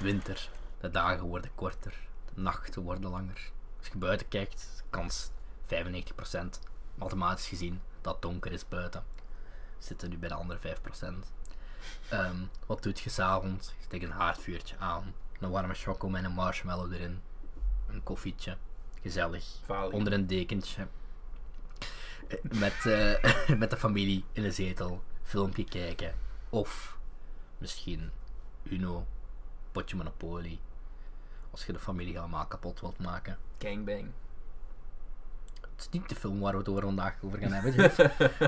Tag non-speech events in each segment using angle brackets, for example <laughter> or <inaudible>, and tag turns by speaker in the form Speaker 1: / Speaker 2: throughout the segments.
Speaker 1: winter. De dagen worden korter. De nachten worden langer. Als je buiten kijkt, kans 95%, mathematisch gezien, dat het donker is buiten. We zitten nu bij de andere 5%. Ehm, wat doet je s'avonds? Je steekt een haardvuurtje aan. Een warme choco met een marshmallow erin. Een koffietje. Gezellig.
Speaker 2: Falie.
Speaker 1: Onder een dekentje. Eh, Met, eh, <laughs> met de familie in de zetel. Filmpje kijken. Of misschien Uno. Potje Monopoly. Als je de familie helemaal kapot wilt maken.
Speaker 2: Gangbang.
Speaker 1: Het is niet de film waar we het over vandaag over gaan hebben. Jeff.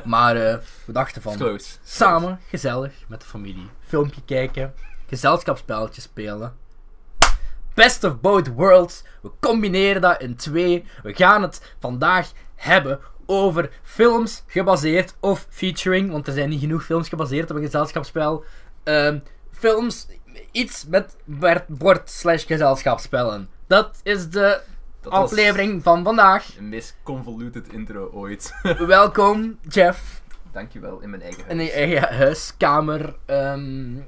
Speaker 1: maar eh, we dachten van...
Speaker 2: Close.
Speaker 1: Samen, gezellig, met de familie. Filmpje kijken, gezelschapsspelletjes spelen. Best of both worlds. We combineren dat in twee. We gaan het vandaag hebben over films gebaseerd of featuring, want er zijn niet genoeg films gebaseerd op een gezelschapsspel. Ehm, films, iets met ber- bord slash gezelschapsspellen. Dat is de
Speaker 2: Dat was
Speaker 1: aflevering van vandaag.
Speaker 2: Een meest convoluted intro ooit. <laughs>
Speaker 1: Welkom, Jeff.
Speaker 2: Dankjewel in mijn eigen
Speaker 1: In
Speaker 2: huis.
Speaker 1: je eigen huis, kamer, ehm,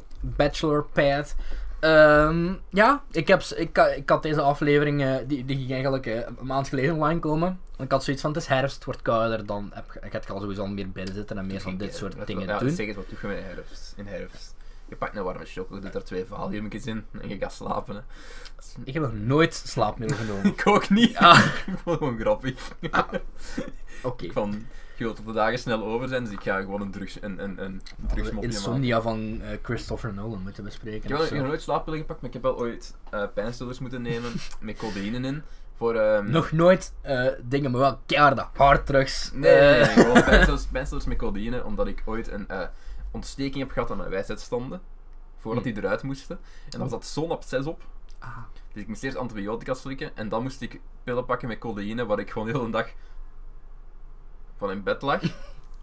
Speaker 1: bachelorpad. Ehm, ja, ik, heb, s- ik, ha- ik had deze aflevering, eh, die, die ging eigenlijk eh, een maand geleden online komen. Want Ik had zoiets van, het is herfst, het wordt kouder, dan heb, je- ik ga sowieso al meer binnen zitten en meer van dit
Speaker 2: Ja,
Speaker 1: soort dingen
Speaker 2: eh, ja,
Speaker 1: doen.
Speaker 2: Zeg eens wat doe je met herfst, in herfst. Je pakt een warme choco, je doet er twee valiumjes in en je gaat slapen. Hè. Dat is-
Speaker 1: Ik heb nog nooit slaapmiddel
Speaker 2: <laughs>
Speaker 1: genomen.
Speaker 2: Ik ook niet.
Speaker 1: Ja.
Speaker 2: ik vond het gewoon grappig.
Speaker 1: Oké.
Speaker 2: Ik van, je wilt dat de dagen snel over zijn, dus ik ga gewoon een, drugs, een, een, een
Speaker 1: De
Speaker 2: drugsmopje maken.
Speaker 1: Insomnia van eh, Christopher Nolan moeten
Speaker 2: Ik
Speaker 1: bespreken.
Speaker 2: heb, nog-
Speaker 1: of
Speaker 2: ik heb nog
Speaker 1: zo.
Speaker 2: nooit slaappillen gepakt, maar ik heb wel ooit eh, pijnstillers moeten nemen met codeïne in. Voor, ehm,
Speaker 1: Nog nooit eh, dingen, maar wel keiharde harddrugs.
Speaker 2: Nee, nee, nee,
Speaker 1: Eh,
Speaker 2: nee, <laughs> gewoon pijnstillers, pijnstillers met codeïne, omdat ik ooit een eh, ontsteking heb gehad aan mijn wijsheidstanden. Voordat die eruit moesten. En dan zat zo'n absces op.
Speaker 1: ah,
Speaker 2: Dus ik moest eerst antibiotica slikken en dan moest ik pillen pakken met codeïne, waar ik gewoon de hele dag van in bed <laughs> lag.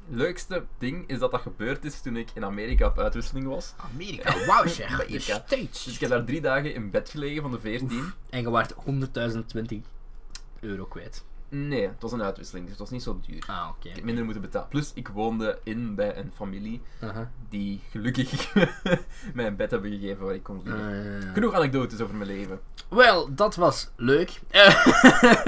Speaker 2: Leukste ding is dat dat gebeurd is toen ik in Amerika op uitwisseling was.
Speaker 1: <laughs> Amerika, wauw zeg,
Speaker 2: Bij
Speaker 1: de
Speaker 2: Ika.
Speaker 1: States.
Speaker 2: Dus ik heb daar drie dagen in bed gelegen van de 14.
Speaker 1: En je waart 100.020 euro kwijt.
Speaker 2: Nee, het was een uitwisseling, dus het was niet zo duur.
Speaker 1: Ah, oké.
Speaker 2: Ik heb minder moeten betalen. Plus, ik woonde in bij een familie
Speaker 1: Aha.
Speaker 2: die gelukkig <laughs> mij een bed hebben gegeven waar ik kon liggen.
Speaker 1: Eh,
Speaker 2: Genoeg anekdotes over mijn leven.
Speaker 1: Wel, dat was leuk. Eh,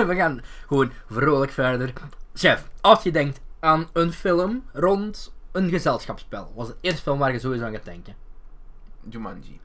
Speaker 1: <laughs> we gaan gewoon vrolijk verder. Chef, als je denkt aan een film rond een gezelschapsspel, was de eerste film waar je sowieso aan gaat denken.
Speaker 2: Jumanji.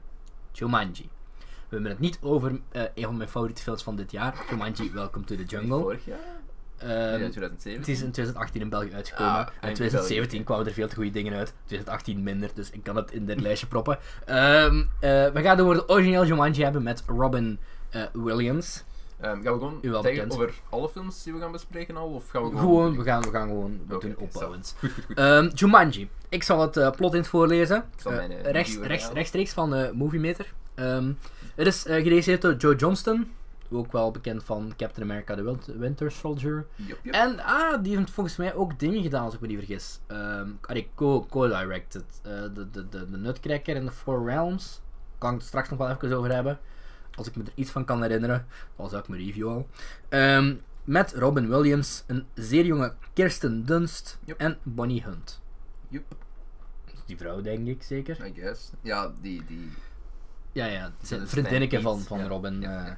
Speaker 1: Jumanji. We hebben het niet over eh, een van mijn favoriete films van dit jaar. Jumanji, Welcome to the Jungle.
Speaker 2: Vorig jaar?
Speaker 1: Ehm,
Speaker 2: Ja, 2007.
Speaker 1: het is in 2018 in België uitgekomen.
Speaker 2: Ah,
Speaker 1: en
Speaker 2: en
Speaker 1: in 2017
Speaker 2: België.
Speaker 1: kwamen er veel te goede dingen uit. 2018 minder, dus ik kan het in dit lijstje proppen. Ehm, eh, we gaan het over de origineel Jumanji hebben met Robin eh, Williams.
Speaker 2: Ehm, gaan we gewoon
Speaker 1: U wel
Speaker 2: zeggen
Speaker 1: bekend.
Speaker 2: over alle films die we gaan bespreken al? Of gaan we gewoon...
Speaker 1: Gewoon, we gaan, we gaan gewoon we
Speaker 2: Oké,
Speaker 1: doen
Speaker 2: oké,
Speaker 1: opbouwend.
Speaker 2: Goed, goed, goed.
Speaker 1: Ehm, Jumanji. Ik zal het eh, plot in het voorlezen.
Speaker 2: zal
Speaker 1: Eh,
Speaker 2: mijn, eh,
Speaker 1: rechts, rechts,
Speaker 2: review herhalen.
Speaker 1: rechtstreeks van eh Movie Meter. Ehm, het is eh, geregisseerd door Joe Johnston. Ook wel bekend van Captain America The Win- Winter Soldier.
Speaker 2: Jup, jup.
Speaker 1: En ah, die heeft volgens mij ook dingen gedaan, als ik me niet vergis. Ehm allee, co- co-directed. Eh, de, de, de, de Nutcracker en de Four Realms. Kan ik het straks nog wel even over hebben. Als ik me er iets van kan herinneren. Al zou ik mijn review al. Ehm, met Robin Williams, een zeer jonge Kirsten Dunst
Speaker 2: Yep.
Speaker 1: en Bonnie Hunt.
Speaker 2: Jup,
Speaker 1: Die vrouw, denk ik zeker.
Speaker 2: I guess. Ja, die... die...
Speaker 1: Ja, ja, het zijn
Speaker 2: is
Speaker 1: vriendinnetje
Speaker 2: mijn
Speaker 1: van,
Speaker 2: iets,
Speaker 1: van
Speaker 2: ja,
Speaker 1: Robin.
Speaker 2: ja,
Speaker 1: eh.
Speaker 2: ja.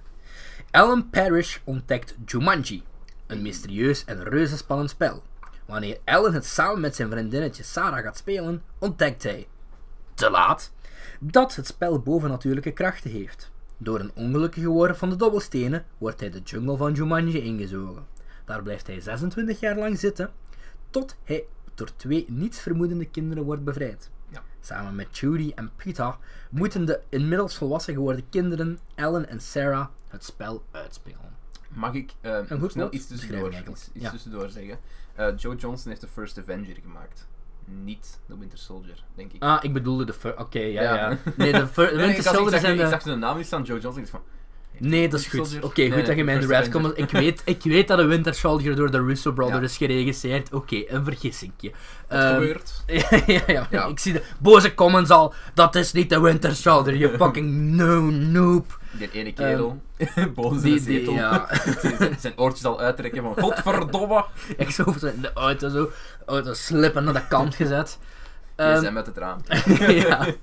Speaker 1: Alan Parrish ontdekt Jumanji, een
Speaker 2: Mm.
Speaker 1: mysterieus en reuze spannend spel. Wanneer Alan het samen met zijn vriendinnetje Sarah gaat spelen, ontdekt hij, te laat, dat het spel bovennatuurlijke krachten heeft. Door een ongelukkige worp van de dobbelstenen wordt hij de jungle van Jumanji ingezogen. Daar blijft hij 26 jaar lang zitten, tot hij door twee nietsvermoedende kinderen wordt bevrijd. Samen met Judy en Pita moeten de inmiddels volwassen geworden kinderen Ellen en Sarah het spel uitspelen.
Speaker 2: Mag ik ehm,
Speaker 1: goed
Speaker 2: snel
Speaker 1: woord
Speaker 2: iets tussendoor,
Speaker 1: beschrijven
Speaker 2: iets,
Speaker 1: eigenlijk,
Speaker 2: iets
Speaker 1: ja.
Speaker 2: tussendoor zeggen? Eh, Joe Johnson heeft de First Avenger gemaakt. Niet de Winter Soldier, denk ik.
Speaker 1: Ah, ik bedoelde de fir- Oké, ja, ja,
Speaker 2: Ja.
Speaker 1: Nee, de fir-
Speaker 2: <laughs> Nee, nee,
Speaker 1: Winter
Speaker 2: ik dacht- ik
Speaker 1: Soldier
Speaker 2: zag-
Speaker 1: zijn
Speaker 2: Ik
Speaker 1: de...
Speaker 2: zag zijn naam niet staan, Joe Johnson. Ik dacht van...
Speaker 1: Nee, dat is
Speaker 2: Winter
Speaker 1: goed. Oké,
Speaker 2: Soldier.
Speaker 1: goed
Speaker 2: Nee, nee,
Speaker 1: dat je mij in de
Speaker 2: First
Speaker 1: raad komt. Ik
Speaker 2: Avenger.
Speaker 1: weet, ik weet dat de Winter Soldier door de Russo Brothers
Speaker 2: Ja.
Speaker 1: is geregisseerd. Oké, een vergissingje.
Speaker 2: Wat
Speaker 1: Ehm, <laughs>
Speaker 2: gebeurt?
Speaker 1: ja, ja, ja.
Speaker 2: Ja.
Speaker 1: Ik zie de boze comments al. Dat is niet de Winter Soldier,
Speaker 2: <laughs>
Speaker 1: je fucking no noob.
Speaker 2: Die ene kerel, <laughs>
Speaker 1: ehm,
Speaker 2: boven
Speaker 1: die-
Speaker 2: in de
Speaker 1: die-
Speaker 2: zetel,
Speaker 1: ja.
Speaker 2: zijn- zijn oortjes al uittrekken van... Godverdomme!
Speaker 1: Ik zo in de auto zo, auto slippen naar de kant
Speaker 2: <laughs>
Speaker 1: gezet.
Speaker 2: Die
Speaker 1: Ehm, <laughs>
Speaker 2: zijn met het raam.
Speaker 1: ja.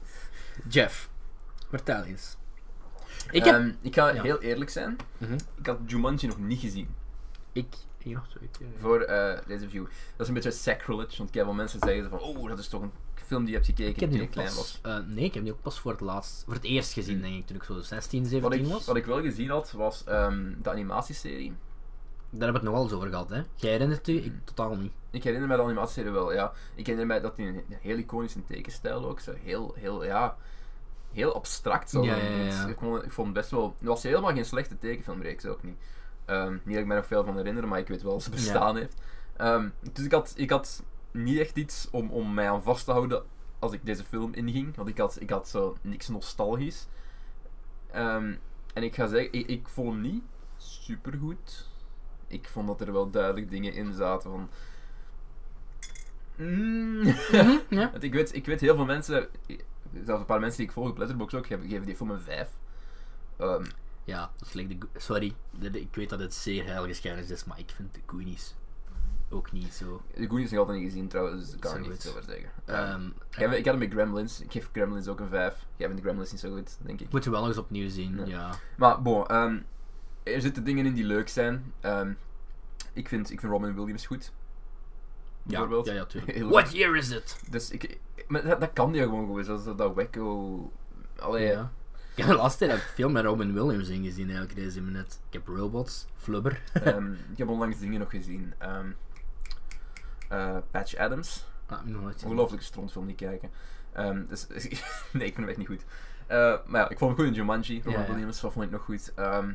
Speaker 1: Jeff, vertel eens. Ik heb...
Speaker 2: Ehm, ik ga
Speaker 1: Ja.
Speaker 2: heel eerlijk zijn.
Speaker 1: Mhm.
Speaker 2: Ik had Jumanji nog niet gezien
Speaker 1: Ik... Hier nog twee keer.
Speaker 2: voor eh, deze review. Dat is een beetje sacrilege, want kijk, wel mensen zeggen van, oh, dat is toch een film die je hebt gekeken
Speaker 1: Ik heb die
Speaker 2: toen je
Speaker 1: ook
Speaker 2: klein
Speaker 1: pas...
Speaker 2: was.
Speaker 1: eh, nee, ik heb die ook pas voor het laatst... Voor het eerst gezien, denk ik, toen ik zo 16,
Speaker 2: Wat
Speaker 1: 17
Speaker 2: ik,
Speaker 1: was.
Speaker 2: wat ik wel gezien had, was ehm, de animatieserie.
Speaker 1: Daar hebben we het nog wel eens over gehad, hè. Jij herinnert u?
Speaker 2: Mm.
Speaker 1: Ik totaal niet.
Speaker 2: Ik herinner me de animatieserie wel, ja. Ik herinner mij dat die een een heel iconische tekenstijl ook, zo heel, heel, ja... Heel abstract zo.
Speaker 1: Ja, ja, ja, ja.
Speaker 2: Ik, vond, het- ik vond het best wel... Het was helemaal geen slechte tekenfilmreeks, ook niet. Ehm, niet dat ik me nog veel van herinner, maar ik weet wel dat ze bestaan heeft. Ehm, dus ik had, ik had niet echt iets om, om mij aan vast te houden als ik deze film inging. Want ik had, ik had zo niks nostalgisch. Ehm, en ik ga zeggen, ik, ik vond hem niet supergoed. Ik vond dat er wel duidelijk dingen in zaten van... Mm. <laughs>
Speaker 1: ja.
Speaker 2: Want ik weet, ik weet heel veel mensen, zelfs een paar mensen die ik volg op Letterboxd ook, geven, geven die film een 5. Ehm,
Speaker 1: Ja, dat is gelijk de... go- Sorry, de- de- ik weet dat het zeer heilige kennis is, maar ik vind de Goonies ook niet zo...
Speaker 2: de Goonies heb ik altijd niet gezien trouwens, dus ik kan
Speaker 1: Zo
Speaker 2: er niet
Speaker 1: goed.
Speaker 2: veel over zeggen. Ehm,
Speaker 1: Ehm
Speaker 2: ik, heb, ik had hem met Gremlins, ik geef Gremlins ook een 5. Jij vindt de Gremlins niet zo goed, denk ik.
Speaker 1: ik moet je wel nog eens opnieuw zien,
Speaker 2: Ja.
Speaker 1: ja.
Speaker 2: Maar bon, ehm, er zitten dingen in die leuk zijn. Ehm, ik, vind, ik vind Robin Williams goed.
Speaker 1: Ja,
Speaker 2: Bijvoorbeeld.
Speaker 1: ja, ja, tuurlijk.
Speaker 2: <laughs> Heel
Speaker 1: What year is it?
Speaker 2: Dus ik, maar dat, dat kan die gewoon goed, dus dat, dat, dat wacko... Allee,
Speaker 1: Oh, <laughs> Ja. Ik heb de laatste tijd een film met Robin Williams ingezien, eigenlijk, deze minuut. Ik heb Robots, Flubber. <laughs>
Speaker 2: ehm, ik heb onlangs dingen nog gezien. Ehm, eh, Patch Adams.
Speaker 1: Ah, nog nooit gezien.
Speaker 2: Ongelooflijke strontfilm niet kijken. Ehm, dus, <laughs> nee, ik vind hem echt niet goed. Eh, maar ja, ik vond hem goed in Jumanji. Robin
Speaker 1: Ja, ja.
Speaker 2: Williams, wat vond ik nog goed? Ehm,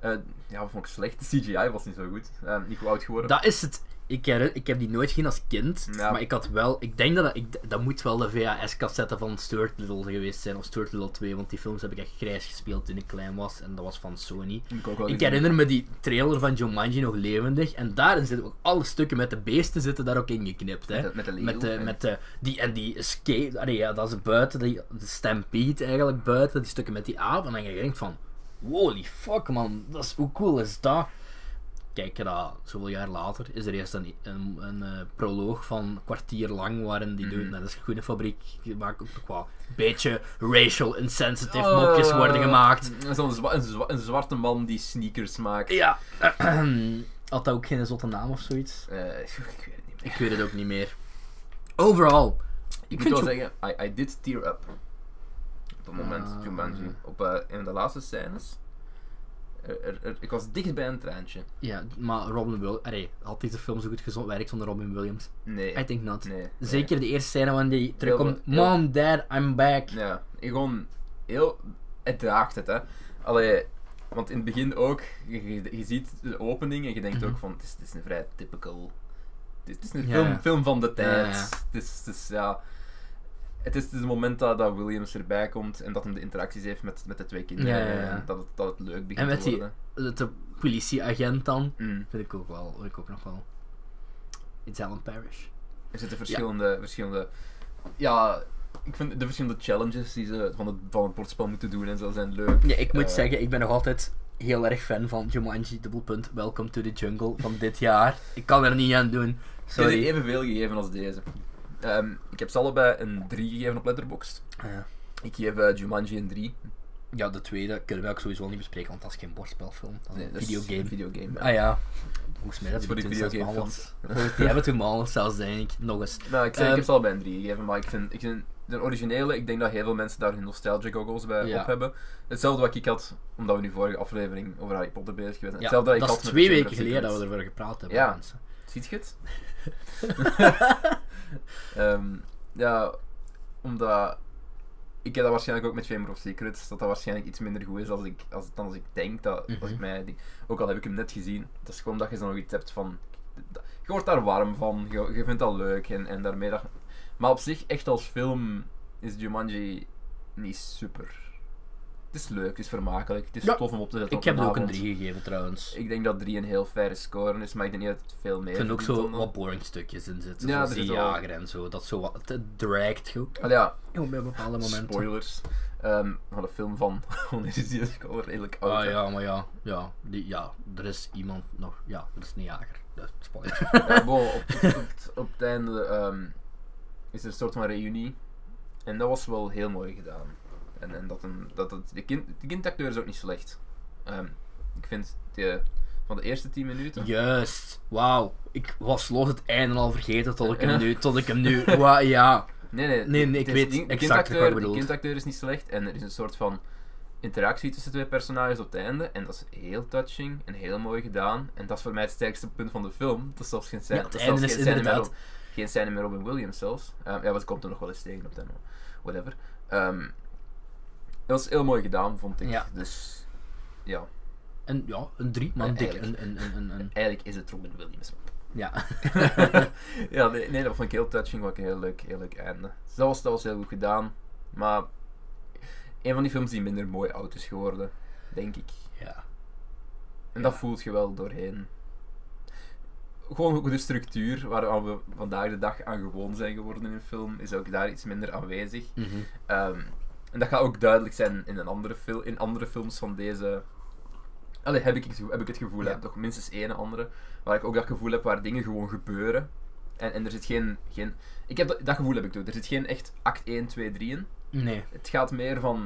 Speaker 2: eh, ja, wat vond ik slecht? De CGI was niet zo goed. Ehm, niet goed oud geworden.
Speaker 1: Dat is het. Ik, her- ik heb die nooit gezien als kind,
Speaker 2: Ja.
Speaker 1: maar ik had wel... Ik denk dat dat, ik, dat moet wel de VHS-cassette van Stuart Little geweest zijn, of Stuart Little 2, want die films heb ik echt grijs gespeeld toen ik klein was, en dat was van Sony.
Speaker 2: Moet ik ook wel
Speaker 1: Ik
Speaker 2: gezien
Speaker 1: herinner me die trailer van Jumanji nog levendig, en daarin zitten ook alle stukken met de beesten zitten daar ook ingeknipt, hè.
Speaker 2: Met, de- met de leeuw.
Speaker 1: Met, de,
Speaker 2: en-
Speaker 1: met de, die, en die skate, allee, ja, dat is buiten, die, de stampede eigenlijk buiten, die stukken met die aap. En dan denk ik van, holy fuck man, dat is, hoe cool is dat? Kijk, ja, zoveel jaar later is er eerst een, een, een eh, proloog van een kwartier lang waarin die doen,
Speaker 2: Mhm.
Speaker 1: dat is een fabriek, die maken ook qua beetje racial insensitive
Speaker 2: Oh,
Speaker 1: mopjes worden gemaakt.
Speaker 2: Zo'n zwa- een, zwa- een zwarte man die sneakers maakt.
Speaker 1: Ja, <clears throat> had dat ook geen zotte naam of zoiets?
Speaker 2: Eh, <laughs> ik
Speaker 1: Ik
Speaker 2: weet het niet meer.
Speaker 1: weet het ook niet meer. Overal,
Speaker 2: Ik,
Speaker 1: vind
Speaker 2: moet wel
Speaker 1: Ju-
Speaker 2: zeggen, I, I did tear up. Op het moment,
Speaker 1: Ah.
Speaker 2: Jumanji. Op eh, een van de laatste scènes. Er, er- er- ik was dicht bij een treintje.
Speaker 1: Ja, maar Robin Williams... Allee, had deze film zo goed gezond werkt zonder Robin Williams?
Speaker 2: Nee.
Speaker 1: I think not.
Speaker 2: nee, nee.
Speaker 1: Zeker de eerste scène wanneer die terugkomt.
Speaker 2: heel-
Speaker 1: Mom, dad, I'm back.
Speaker 2: Ja, ik gewoon heel. Het draagt het, hè. Allee, want in het begin ook, je, je- je ziet de opening en je denkt
Speaker 1: Mhm.
Speaker 2: ook van, het is, het is een vrij typical. Het is, het is een
Speaker 1: Ja,
Speaker 2: film,
Speaker 1: ja.
Speaker 2: film van de tijd.
Speaker 1: ja.
Speaker 2: Het, is, het is, ja. Het is dus het is het moment dat, dat Williams erbij komt en dat hem de interacties heeft met, met de twee kinderen.
Speaker 1: Ja, ja, ja.
Speaker 2: En dat het, dat het leuk begint
Speaker 1: En met
Speaker 2: te
Speaker 1: die-
Speaker 2: worden.
Speaker 1: De, de politieagent dan.
Speaker 2: Mm.
Speaker 1: Vind ik ook wel. Vind ik ook nog wel. It's Alan Parrish.
Speaker 2: Er zitten verschillende, verschillende. Ja, ik vind de verschillende challenges die ze van het, van het bordspel moeten doen en zo zijn leuk.
Speaker 1: Ja, ik moet
Speaker 2: Eh,
Speaker 1: zeggen, ik ben nog altijd heel erg fan van Jumanji, dubbelpunt, Welcome to the Jungle van dit jaar. Ik kan er niet aan doen.
Speaker 2: Sorry.
Speaker 1: Sorry.
Speaker 2: Dit evenveel gegeven als deze. Ehm, ik heb ze allebei een 3 gegeven op Letterboxd.
Speaker 1: Eh,
Speaker 2: Ik geef eh, Jumanji een 3.
Speaker 1: ja, de tweede kunnen we ook sowieso niet bespreken, want dat is geen bordspelfilm. Dat is een
Speaker 2: dat is
Speaker 1: videogame.
Speaker 2: een videogame. ja.
Speaker 1: Ah ja. Volgens mij dat
Speaker 2: Voor
Speaker 1: die
Speaker 2: die
Speaker 1: toen zelfs
Speaker 2: videogamefilms.
Speaker 1: behandeld. Die hebben toen behandeld zelfs, denk ik. Nog eens.
Speaker 2: Nou, ik, zeg, ik
Speaker 1: Ehm,
Speaker 2: heb ze allebei een 3 gegeven, maar ik vind, ik vind de originele, ik denk dat heel veel mensen daar hun nostalgia goggles bij
Speaker 1: Ja.
Speaker 2: op hebben. Hetzelfde wat ik had, omdat we nu vorige aflevering over Harry Potter bezig geweest zijn.
Speaker 1: Ja,
Speaker 2: Hetzelfde
Speaker 1: dat
Speaker 2: ik
Speaker 1: is
Speaker 2: had met
Speaker 1: twee
Speaker 2: Chamber
Speaker 1: weken
Speaker 2: of
Speaker 1: geleden dat
Speaker 2: Secrets.
Speaker 1: we erover gepraat hebben.
Speaker 2: Ja.
Speaker 1: mensen.
Speaker 2: Ziet
Speaker 1: <laughs>
Speaker 2: je het? Ehm, ja, omdat. Ik heb dat waarschijnlijk ook met Chamber of Secrets, dat dat waarschijnlijk iets minder goed is als ik, als, dan als ik denk dat. Als ik
Speaker 1: Mhm.
Speaker 2: mij, die- ook al heb ik hem net gezien, dat is gewoon dat je zo nog iets hebt van. Je wordt daar warm van, je, je vindt dat leuk en, en daarmee dat. Maar op zich, echt als film, is Jumanji niet super. Het is leuk, het is vermakelijk, het is
Speaker 1: Ja,
Speaker 2: tof om op te zetten.
Speaker 1: Ik
Speaker 2: op
Speaker 1: heb er ook een
Speaker 2: avond.
Speaker 1: 3 gegeven trouwens. Ik
Speaker 2: Ik denk dat 3 een heel faire score is, maar ik denk niet dat het veel meer
Speaker 1: vind ook
Speaker 2: verdient
Speaker 1: zo
Speaker 2: dan dat.
Speaker 1: wat boring stukjes in zitten.
Speaker 2: Ja,
Speaker 1: Ja,
Speaker 2: er
Speaker 1: zoals die
Speaker 2: zit wel-
Speaker 1: jager en zo. Dat zo wat. Het draagt je ook
Speaker 2: Allee, ja,
Speaker 1: op bij bepaalde momenten.
Speaker 2: Spoilers. Ehm, van de film van. <laughs> Wanneer is die? Dat is al redelijk oud.
Speaker 1: Ah
Speaker 2: hè.
Speaker 1: ja, maar ja. Ja, die, ja, er is iemand nog. Ja, er is een jager. Ja, Spoiler.
Speaker 2: Ja, bon, op, op, op het- op het einde ehm, is er een soort van reunie. En dat was wel heel mooi gedaan. En, en dat een, dat het, de, kind, de kindacteur is ook niet slecht. Ehm, ik vind de, van de eerste 10 minuten.
Speaker 1: Juist. Wauw. Ik was los het einde al vergeten tot ik hem
Speaker 2: Ja.
Speaker 1: nu... Tot ik hem
Speaker 2: <laughs>
Speaker 1: nu... Wa- ja.
Speaker 2: Nee, nee,
Speaker 1: Nee, nee, ik
Speaker 2: het is-
Speaker 1: weet
Speaker 2: die-
Speaker 1: exact
Speaker 2: kindacteur-
Speaker 1: wat je bedoelt.
Speaker 2: Die kindacteur is niet slecht en er is een soort van interactie tussen twee personages op het einde. En dat is heel touching en heel mooi gedaan. En dat is voor mij het sterkste punt van de film. Dat is zelfs geen scène,
Speaker 1: Ja, het
Speaker 2: dat is zelfs
Speaker 1: einde is
Speaker 2: geen scène meer
Speaker 1: inderdaad-
Speaker 2: op, geen scène meer Robin Williams zelfs. Ehm, ja, want het komt er nog wel eens tegen op het einde. Whatever. Ehm dat is heel mooi gedaan, vond ik.
Speaker 1: Ja.
Speaker 2: Dus ja,
Speaker 1: En ja, een drie, maar een
Speaker 2: Ja,
Speaker 1: dik. Een,
Speaker 2: eigenlijk.
Speaker 1: een, een, een, een-
Speaker 2: eigenlijk is het Robin Williams. <laughs>
Speaker 1: ja.
Speaker 2: ja, nee, nee, dat vond ik heel touching. Vond ik een heel leuk, heel leuk einde. Dus dat was, dat was heel goed gedaan. Maar een van die films die minder mooi oud is geworden, denk ik.
Speaker 1: ja.
Speaker 2: En dat voelt je wel doorheen. Gewoon ook de structuur waar we vandaag de dag aan gewoon zijn geworden in film, is ook daar iets minder aanwezig.
Speaker 1: Mhm.
Speaker 2: Ehm, en dat gaat ook duidelijk zijn in, een andere fil- in andere films van deze. Allee, heb ik, het gevo- heb ik het gevoel,
Speaker 1: Ja.
Speaker 2: hè, toch minstens één andere. Waar ik ook dat gevoel heb waar dingen gewoon gebeuren. En, en er zit geen. geen ik heb dat, dat gevoel heb ik ook. Er zit geen echt act 1, 2, 3 in.
Speaker 1: Nee.
Speaker 2: Het gaat meer van.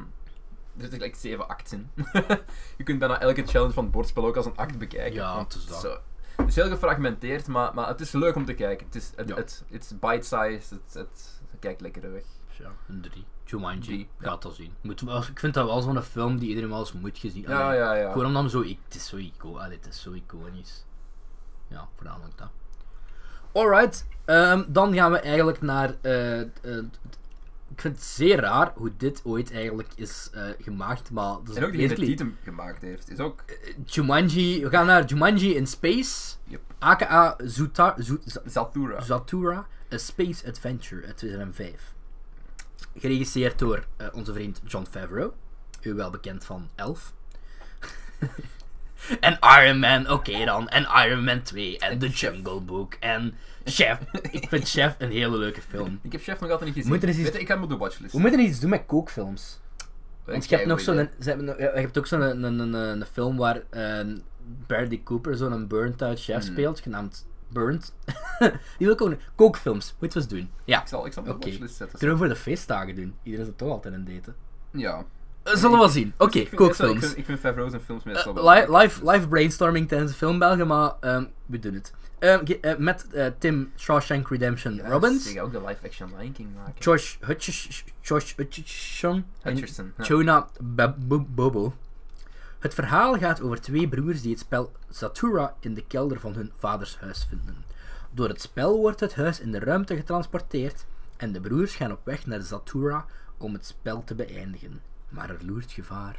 Speaker 2: Er zitten gelijk zeven acts in. <laughs> je kunt bijna elke challenge van het bordspel ook als een act bekijken.
Speaker 1: Ja,
Speaker 2: Want
Speaker 1: het is dat.
Speaker 2: zo- Het is heel gefragmenteerd, maar, maar het is leuk om te kijken. Het is, het,
Speaker 1: Ja.
Speaker 2: het, it's bite-sized, het, het, het kijkt lekker weg.
Speaker 1: Ja, een drie. Jumanji.
Speaker 2: Drie, ja.
Speaker 1: Gaat dat zien. Moet, wel- ik vind dat wel zo'n film die iedereen wel eens moet gezien.
Speaker 2: Ja,
Speaker 1: Allee,
Speaker 2: ja, ja.
Speaker 1: Gewoon omdat hem zo... Ik, het is zo ico- allee, het is zo iconisch. Ja, voornamelijk dat. Alright. ehm, dan gaan we eigenlijk naar... eh, eh, t- ik vind het zeer raar hoe dit ooit eigenlijk is eh, gemaakt, maar... Dat is
Speaker 2: En ook degene
Speaker 1: basically-
Speaker 2: die het hem gemaakt heeft, is ook...
Speaker 1: Jumanji, we gaan naar Jumanji in Space,
Speaker 2: Yep.
Speaker 1: aka Zuta, Zu- Z-
Speaker 2: Zatura.
Speaker 1: Zatura, A Space Adventure uit 2005. Geregisseerd door eh, onze vriend John Favreau, u wel bekend van Elf. <laughs> en Iron Man, oké dan, en Iron Man 2, en The Jungle Book, en Chef. Ik vind Chef een hele leuke film.
Speaker 2: Ik heb Chef nog altijd niet gezien.
Speaker 1: Moet er eens iets-
Speaker 2: Weet je, ik heb hem op de watchlist.
Speaker 1: We moeten iets doen met kookfilms. Want je hebt, nog zo'n,
Speaker 2: een
Speaker 1: ze hebben, nog- je hebt ook zo'n een, een, een, een film waar ehm Bradley Cooper zo'n burnt-out chef speelt, genaamd Burnt. <laughs> Die wil ik ook... Kookfilms, moet je eens doen. Ja,
Speaker 2: Ik zal, ik zal hem op de
Speaker 1: Oké.
Speaker 2: watchlist zetten.
Speaker 1: kunnen we voor de feestdagen doen. Iedereen is dat toch altijd aan het daten.
Speaker 2: Ja.
Speaker 1: Eh, Zullen we wel zien. Oké,
Speaker 2: Ik vind, meestal- ik
Speaker 1: kookfilms.
Speaker 2: vind, ik vind Favreau's en films meestal
Speaker 1: Eh,
Speaker 2: wel
Speaker 1: li- live, live brainstorming tijdens de filmbelgen, maar ehm, we doen het. Ehm, ge- eh, met eh, Tim Shawshank Redemption
Speaker 2: Ja,
Speaker 1: Robbins,
Speaker 2: Ze gaan ook de live-action Lion King maken.
Speaker 1: Josh Hutchins- Josh Hutcherson en
Speaker 2: Hutcherson. ja.
Speaker 1: Jonah Ba- Bo- Bobo. Het verhaal gaat over twee broers die het spel Satura in de kelder van hun vaders huis vinden. Door het spel wordt het huis in de ruimte getransporteerd en de broers gaan op weg naar Satura om het spel te beëindigen. Maar er loert gevaar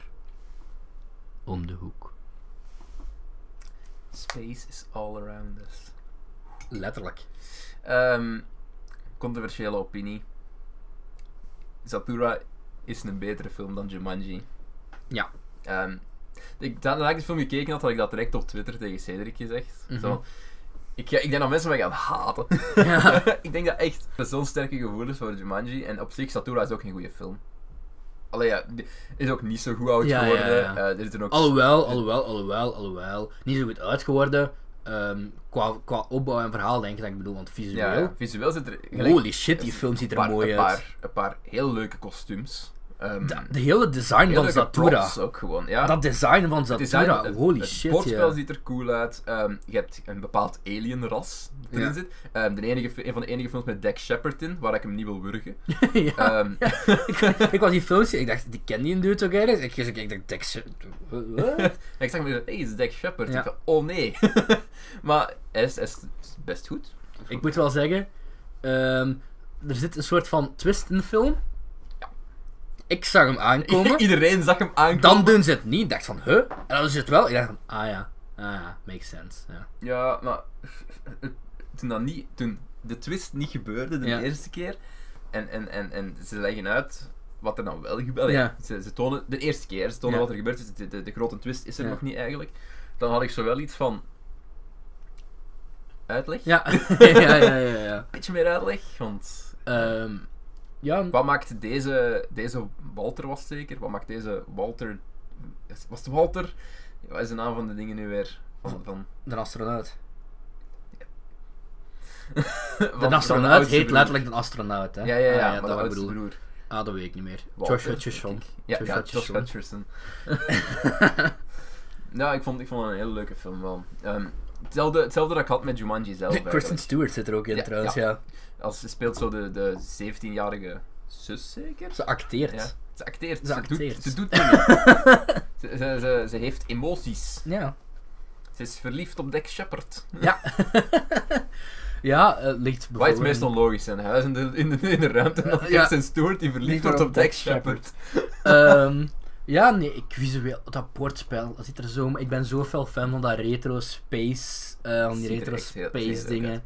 Speaker 1: om de hoek.
Speaker 2: Space is all around us.
Speaker 1: Letterlijk.
Speaker 2: Ehm, controversiële opinie. Zatura is een betere film dan Jumanji.
Speaker 1: Ja.
Speaker 2: Ehm, ik, da- nadat ik de film gekeken had, had ik dat direct op Twitter tegen Cedric gezegd.
Speaker 1: Mhm.
Speaker 2: Zo, ik, ga- ik denk dat mensen mij gaan haten.
Speaker 1: Ja.
Speaker 2: <laughs> ik denk dat echt dat zo'n sterke gevoelens voor Jumanji. En op zich, Satura is ook geen goede film. Alleen ja, die is ook niet zo goed oud
Speaker 1: Ja, ja,
Speaker 2: geworden.
Speaker 1: ja.
Speaker 2: Eh, er zitten ook
Speaker 1: Alhoewel, alhoewel, alhoewel, alhoewel. Niet zo goed uitgeworden. Ehm, qua, qua opbouw en verhaal denk ik dat ik bedoel, want
Speaker 2: ja,
Speaker 1: visueel.
Speaker 2: ja, visueel zit er
Speaker 1: Holy shit, die film ziet er
Speaker 2: een paar,
Speaker 1: mooi
Speaker 2: een
Speaker 1: uit.
Speaker 2: Paar, een paar heel leuke kostuums. Ehm,
Speaker 1: Da- De hele design
Speaker 2: heel
Speaker 1: van
Speaker 2: leuke
Speaker 1: Satura.
Speaker 2: props ook gewoon, ja.
Speaker 1: Dat design van
Speaker 2: Het design-
Speaker 1: Satura,
Speaker 2: het-
Speaker 1: holy
Speaker 2: het
Speaker 1: shit.
Speaker 2: bordspel
Speaker 1: ja.
Speaker 2: ziet er cool uit. Ehm, je hebt een bepaald alienras dat erin
Speaker 1: Ja.
Speaker 2: zit. Ehm, de enige, fi- een van de enige films met Dak Shepard in, waar ik hem niet wil wurgen.
Speaker 1: <laughs> Ja.
Speaker 2: Ehm,
Speaker 1: ik was die films, ik dacht, die ken die een dude toch ergens? Ik, ik, ik dacht, Dex. wat?
Speaker 2: ik zag hem weer, hey, is Dak Shepard.
Speaker 1: Ja.
Speaker 2: Ik dacht, oh
Speaker 1: <laughs>
Speaker 2: nee. maar hij is, hij is best goed.
Speaker 1: ik moet wel zeggen, ehm, er zit een soort van twist in de film. Ik zag hem
Speaker 2: <laughs>
Speaker 1: aankomen.
Speaker 2: Iedereen zag hem aankomen.
Speaker 1: Dan doen ze het niet. Ik dacht van, huh? En dan is het wel. Ik dacht van, ah ja, ah ja, makes sense. Ja.
Speaker 2: Ja, maar <laughs> het- toen, dat niet, toen de twist niet gebeurde de
Speaker 1: Ja.
Speaker 2: eerste keer, en, en, en, en ze leggen uit wat er dan wel gebeurde.
Speaker 1: Ja.
Speaker 2: Ze, ze tonen de eerste keer, ze tonen
Speaker 1: Ja.
Speaker 2: wat er gebeurd is, de, de, de grote twist is er
Speaker 1: Ja.
Speaker 2: nog niet eigenlijk. Dan had ik zowel iets van uitleg, <laughs>
Speaker 1: Ja, <laughs> ja, ja, ja. ja.
Speaker 2: een beetje meer uitleg, want
Speaker 1: Ehm, ja,
Speaker 2: wat maakt deze, deze Walter was het zeker, wat maakt deze Walter, was het Walter? Wat is de naam van de dingen nu weer? Van, van,
Speaker 1: de astronaut.
Speaker 2: van,
Speaker 1: De
Speaker 2: van
Speaker 1: astronaut
Speaker 2: oudste
Speaker 1: heet
Speaker 2: broer.
Speaker 1: letterlijk de astronaut, hè?
Speaker 2: Ja, ja, ja,
Speaker 1: Ah, dat
Speaker 2: maar de
Speaker 1: wat ik
Speaker 2: oudste
Speaker 1: bedoel.
Speaker 2: broer.
Speaker 1: Ah, dat weet ik niet meer.
Speaker 2: Walter,
Speaker 1: Josh Hutcherson.
Speaker 2: denk ik. Ja,
Speaker 1: Josh
Speaker 2: ja, Josh
Speaker 1: Hutcherson.
Speaker 2: Hutcherson.
Speaker 1: <laughs>
Speaker 2: <laughs> ja, Nou, ik vond, ik vond het een hele leuke film wel. Ehm, hetzelfde, hetzelfde dat ik had met Jumanji
Speaker 1: <laughs>
Speaker 2: zelf.
Speaker 1: Kristen
Speaker 2: eigenlijk.
Speaker 1: Stewart zit er ook in
Speaker 2: Ja,
Speaker 1: trouwens,
Speaker 2: ja.
Speaker 1: ja.
Speaker 2: Als ze speelt zo de, de 17-jarige zus zeker?
Speaker 1: Ze acteert.
Speaker 2: Ja. Ze acteert. Ze,
Speaker 1: Ze acteert.
Speaker 2: doet, ze doet dingen.
Speaker 1: <laughs>
Speaker 2: ze, ze, ze, ze heeft emoties.
Speaker 1: Ja.
Speaker 2: Ze is verliefd op Dex Shepard.
Speaker 1: Ja, ja eh, ligt
Speaker 2: Wat is
Speaker 1: bijvoorbeeld...
Speaker 2: meest onlogisch zijn? Huis in de, in de, in de ruimte en dan
Speaker 1: Ja.
Speaker 2: Kirsten Stewart die verliefd
Speaker 1: Liefde
Speaker 2: wordt
Speaker 1: op
Speaker 2: op
Speaker 1: Dax
Speaker 2: Dex Shepard. <laughs>
Speaker 1: Ehm, ja, nee, ik visueel, dat bordspel, dat ziet er zo... Ik ben zo fel fan van dat retro space, eh van die
Speaker 2: Ziet er
Speaker 1: retro
Speaker 2: echt heel- heel
Speaker 1: space
Speaker 2: leuk
Speaker 1: dingen.
Speaker 2: uit.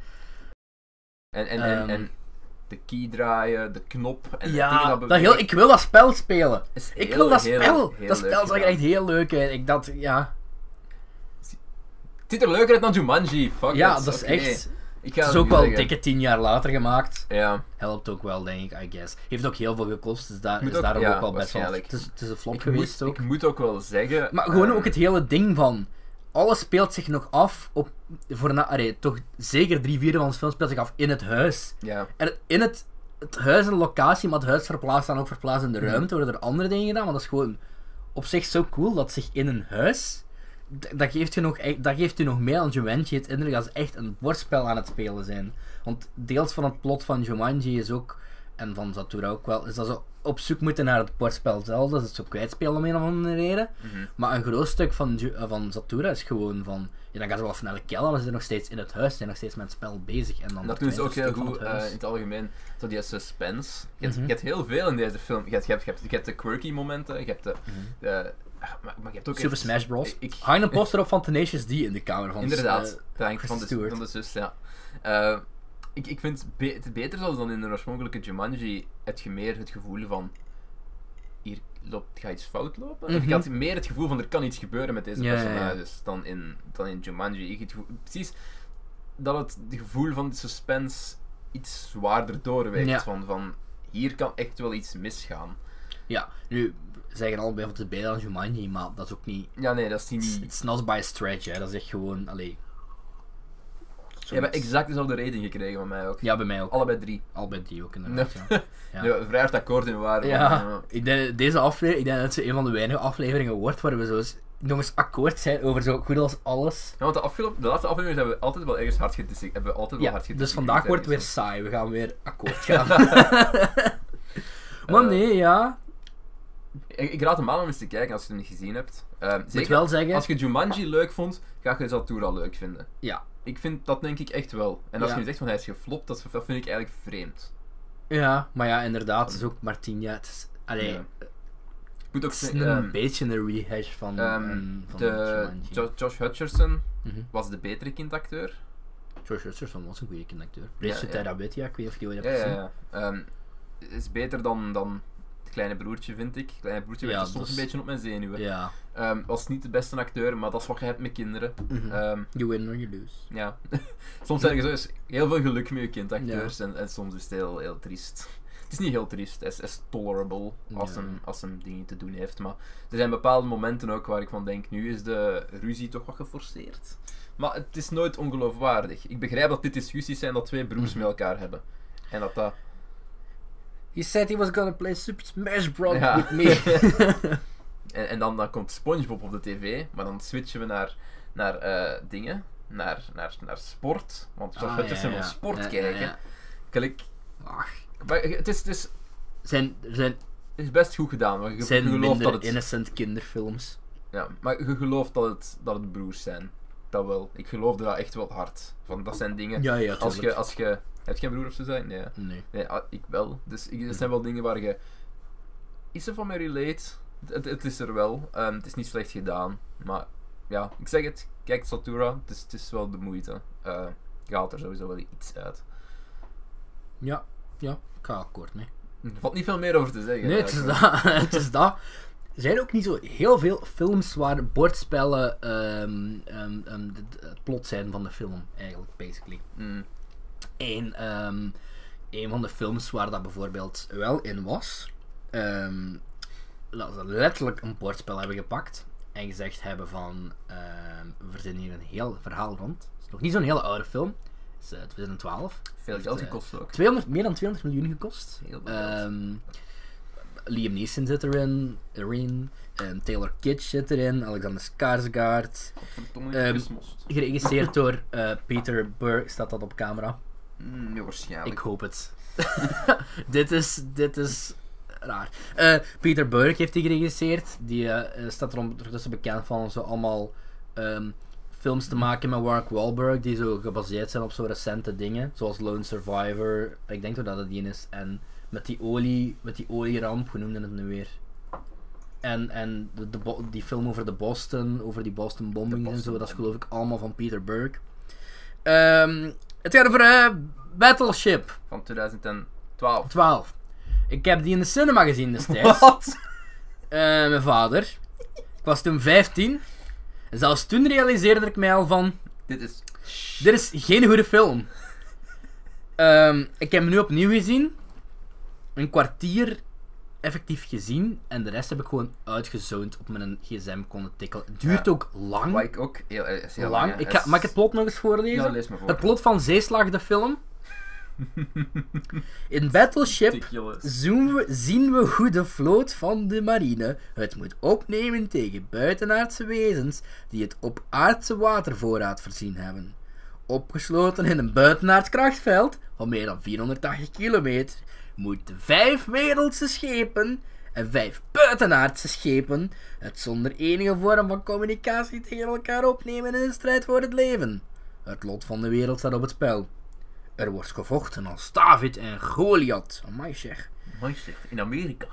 Speaker 2: En, en, en,
Speaker 1: Ehm.
Speaker 2: en de key draaien, de knop en de dingen
Speaker 1: Ja,
Speaker 2: dat
Speaker 1: dat
Speaker 2: bewegen.
Speaker 1: heel, ik wil dat spel spelen.
Speaker 2: Is
Speaker 1: Ik
Speaker 2: heel,
Speaker 1: wil dat
Speaker 2: heel,
Speaker 1: spel.
Speaker 2: heel
Speaker 1: dat
Speaker 2: leuk
Speaker 1: spel zag er
Speaker 2: gedaan.
Speaker 1: echt heel leuk uit. Ik dacht, ja.
Speaker 2: Het ziet er leuker uit dan Jumanji. Fuck
Speaker 1: Ja,
Speaker 2: it,
Speaker 1: dat is
Speaker 2: oké.
Speaker 1: echt...
Speaker 2: Ik ga
Speaker 1: Het is
Speaker 2: het
Speaker 1: ook
Speaker 2: nu
Speaker 1: wel
Speaker 2: zeggen.
Speaker 1: dikke tien jaar later gemaakt.
Speaker 2: Ja,
Speaker 1: Helpt ook wel, denk ik, I guess. Heeft ook heel veel gekost, dus daar,
Speaker 2: Moet
Speaker 1: is
Speaker 2: ook-
Speaker 1: daarom
Speaker 2: ja,
Speaker 1: ook wel best wel...
Speaker 2: waarschijnlijk.
Speaker 1: Het is, het is een flop
Speaker 2: ik
Speaker 1: geweest
Speaker 2: moet,
Speaker 1: ook.
Speaker 2: ik moet ook wel zeggen.
Speaker 1: Maar gewoon
Speaker 2: ehm,
Speaker 1: ook het hele ding van. Alles speelt zich nog af op. Voor na, allee, toch zeker drie vierde van het film speelt zich af in het huis.
Speaker 2: Ja,
Speaker 1: En het- in het, het huis is een locatie, maar het huis verplaatst dan ook verplaatst in de ruimte. Worden er andere dingen gedaan, maar dat is gewoon op zich zo cool dat zich in een huis. d- Dat geeft, je nog, echt- dat geeft u nog meer aan Jumanji het indruk dat ze echt een bordspel aan het spelen zijn. Want deels van het plot van Jumanji is ook, en van Zatura ook wel, is dat ze op zoek moeten naar het bordspel zelf, dat ze het zo kwijtspelen om een of andere reden. Maar een groot stuk van, Ju- eh, van Zatura is gewoon van, ja, dan gaan ze wel naar de kelder, maar ze zijn nog steeds in het huis, zijn nog steeds met het spel bezig. En dan
Speaker 2: dat doen ze ook heel
Speaker 1: verdwijnt een
Speaker 2: goed
Speaker 1: stuk van het
Speaker 2: eh,
Speaker 1: huis.
Speaker 2: in het algemeen. Zo die eh, suspense. Je hebt,
Speaker 1: Mhm.
Speaker 2: je hebt heel veel in deze film. Je hebt, je hebt, je hebt, je hebt de quirky momenten, je hebt de. de- ah, maar, maar je hebt ook.
Speaker 1: Mhm. Super
Speaker 2: echt-
Speaker 1: Smash Bros.
Speaker 2: Ik-
Speaker 1: Hang een poster op van Tenacious D in de kamer van
Speaker 2: Inderdaad,
Speaker 1: eh,
Speaker 2: dat hangt
Speaker 1: Kristen
Speaker 2: van de,
Speaker 1: Stewart.
Speaker 2: van de zus, ja. Eh, ik, ik vind het be- het beter zelfs dan in de oorspronkelijke Jumanji het je meer het gevoel van hier loopt, gaat iets fout lopen.
Speaker 1: Mhm.
Speaker 2: Ik had meer het gevoel van er kan iets gebeuren met deze
Speaker 1: Ja, ja, ja.
Speaker 2: personages Dan, in, dan in Jumanji. Ik het gevoel- precies dat het de gevoel van de suspense iets zwaarder doorweegt.
Speaker 1: Ja.
Speaker 2: Van, van hier kan echt wel iets misgaan.
Speaker 1: Ja, nu zeggen allebei van het beter dan Jumanji, maar dat is ook niet.
Speaker 2: Ja, nee, dat is die niet.
Speaker 1: It's not by a stretch, hè. dat is echt gewoon. Allee,
Speaker 2: Ze hebben exact dezelfde rating gekregen van mij ook.
Speaker 1: ja, bij mij ook.
Speaker 2: Allebei drie.
Speaker 1: Allebei die ook inderdaad. Ja.
Speaker 2: <laughs>
Speaker 1: Ja.
Speaker 2: Ja. vrij hard akkoord in waren. van, eh,
Speaker 1: Ja, ik denk, deze aflevering, ik denk dat ze een van de weinige afleveringen wordt waar we zo eens, nog eens akkoord zijn over zo goed als alles.
Speaker 2: Ja, want de, afgelopen, de laatste aflevering hebben we altijd wel ergens hard gediscussieerd. Hebben we altijd wel
Speaker 1: Ja,
Speaker 2: hard
Speaker 1: dus
Speaker 2: gediscussieerd
Speaker 1: vandaag wordt het weer
Speaker 2: ergens.
Speaker 1: saai, we gaan weer akkoord
Speaker 2: <laughs>
Speaker 1: gaan. maar
Speaker 2: Eh,
Speaker 1: nee, ja,
Speaker 2: Ik, ik raad hem aan om eens te kijken als je hem niet gezien hebt. Eh,
Speaker 1: ik moet
Speaker 2: zeker,
Speaker 1: wel zeggen.
Speaker 2: als je Jumanji leuk vond, ga je Zatura leuk vinden.
Speaker 1: Ja.
Speaker 2: Ik vind dat denk ik echt wel. En als
Speaker 1: Ja.
Speaker 2: je nu zegt van hij is geflopt, dat, is- dat vind ik eigenlijk vreemd.
Speaker 1: Ja, maar ja, inderdaad, het is ook maar tien jaar. Het is, allee,
Speaker 2: Ja. Ik moet ook
Speaker 1: het is
Speaker 2: zeggen,
Speaker 1: een
Speaker 2: ehm,
Speaker 1: beetje een rehash van,
Speaker 2: ehm,
Speaker 1: ehm, van
Speaker 2: de,
Speaker 1: Jumanji.
Speaker 2: Jo- Josh Hutcherson
Speaker 1: Mhm.
Speaker 2: was de betere kindacteur.
Speaker 1: George Hutcherson was een goede kindacteur. Bridget
Speaker 2: ja.
Speaker 1: Tara Witt, ja, ik weet niet of je die ooit
Speaker 2: Ja,
Speaker 1: hebt
Speaker 2: ja,
Speaker 1: gezien.
Speaker 2: ja. Ehm, is beter dan, dan het kleine broertje, vind ik. Het kleine broertje
Speaker 1: Ja, dus
Speaker 2: werd er soms
Speaker 1: dat is-
Speaker 2: een beetje op mijn zenuwen.
Speaker 1: Ja.
Speaker 2: Ehm, was niet de beste acteur, maar dat is wat je hebt met kinderen.
Speaker 1: Mhm.
Speaker 2: Ehm,
Speaker 1: You win or you lose.
Speaker 2: ja. <laughs> soms heb je zo eens heel veel geluk met je kindacteurs en, en soms is het heel, heel triest. Het is niet heel triest, het is, het is tolerable als,
Speaker 1: Ja.
Speaker 2: hem, als hem dingen te doen heeft. Maar er zijn bepaalde momenten ook waar ik van denk, nu is de ruzie toch wat geforceerd. Maar het is nooit ongeloofwaardig. Ik begrijp dat dit discussies zijn dat twee broers met elkaar hebben. En dat dat...
Speaker 1: He said he was gonna play Super Smash Bros.
Speaker 2: Ja.
Speaker 1: <laughs> with me.
Speaker 2: <laughs> En, en dan, dan komt SpongeBob op de tv, maar dan switchen we naar, naar eh, dingen, naar, naar, naar sport. Want Josh
Speaker 1: Ah,
Speaker 2: Hutcherson wil sport kijken.
Speaker 1: ja.
Speaker 2: Kijk,
Speaker 1: Ach,
Speaker 2: maar het is, het, is, het
Speaker 1: zijn, er zijn,
Speaker 2: is best goed gedaan, maar je, je
Speaker 1: zijn
Speaker 2: gelooft
Speaker 1: minder
Speaker 2: dat het...
Speaker 1: innocent kinderfilms.
Speaker 2: Ja, maar je gelooft dat het, dat het broers zijn. Dat wel. Ik geloofde dat echt wel hard. Want dat zijn dingen...
Speaker 1: Ja, ja,
Speaker 2: als je...
Speaker 1: tuurlijk.
Speaker 2: Als je heb je geen broer of zo zijn? Nee.
Speaker 1: Nee.
Speaker 2: Nee, ah, ik wel. Dus ik, dat zijn wel dingen waar je... Is er van mij relate? Het, het is er wel. Ehm, het is niet slecht gedaan. Maar ja, ik zeg het. Kijk, Satura. Dus het is wel de moeite. Eh gaat er sowieso wel iets uit.
Speaker 1: Ja, ja, ik ga akkoord mee.
Speaker 2: Er valt niet veel meer over te zeggen.
Speaker 1: Nee, het is,
Speaker 2: eigenlijk.
Speaker 1: dat, <laughs> het is dat. Er zijn ook niet zo heel veel films waar bordspellen ehm, ehm, ehm, d- d- het plot zijn van de film, eigenlijk, basically.
Speaker 2: Mm.
Speaker 1: En ehm, een van de films waar dat bijvoorbeeld wel in was, ehm, dat ze letterlijk een bordspel hebben gepakt en gezegd hebben van, ehm, we verzinnen hier een heel verhaal rond. Het is nog niet zo'n hele oude film, het is eh, 2012.
Speaker 2: Veel
Speaker 1: Heeft,
Speaker 2: geld
Speaker 1: eh,
Speaker 2: gekost ook.
Speaker 1: 200, meer dan 200 miljoen gekost.
Speaker 2: Heel veel geld.
Speaker 1: Ehm, Liam Neeson zit erin, erin en Taylor Kitsch zit erin, Alexander Skarsgård.
Speaker 2: Verdomme,
Speaker 1: Ehm,
Speaker 2: ik gesmost.
Speaker 1: Geregisseerd door eh, Peter Burke, staat dat op camera?
Speaker 2: Mm, Nee,
Speaker 1: Ik
Speaker 2: waarschijnlijk.
Speaker 1: hoop het. <laughs> dit, is, dit is raar. Eh, Peter Burke heeft die geregisseerd. Die eh, eh, staat er ondertussen bekend van zo allemaal ehm, films te maken met Mark Wahlberg die zo gebaseerd zijn op zo recente dingen. Zoals Lone Survivor, ik denk dat dat die in is. En met die, olie, met die olieramp, hoe noemde het nu weer? En, en de, de bo- die film over de Boston, over die Boston bombings en zo, dat is geloof ik allemaal van Peter Burke. Ehm, het gaat over eh, Battleship.
Speaker 2: Van 2012.
Speaker 1: 12. Ik heb die in de cinema gezien
Speaker 2: <laughs>
Speaker 1: destijds.
Speaker 2: Wat?
Speaker 1: Eh, mijn vader. Ik was toen 15. En zelfs toen realiseerde ik mij al van...
Speaker 2: Dit is...
Speaker 1: Dit is geen goede film. Ehm, ik heb hem nu opnieuw gezien. Een kwartier effectief gezien. En de rest heb ik gewoon uitgezoond op mijn gsm konden tikken. Het duurt
Speaker 2: Ja.
Speaker 1: ook lang.
Speaker 2: Wat ik ook heel, eh, is heel
Speaker 1: lang.
Speaker 2: hè.
Speaker 1: Ik ga,
Speaker 2: Is-
Speaker 1: mag ik het plot nog eens voorlezen?
Speaker 2: Ja, lees maar voor.
Speaker 1: Het plot van Zeeslag, de
Speaker 2: <laughs>
Speaker 1: film. In Battleship
Speaker 2: Ridiculous.
Speaker 1: zien we, zien we hoe de vloot van de marine het moet opnemen tegen buitenaardse wezens die het op aardse watervoorraad voorzien hebben. Opgesloten in een buitenaards krachtveld van meer dan 480 kilometer moeten vijf wereldse schepen en vijf buitenaardse schepen het zonder enige vorm van communicatie tegen elkaar opnemen in een strijd voor het leven. Het lot van de wereld staat op het spel. Er wordt gevochten als David en Goliath. Amai zeg.
Speaker 2: Mooi zeg, in Amerika.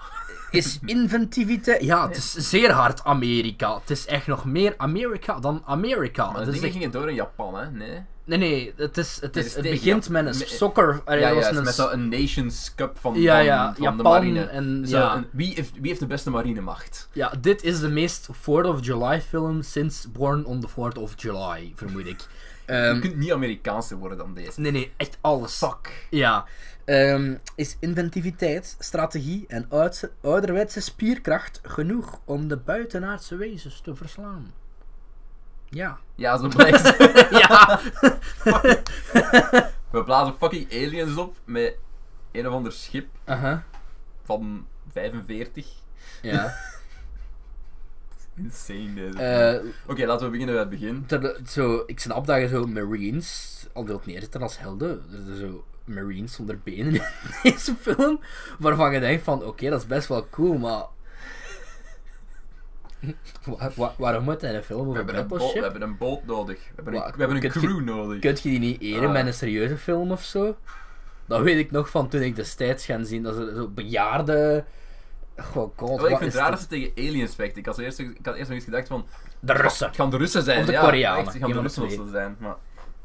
Speaker 1: Is inventiviteit... Ja, het is zeer hard Amerika. Het is echt nog meer Amerika dan Amerika.
Speaker 2: Maar
Speaker 1: Het
Speaker 2: de
Speaker 1: is
Speaker 2: dingen
Speaker 1: echt-
Speaker 2: gingen door in Japan, hè? Nee.
Speaker 1: Nee, nee. Het, is, het,
Speaker 2: Dit
Speaker 1: is,
Speaker 2: is
Speaker 1: het
Speaker 2: tegen
Speaker 1: begint
Speaker 2: Japan.
Speaker 1: met een
Speaker 2: Met-
Speaker 1: soccer... eh,
Speaker 2: Ja,
Speaker 1: was
Speaker 2: ja,
Speaker 1: een
Speaker 2: het is
Speaker 1: s-
Speaker 2: met zo'n Nations Cup van,
Speaker 1: Ja,
Speaker 2: van,
Speaker 1: ja,
Speaker 2: van de
Speaker 1: Japan
Speaker 2: marine.
Speaker 1: en-
Speaker 2: Zo,
Speaker 1: ja.
Speaker 2: een- wie, heeft, wie heeft de beste marinemacht?
Speaker 1: ja, dit is de meest 4th of July film sinds Born on the 4th of July, vermoed ik.
Speaker 2: Je
Speaker 1: Ehm,
Speaker 2: kunt niet Amerikaanse worden dan deze.
Speaker 1: nee, nee. Echt alles.
Speaker 2: Fuck.
Speaker 1: Ja. Ehm, is inventiviteit, strategie en ouds- ouderwetse spierkracht genoeg om de buitenaardse wezens te verslaan?
Speaker 2: <laughs>
Speaker 1: Ja.
Speaker 2: Ja, zo blijkt.
Speaker 1: <laughs> ja.
Speaker 2: We blazen fucking aliens op met een of ander schip
Speaker 1: Aha.
Speaker 2: van 45.
Speaker 1: Ja.
Speaker 2: Insane deze.
Speaker 1: Eh,
Speaker 2: Oké, laten we beginnen bij het begin.
Speaker 1: ter- zo, ik snap dat je zo Marines al wilt neerzetten als helden. Er zijn zo Marines zonder benen <laughs> in deze film. Waarvan je denkt van, oké, dat is best wel cool, maar... <laughs> Wa- wa- waarom moet hij een film
Speaker 2: We
Speaker 1: over
Speaker 2: hebben, een boot, we
Speaker 1: battleship?
Speaker 2: hebben een boot nodig. We hebben een,
Speaker 1: Wa-
Speaker 2: we hebben een
Speaker 1: kunt je-
Speaker 2: crew nodig.
Speaker 1: Kun je die niet eren
Speaker 2: Ah.
Speaker 1: met een serieuze film of zo? Dat weet ik nog van toen ik destijds gaan zien. Dat ze zo bejaarde. Goh, god.
Speaker 2: Wel, Oh, ik
Speaker 1: wat
Speaker 2: vind
Speaker 1: is
Speaker 2: het raar
Speaker 1: dit?
Speaker 2: dat ze tegen aliens vechten. Ik had eerst, ik had eerst nog eens gedacht van...
Speaker 1: De Russen.
Speaker 2: Het gaan de Russen zijn.
Speaker 1: Of de
Speaker 2: ja,
Speaker 1: Koreanen,
Speaker 2: echt, Het gaan
Speaker 1: een
Speaker 2: de
Speaker 1: van de
Speaker 2: Russen of
Speaker 1: twee.
Speaker 2: zo zijn. Maar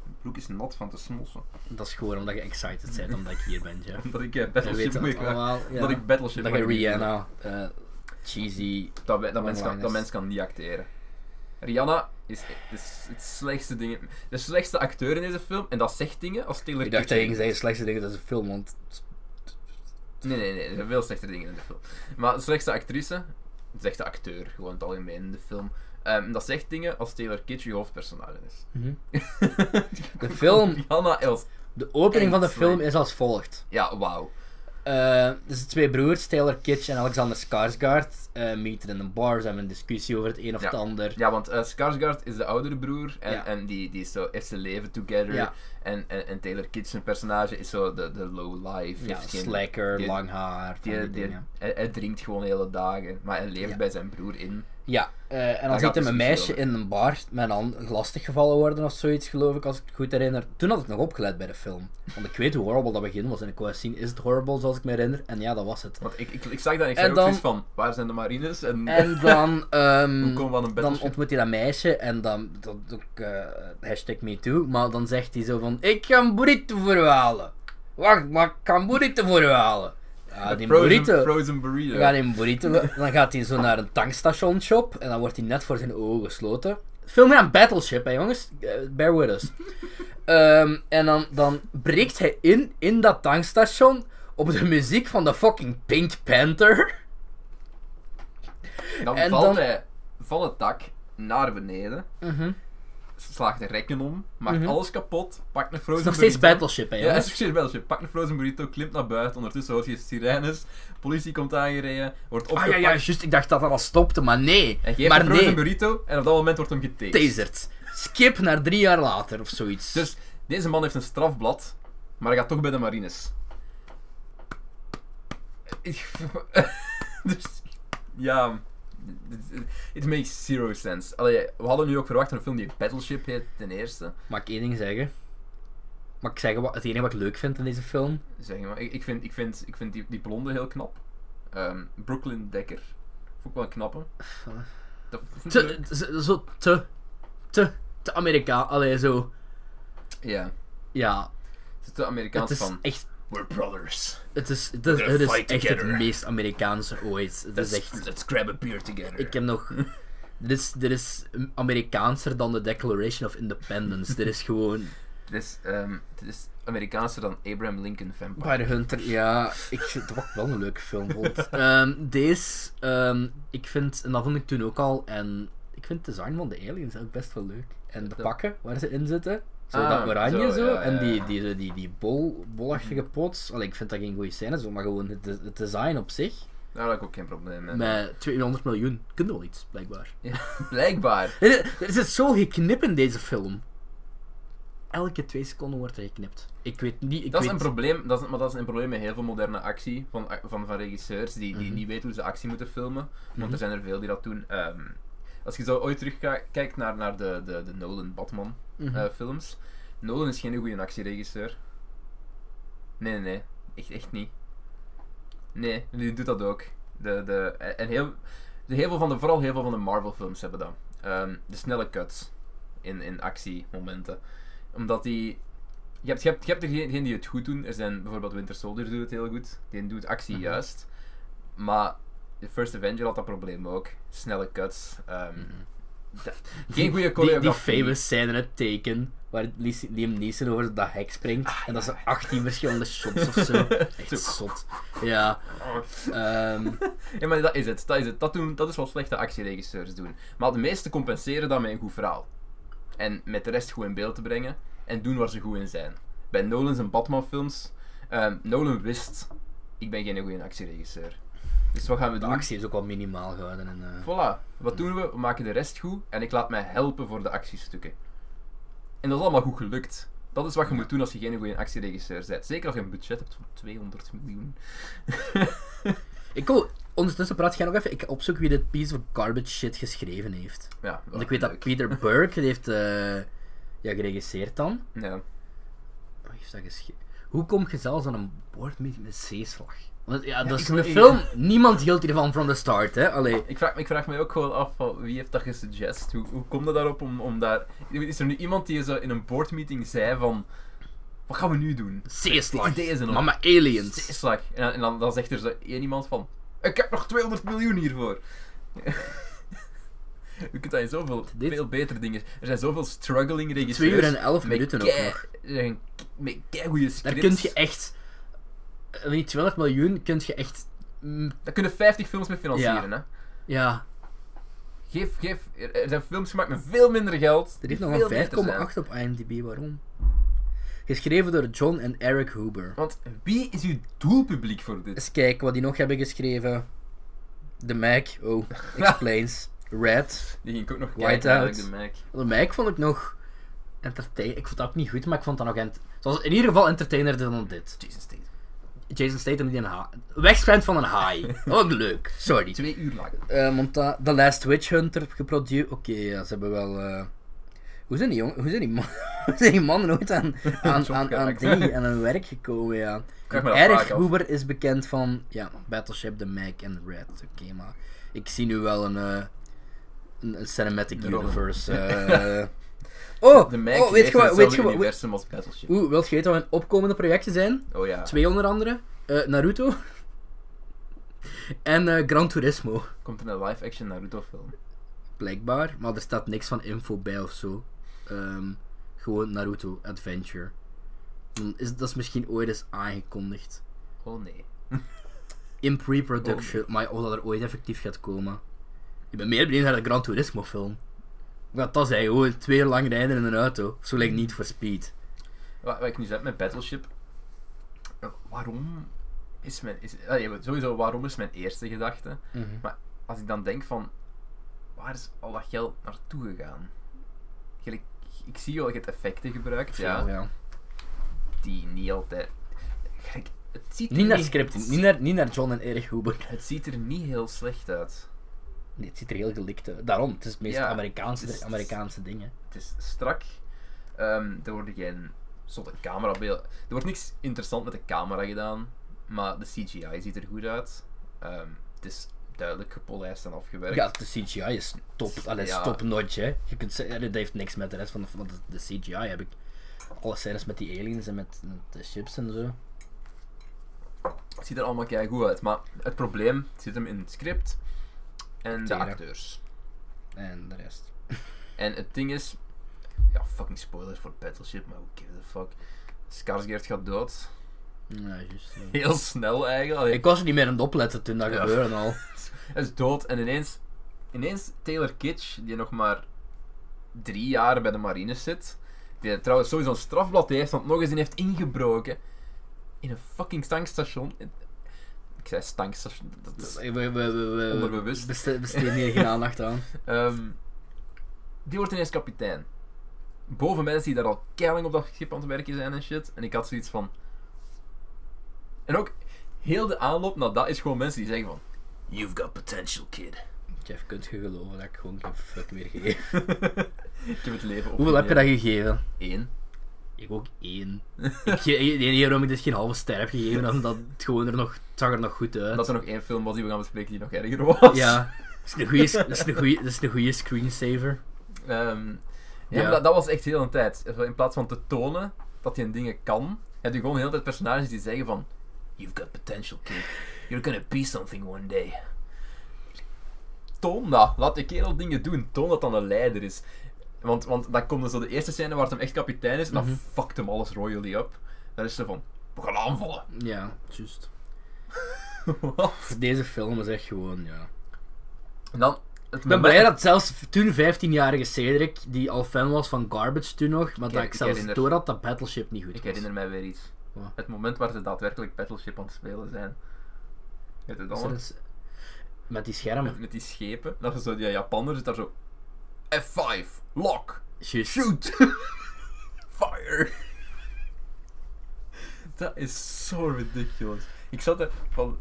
Speaker 2: mijn broek is nat van te smossen. <laughs>
Speaker 1: Dat is gewoon omdat je excited bent omdat ik hier ben, Jeff.
Speaker 2: Omdat ik eh,
Speaker 1: Je weet
Speaker 2: Battleship
Speaker 1: dat
Speaker 2: moet ik Dat
Speaker 1: allemaal. Ja.
Speaker 2: ik Battleship
Speaker 1: Dat
Speaker 2: mag
Speaker 1: je
Speaker 2: ik niet
Speaker 1: Rihanna, eh, cheesy.
Speaker 2: doen. Dat, we- dat, mens kan,
Speaker 1: Online
Speaker 2: dat
Speaker 1: is.
Speaker 2: mens kan niet acteren. Rihanna is, is het slechtste ding, de slechtste acteur in deze film. En dat zegt dingen als Taylor
Speaker 1: Ik dacht dat
Speaker 2: Kitsch.
Speaker 1: je ging zeggen slechtste dingen dat is een film, want.
Speaker 2: Nee, nee, nee. Er zijn veel slechte dingen in de film. Maar de slechtste actrice, de slechte acteur, gewoon in het algemeen in de film. Ehm, dat zegt dingen als Taylor Kitsch je hoofdpersonage is.
Speaker 1: De
Speaker 2: <laughs>
Speaker 1: film,
Speaker 2: Rihanna Els.
Speaker 1: de opening van de
Speaker 2: Echt,
Speaker 1: film
Speaker 2: man.
Speaker 1: is als volgt.
Speaker 2: Ja, wauw.
Speaker 1: Eh, dus de twee broers, Taylor Kitsch en Alexander Skarsgård, eh meten in een bar. Ze hebben een discussie over het een of
Speaker 2: Ja.
Speaker 1: het ander.
Speaker 2: Ja, want eh, Skarsgård is de oudere broer en,
Speaker 1: Ja.
Speaker 2: en die, die is zo, heeft zijn leven together.
Speaker 1: Ja.
Speaker 2: En, en, en Taylor Kitsch, zijn personage, is zo de, de low life.
Speaker 1: Ja,
Speaker 2: heeft geen-
Speaker 1: slacker,
Speaker 2: die-
Speaker 1: lang haar, van
Speaker 2: die-
Speaker 1: die
Speaker 2: die-
Speaker 1: dingen.
Speaker 2: hij, hij drinkt gewoon hele dagen, maar hij leeft
Speaker 1: Ja.
Speaker 2: bij zijn broer in.
Speaker 1: Ja, eh, en dan
Speaker 2: gaat
Speaker 1: ziet
Speaker 2: dus
Speaker 1: hem een
Speaker 2: niet
Speaker 1: meisje
Speaker 2: over.
Speaker 1: in een bar met een lastig gevallen worden of zoiets, geloof ik, als ik het goed herinner. Toen had ik nog opgelet bij de film. Want ik weet hoe horrible dat begin was en ik wou eens zien, is het horrible zoals ik me herinner? En ja, dat was het.
Speaker 2: Want ik, ik, ik zag dat en
Speaker 1: En
Speaker 2: ik zei ook
Speaker 1: dan-
Speaker 2: zoiets van, waar zijn de marines? En, <laughs>
Speaker 1: En dan, ehm,
Speaker 2: Hoe komen we aan een
Speaker 1: dan
Speaker 2: battleship?
Speaker 1: ontmoet hij dat meisje en dan, dat ook, eh hashtag me too, maar dan zegt hij zo van, ik ga een burrito voor u halen. Wacht, maar ik ga een burrito voor u halen. Ja,
Speaker 2: Een
Speaker 1: die
Speaker 2: frozen,
Speaker 1: burrito.
Speaker 2: Frozen burrito.
Speaker 1: We gaan in een burrito. Dan gaat hij zo naar een tankstation shop. En dan wordt hij net voor zijn ogen gesloten. Veel meer aan Battleship, hè jongens. Eh, Bear with
Speaker 2: <laughs>
Speaker 1: us. Ehm, en dan, dan breekt hij in, in dat tankstation. Op de muziek van de fucking Pink Panther.
Speaker 2: Dan
Speaker 1: en
Speaker 2: valt
Speaker 1: dan-
Speaker 2: Mhm. hij van het dak naar beneden. ze slaagt de rekken om, maakt
Speaker 1: Mhm.
Speaker 2: alles kapot, pakt een
Speaker 1: Het
Speaker 2: frozen
Speaker 1: is nog steeds
Speaker 2: burrito.
Speaker 1: Battleship, hè,
Speaker 2: Ja, <laughs> het
Speaker 1: jongens.
Speaker 2: is precies België. Pak een frozen burrito, klimt naar buiten, ondertussen hoort je sirenes, politie komt aangereden, wordt
Speaker 1: Ah
Speaker 2: opgepakt.
Speaker 1: ja, ja, juist. Ik dacht dat dat al stopte, maar nee.
Speaker 2: Hij geeft
Speaker 1: maar
Speaker 2: een frozen
Speaker 1: nee,
Speaker 2: burrito en op dat moment wordt hem getased.
Speaker 1: tasert. Skip naar drie jaar later of zoiets.
Speaker 2: Dus deze man heeft een strafblad, maar hij gaat toch bij de marines. Ik- <laughs> dus ja, it makes zero sense. Allee, we hadden nu ook verwacht een film die Battleship heet, ten eerste.
Speaker 1: Mag ik één ding zeggen? Mag ik zeggen wat, het enige wat ik leuk vind in deze film?
Speaker 2: Zeg maar, ik, ik vind, ik vind, ik vind die, die blonde heel knap. Ehm, Brooklyn Dekker, vond ik wel een knappe. Dat vond ik leuk.
Speaker 1: Te, te- zo te, te, te Amerika. Allee, zo.
Speaker 2: Ja,
Speaker 1: Ja,
Speaker 2: het is de
Speaker 1: het
Speaker 2: Amerikaans
Speaker 1: is
Speaker 2: van.
Speaker 1: echt...
Speaker 2: We're brothers.
Speaker 1: Het is, het is,
Speaker 2: We're gonna
Speaker 1: het is
Speaker 2: fight
Speaker 1: echt het
Speaker 2: together.
Speaker 1: meest Amerikaanse ooit. Het is echt...
Speaker 2: let's grab a beer together.
Speaker 1: Ik heb
Speaker 2: <laughs>
Speaker 1: nog... Dit is, dit is Amerikaanser dan de Declaration of Independence. dit is gewoon...
Speaker 2: Dit is, ehm, dit is Amerikaanser dan Abraham Lincoln Vampire.
Speaker 1: Vampire Hunter, ja, ik vind het ook wel een leuke film vond. Ehm, deze, ehm, ik vind, en dat vond ik toen ook al, en ik vind het design van de aliens ook best wel leuk. En de
Speaker 2: Dat-
Speaker 1: pakken waar ze in zitten, zo
Speaker 2: Ah,
Speaker 1: dat oranje
Speaker 2: zo,
Speaker 1: zo,
Speaker 2: ja,
Speaker 1: en
Speaker 2: ja,
Speaker 1: die,
Speaker 2: ja.
Speaker 1: die, die, die, die bol, bolachtige pots. Allee, ik vind dat geen goede scène, zo, maar gewoon het, de- het design op zich,
Speaker 2: Daar had ik ook geen probleem mee.
Speaker 1: met 200 miljoen, kunnen wel iets, blijkbaar.
Speaker 2: Ja, <laughs> blijkbaar.
Speaker 1: Er is- er zit zo geknipt in deze film. Elke twee seconden wordt er geknipt. Ik weet niet, ik
Speaker 2: Dat is
Speaker 1: weet...
Speaker 2: een probleem, dat is, maar dat is een probleem met heel veel moderne actie van, van, van regisseurs die, die
Speaker 1: Mhm.
Speaker 2: niet weten hoe ze actie moeten filmen. Want
Speaker 1: Mhm.
Speaker 2: er zijn er veel die dat doen. Ehm, als je zo ooit terugkijkt naar, naar de, de, de Nolan Batman
Speaker 1: Mhm.
Speaker 2: eh, films. Nolan is geen goede actieregisseur. Nee, nee, nee. Echt, echt niet. Nee, die doet dat ook. De, de, en heel, de, heel veel van de, vooral heel veel van de Marvel films hebben dat. Ehm, de snelle cuts in, in actiemomenten. Omdat die... Je hebt, je, hebt, je hebt er geen, geen die het goed doen. Er zijn bijvoorbeeld Winter Soldier doet het heel goed. Die doet actie
Speaker 1: Mhm.
Speaker 2: juist. Maar de First Avenger had dat probleem ook. Snelle cuts. ehm,
Speaker 1: Mhm.
Speaker 2: Geen
Speaker 1: Die,
Speaker 2: goede
Speaker 1: die
Speaker 2: choreografie.
Speaker 1: famous scène in het teken, waar Lies- Liam Neeson over dat hek springt. en dat
Speaker 2: Ah, ja.
Speaker 1: zijn 18 verschillende shots of zo.
Speaker 2: <laughs>
Speaker 1: Echt
Speaker 2: Zo.
Speaker 1: zot. Ja. ehm,
Speaker 2: Ja, maar dat is het. Dat is, het. Dat doen, dat is wat slechte actieregisseurs doen. Maar de meesten compenseren dat met een goed verhaal. En met de rest goed in beeld te brengen. En doen waar ze goed in zijn. Bij Nolan's en Batman-films. ehm, Nolan wist: ik ben geen goede actieregisseur. Dus wat gaan we
Speaker 1: de
Speaker 2: doen?
Speaker 1: actie is ook wel minimaal gehouden. En, eh,
Speaker 2: Voilà. Wat doen we? We maken de rest goed. En ik laat mij helpen voor de actiestukken. En dat is allemaal goed gelukt. Dat is wat je moet doen als je geen goede actieregisseur bent. Zeker als je een budget hebt van 200 miljoen.
Speaker 1: ik wil, ondertussen praat jij nog even. Ik opzoek wie dit piece of garbage shit geschreven heeft.
Speaker 2: Ja,
Speaker 1: Want ik weet dat Peter Burke, die heeft eh, ja, geregisseerd dan.
Speaker 2: Ja.
Speaker 1: Wat heeft dat geschreven? Hoe kom je zelfs aan een woord met met zeeslag? Want, ja, dat is
Speaker 2: ik-
Speaker 1: een
Speaker 2: ik-
Speaker 1: film. Niemand hield hiervan from the start, hè? Allee.
Speaker 2: Ik vraag, ik vraag me ook gewoon af, van, wie heeft dat gesuggest? Hoe, hoe komt dat daarop om, om daar... Is er nu iemand die zo in een boardmeeting zei van... Wat gaan we nu doen?
Speaker 1: Zeeslag.
Speaker 2: Ideeën zijn er.
Speaker 1: Mama aliens.
Speaker 2: Zeeslag. En, dan- en dan, dan zegt er zo één iemand van... Ik heb nog 200 miljoen hiervoor. <laughs> Je kunt dat in zoveel,
Speaker 1: Dit-
Speaker 2: veel beter dingen... Er zijn zoveel struggling regisseurs...
Speaker 1: Twee uur en elf
Speaker 2: met
Speaker 1: minuten ook
Speaker 2: kei-
Speaker 1: nog.
Speaker 2: er zijn Met keigoede
Speaker 1: Daar
Speaker 2: scripts.
Speaker 1: kun je echt... eh, Weet je, 200 miljoen kun je echt... mm,
Speaker 2: Daar kunnen 50 films mee financieren, hè.
Speaker 1: Ja,
Speaker 2: Geef, geef... Er er zijn films gemaakt met veel minder geld.
Speaker 1: er
Speaker 2: die
Speaker 1: is nog
Speaker 2: veel
Speaker 1: een
Speaker 2: beter zijn.
Speaker 1: 5,8 op IMDb, waarom? Geschreven door John en Eric Huber.
Speaker 2: Want wie is uw doelpubliek voor dit?
Speaker 1: Eens kijken wat die nog hebben geschreven. The Mac, <laughs> oh, explains. Red.
Speaker 2: Die ging ik ook nog
Speaker 1: Whiteout.
Speaker 2: kijken eigenlijk, de Mac.
Speaker 1: The Mac vond ik nog... Entertain... Ik vond dat ook niet goed, maar ik vond dat nog... Ent... Zoals in ieder geval entertainerder dan dit.
Speaker 2: Jason Statham.
Speaker 1: Jason Statham die een ha... Wegschijnt van een <laughs> haai. Ook leuk. Sorry.
Speaker 2: Twee uur lang.
Speaker 1: Eh, monta The Last Witch Hunter geproduceerd. Oké, ja, ze hebben wel. eh, Hoe zijn die jongen, hoe zijn die, man, <laughs> hoe zijn die mannen ooit
Speaker 2: <laughs>
Speaker 1: aan, aan, aan,
Speaker 2: Job
Speaker 1: aan
Speaker 2: geraakt.
Speaker 1: dingen en hun werk gekomen? Ja.
Speaker 2: Kijk maar dat
Speaker 1: Erg
Speaker 2: vraag af.
Speaker 1: Huber is bekend van ja, Battleship, The Mac en Red. Oké, maar ik zie nu wel een, eh, een, een cinematic
Speaker 2: De <laughs>
Speaker 1: universe. eh. oh,
Speaker 2: De Mac
Speaker 1: oh, weet je wat? Weet je wat? weet-
Speaker 2: universum als Battleship.
Speaker 1: Oeh, wilt je weten wat hun opkomende projecten zijn?
Speaker 2: Oh ja,
Speaker 1: Twee onder andere: eh, Naruto <laughs> en eh, Gran Turismo.
Speaker 2: komt er een live-action Naruto film.
Speaker 1: blijkbaar, maar er staat niks van info bij of zo. Ehm, gewoon Naruto Adventure. Dan is dat is misschien ooit eens aangekondigd.
Speaker 2: Oh nee.
Speaker 1: In pre-production, maar of dat er ooit effectief gaat komen. Ik ben meer benieuwd naar de Gran Turismo film. Dat was hij gewoon twee uur lang rijden in een auto. Zo lijkt niet voor speed.
Speaker 2: Wat, wat ik nu zeg met Battleship. eh, Waarom is mijn. Is, allee, maar sowieso, waarom is mijn eerste gedachte? Maar als ik dan denk van. Waar is al dat geld naartoe gegaan? Gelijk, ik zie wel je hebt effecten gebruikt, ja,
Speaker 1: Veel, ja.
Speaker 2: die niet altijd. Gelijk, het ziet er
Speaker 1: Niet naar scripting, niet
Speaker 2: het,
Speaker 1: naar, niet naar John en Eric Huber.
Speaker 2: het ziet er niet heel slecht uit.
Speaker 1: Nee, het ziet er heel gelikt uit. Daarom, het is het meest
Speaker 2: Ja, het
Speaker 1: Amerikaanse,
Speaker 2: is-
Speaker 1: Amerikaanse ding. hè.
Speaker 2: Het is strak. Ehm er worden geen zotte camerabeelden. Er wordt niks interessant met de camera gedaan. Maar de CGI ziet er goed uit. Ehm, het is duidelijk gepolijst en afgewerkt.
Speaker 1: Ja, de CGI is top, allee, is
Speaker 2: Ja.
Speaker 1: top notch. Hè. Je kunt zeggen, dat heeft niks met de rest van de, van de, de CGI. Heb ik alle scènes met die aliens en met, met de chips en zo.
Speaker 2: Het ziet er allemaal kei goed uit. Maar het probleem zit hem in het script en de
Speaker 1: Tera.
Speaker 2: acteurs.
Speaker 1: En de rest.
Speaker 2: En het ding is. Ja, fucking spoilers voor Battleship, maar who gives a fuck. Skarsgård gaat dood. <laughs>
Speaker 1: Ja, juist. ja.
Speaker 2: Heel snel eigenlijk. Allee,
Speaker 1: Ik was er niet meer aan het opletten toen dat
Speaker 2: Ja.
Speaker 1: gebeurde
Speaker 2: <laughs>
Speaker 1: al.
Speaker 2: Hij is dood en ineens, ineens Taylor Kitsch, die nog maar drie jaar bij de marine zit, die trouwens sowieso een strafblad heeft, want nog eens in heeft ingebroken in een fucking tankstation. Ik zei tankstation. Dat is,
Speaker 1: We, we, we, we
Speaker 2: Onderbewust.
Speaker 1: beste- besteden hier geen aandacht aan.
Speaker 2: ehm, die wordt ineens kapitein. Boven mensen die daar al keiling op dat schip aan het werken zijn en shit. En ik had zoiets van. En ook heel de aanloop naar dat is gewoon mensen die zeggen van. You've got potential, kid. <laughs>
Speaker 1: Jeff, kunt je geloven dat ik gewoon geen fuck meer geef?
Speaker 2: Ik heb het leven op.
Speaker 1: Hoeveel heb je dat gegeven?
Speaker 2: Eén.
Speaker 1: Ik ook
Speaker 2: <laughs>
Speaker 1: één. ik ge- de enige waarom ik dit geen halve ster heb gegeven, is omdat het gewoon er nog, het zag er nog goed uit.
Speaker 2: Dat er nog één film was die we gaan bespreken die nog erger was.
Speaker 1: Ja, dat is een goeie, dat is een goeie, dat is een goeie screensaver.
Speaker 2: Ehm, ja,
Speaker 1: Ja.
Speaker 2: maar dat, dat was echt heel een tijd. Zo In plaats van te tonen dat je dingen kan, heb je gewoon de hele tijd personages die zeggen van... You've got potential, kid. You're gonna be something one day. Toon dat. Laat de kerel dingen doen. Toon dat dan een leider is. Want, want dan komt er zo de eerste scène waar het hem echt kapitein is. En dan
Speaker 1: Mhm.
Speaker 2: fuckt hem alles royally up. Dan is ze van... We gaan aanvallen. <laughs>
Speaker 1: Ja, juist.
Speaker 2: Wat?
Speaker 1: Deze film is echt gewoon, ja.
Speaker 2: En dan... Het
Speaker 1: Ik ben blij dat zelfs toen 15-jarige Cedric, die al fan was van Garbage toen nog, maar dat
Speaker 2: ik
Speaker 1: ik zelfs
Speaker 2: herinner-
Speaker 1: door had dat Battleship niet goed was.
Speaker 2: Ik herinner mij weer iets.
Speaker 1: Wat?
Speaker 2: Het moment waar ze daadwerkelijk Battleship aan het spelen zijn. Weet je dat
Speaker 1: Is
Speaker 2: nog?
Speaker 1: er eens- Met die schermen.
Speaker 2: Met die schepen. Dat is zo die Japaner zit daar zo... F5, lock,
Speaker 1: Juist.
Speaker 2: shoot, <laughs> fire. Dat is zo ridiculous. Ik zat er van...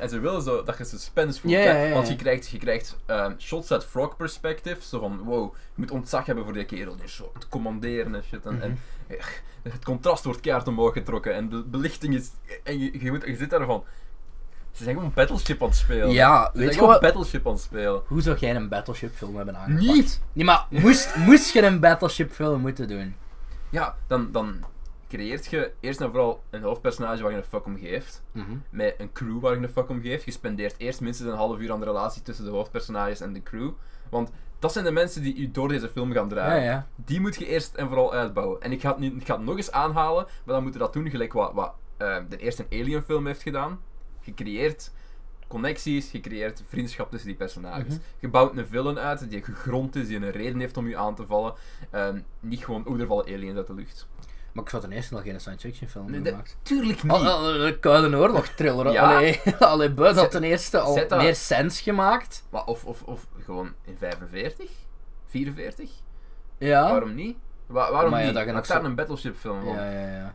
Speaker 2: En ze willen zo dat je suspense voelt.
Speaker 1: Ja,
Speaker 2: hè,
Speaker 1: ja, ja, ja.
Speaker 2: Want je krijgt, je krijgt ehm, shots uit frog perspective. Zo van, wow, je moet ontzag hebben voor die kerel. Die is zo aan het commanderen en shit. En, en,
Speaker 1: Mhm.
Speaker 2: eh, het contrast wordt keihard omhoog getrokken. En de belichting is... En je, je, moet, je zit daarvan... Ze zijn gewoon Battleship aan het spelen.
Speaker 1: Ja,
Speaker 2: Weet
Speaker 1: weet
Speaker 2: je
Speaker 1: je
Speaker 2: gewoon
Speaker 1: wat?
Speaker 2: Battleship aan het spelen.
Speaker 1: Hoe zou jij een Battleship film hebben aangepakt?
Speaker 2: Niet!
Speaker 1: Nee, maar moest,
Speaker 2: <laughs>
Speaker 1: moest je een Battleship film moeten doen?
Speaker 2: Ja, dan, dan creëert je eerst en vooral een hoofdpersonage waar je een fuck om geeft. Met een crew waar je een fuck om geeft. Je spendeert eerst minstens een half uur aan de relatie tussen de hoofdpersonages en de crew. Want dat zijn de mensen die u door deze film gaan
Speaker 1: Ja,
Speaker 2: draaien.
Speaker 1: ja.
Speaker 2: Die moet je eerst en vooral uitbouwen. En ik ga het, nu, ik ga het nog eens aanhalen, maar dan moeten we dat doen gelijk wat, wat eh, de eerste Alien film heeft gedaan. Je creëert connecties, je creëert vriendschap tussen die personages.
Speaker 1: Mhm.
Speaker 2: Je bouwt een villain uit die gegrond is, die een reden heeft om je aan te vallen. Ehm, niet gewoon, oh, er vallen aliens uit de lucht.
Speaker 1: Maar ik zou ten eerste nog geen science fiction film
Speaker 2: Nee,
Speaker 1: hebben
Speaker 2: dat-
Speaker 1: gemaakt.
Speaker 2: tuurlijk niet. Oh,
Speaker 1: Al- al- al- De Koude Oorlog thriller.
Speaker 2: Ja.
Speaker 1: Allee, <laughs> allee Bud had ten eerste al
Speaker 2: zet dat-
Speaker 1: meer sens gemaakt.
Speaker 2: Maar of, of, of gewoon in 45? 44?
Speaker 1: Ja.
Speaker 2: Waarom niet? Wa- waarom
Speaker 1: Ah. Maar ja,
Speaker 2: niet?
Speaker 1: dat je nog
Speaker 2: Maak daar
Speaker 1: zo-
Speaker 2: een battleship film van.
Speaker 1: Ja, ja, ja.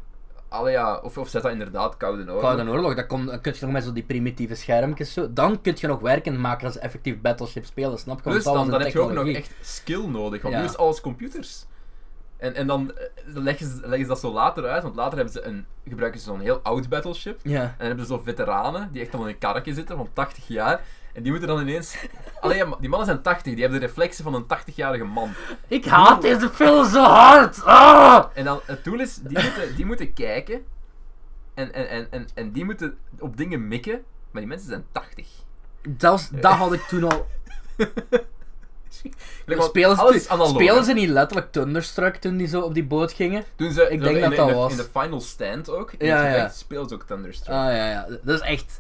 Speaker 2: Allee, ja. Of, of zet dat inderdaad Koude Oorlog.
Speaker 1: Koude Oorlog, dat komt, dan kun je nog met zo die primitieve schermpjes zo. Dan kun je nog werkend maken als effectief Battleship spelen, snap je? Want
Speaker 2: Plus
Speaker 1: dat was
Speaker 2: dan,
Speaker 1: een
Speaker 2: dan heb je ook nog
Speaker 1: technologie.
Speaker 2: echt skill nodig, want
Speaker 1: Ja.
Speaker 2: nu is alles computers. En, en dan eh, leggen ze, leggen ze dat zo later uit, want later hebben ze een, gebruiken ze zo'n heel oud battleship.
Speaker 1: Ja.
Speaker 2: En dan hebben ze zo veteranen die echt al in een karretje zitten van 80 jaar. En die moeten dan ineens. <laughs> Alleen ja, maar die mannen zijn 80, die hebben de reflexen van een 80-jarige man.
Speaker 1: Ik haat deze film zo hard! Ah!
Speaker 2: En dan het doel is, die moeten, die moeten kijken. En, en, en, en, en die moeten op dingen mikken. Maar die mensen zijn 80.
Speaker 1: Zelfs dat had ik toen al
Speaker 2: Gelijk, <laughs> want
Speaker 1: Spelen
Speaker 2: alles
Speaker 1: ze,
Speaker 2: is analoog, hè.
Speaker 1: spelen ze niet letterlijk Thunderstruck toen die zo op die boot gingen?
Speaker 2: Toen ze,
Speaker 1: Ik
Speaker 2: dat
Speaker 1: denk
Speaker 2: in,
Speaker 1: dat
Speaker 2: in
Speaker 1: dat
Speaker 2: de,
Speaker 1: was.
Speaker 2: In de final stand ook.
Speaker 1: Ja,
Speaker 2: Ja,
Speaker 1: ja.
Speaker 2: Speelt ze ook Thunderstruck.
Speaker 1: Ah ja, ja. Dat is echt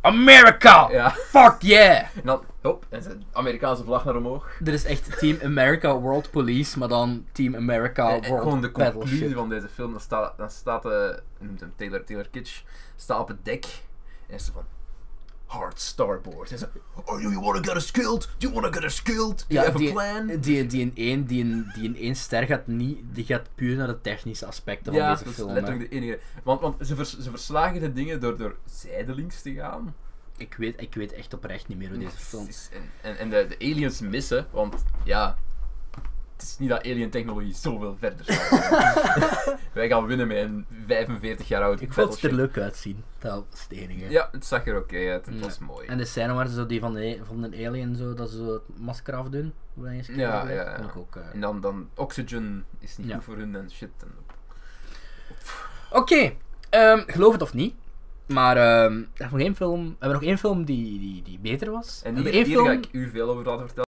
Speaker 1: America!
Speaker 2: Ja.
Speaker 1: Fuck yeah!
Speaker 2: En dan, hop, en ze- Amerikaanse vlag naar omhoog.
Speaker 1: Er is echt Team America World Police, maar dan Team America
Speaker 2: En- en
Speaker 1: World
Speaker 2: Eh, gewoon de conclusie
Speaker 1: Battleship.
Speaker 2: van deze film, dan staat, dan staat eh, hij noemt hem Taylor, Taylor Kitsch, staat op het dek en is zo van, hard starboard. En zo, oh, do you wanna get us killed? Do you wanna get us killed? Do you have a plan?
Speaker 1: die, die, die in één, die in, die in één ster gaat niet, die gaat puur naar de technische aspecten
Speaker 2: ja,
Speaker 1: van deze
Speaker 2: dat is
Speaker 1: film. hè.
Speaker 2: letterlijk de enige. Want, want ze, vers- ze verslagen de dingen door, door zijdelings te gaan.
Speaker 1: Ik, weet, ik weet echt oprecht niet meer hoe deze film...
Speaker 2: Is- En, en, en de, de aliens missen, want ja, het is niet dat alien technologie zoveel verder
Speaker 1: <laughs>
Speaker 2: staat. Wij gaan winnen met een 45 jaar oud
Speaker 1: Ik vond het er
Speaker 2: battleship.
Speaker 1: leuk uitzien, dat was het enige.
Speaker 2: Ja, het zag er oké uit, het was mooi.
Speaker 1: En de scène waar ze zo die van de, van de alien zo, dat ze zo het masker afdoen, hoe hij eens
Speaker 2: Ja,
Speaker 1: kijkt,
Speaker 2: ja, ja.
Speaker 1: vond
Speaker 2: Nou.
Speaker 1: ik ook... eh,
Speaker 2: En dan, dan oxygen is niet
Speaker 1: Ja.
Speaker 2: goed voor hun en shit. En,
Speaker 1: Oké, ehm, geloof het of niet, maar ehm, er is nog één film, we hebben nog één film die, die, die beter was.
Speaker 2: en
Speaker 1: We hebben
Speaker 2: hier,
Speaker 1: één
Speaker 2: hier
Speaker 1: film...
Speaker 2: ga ik u veel over laten vertellen.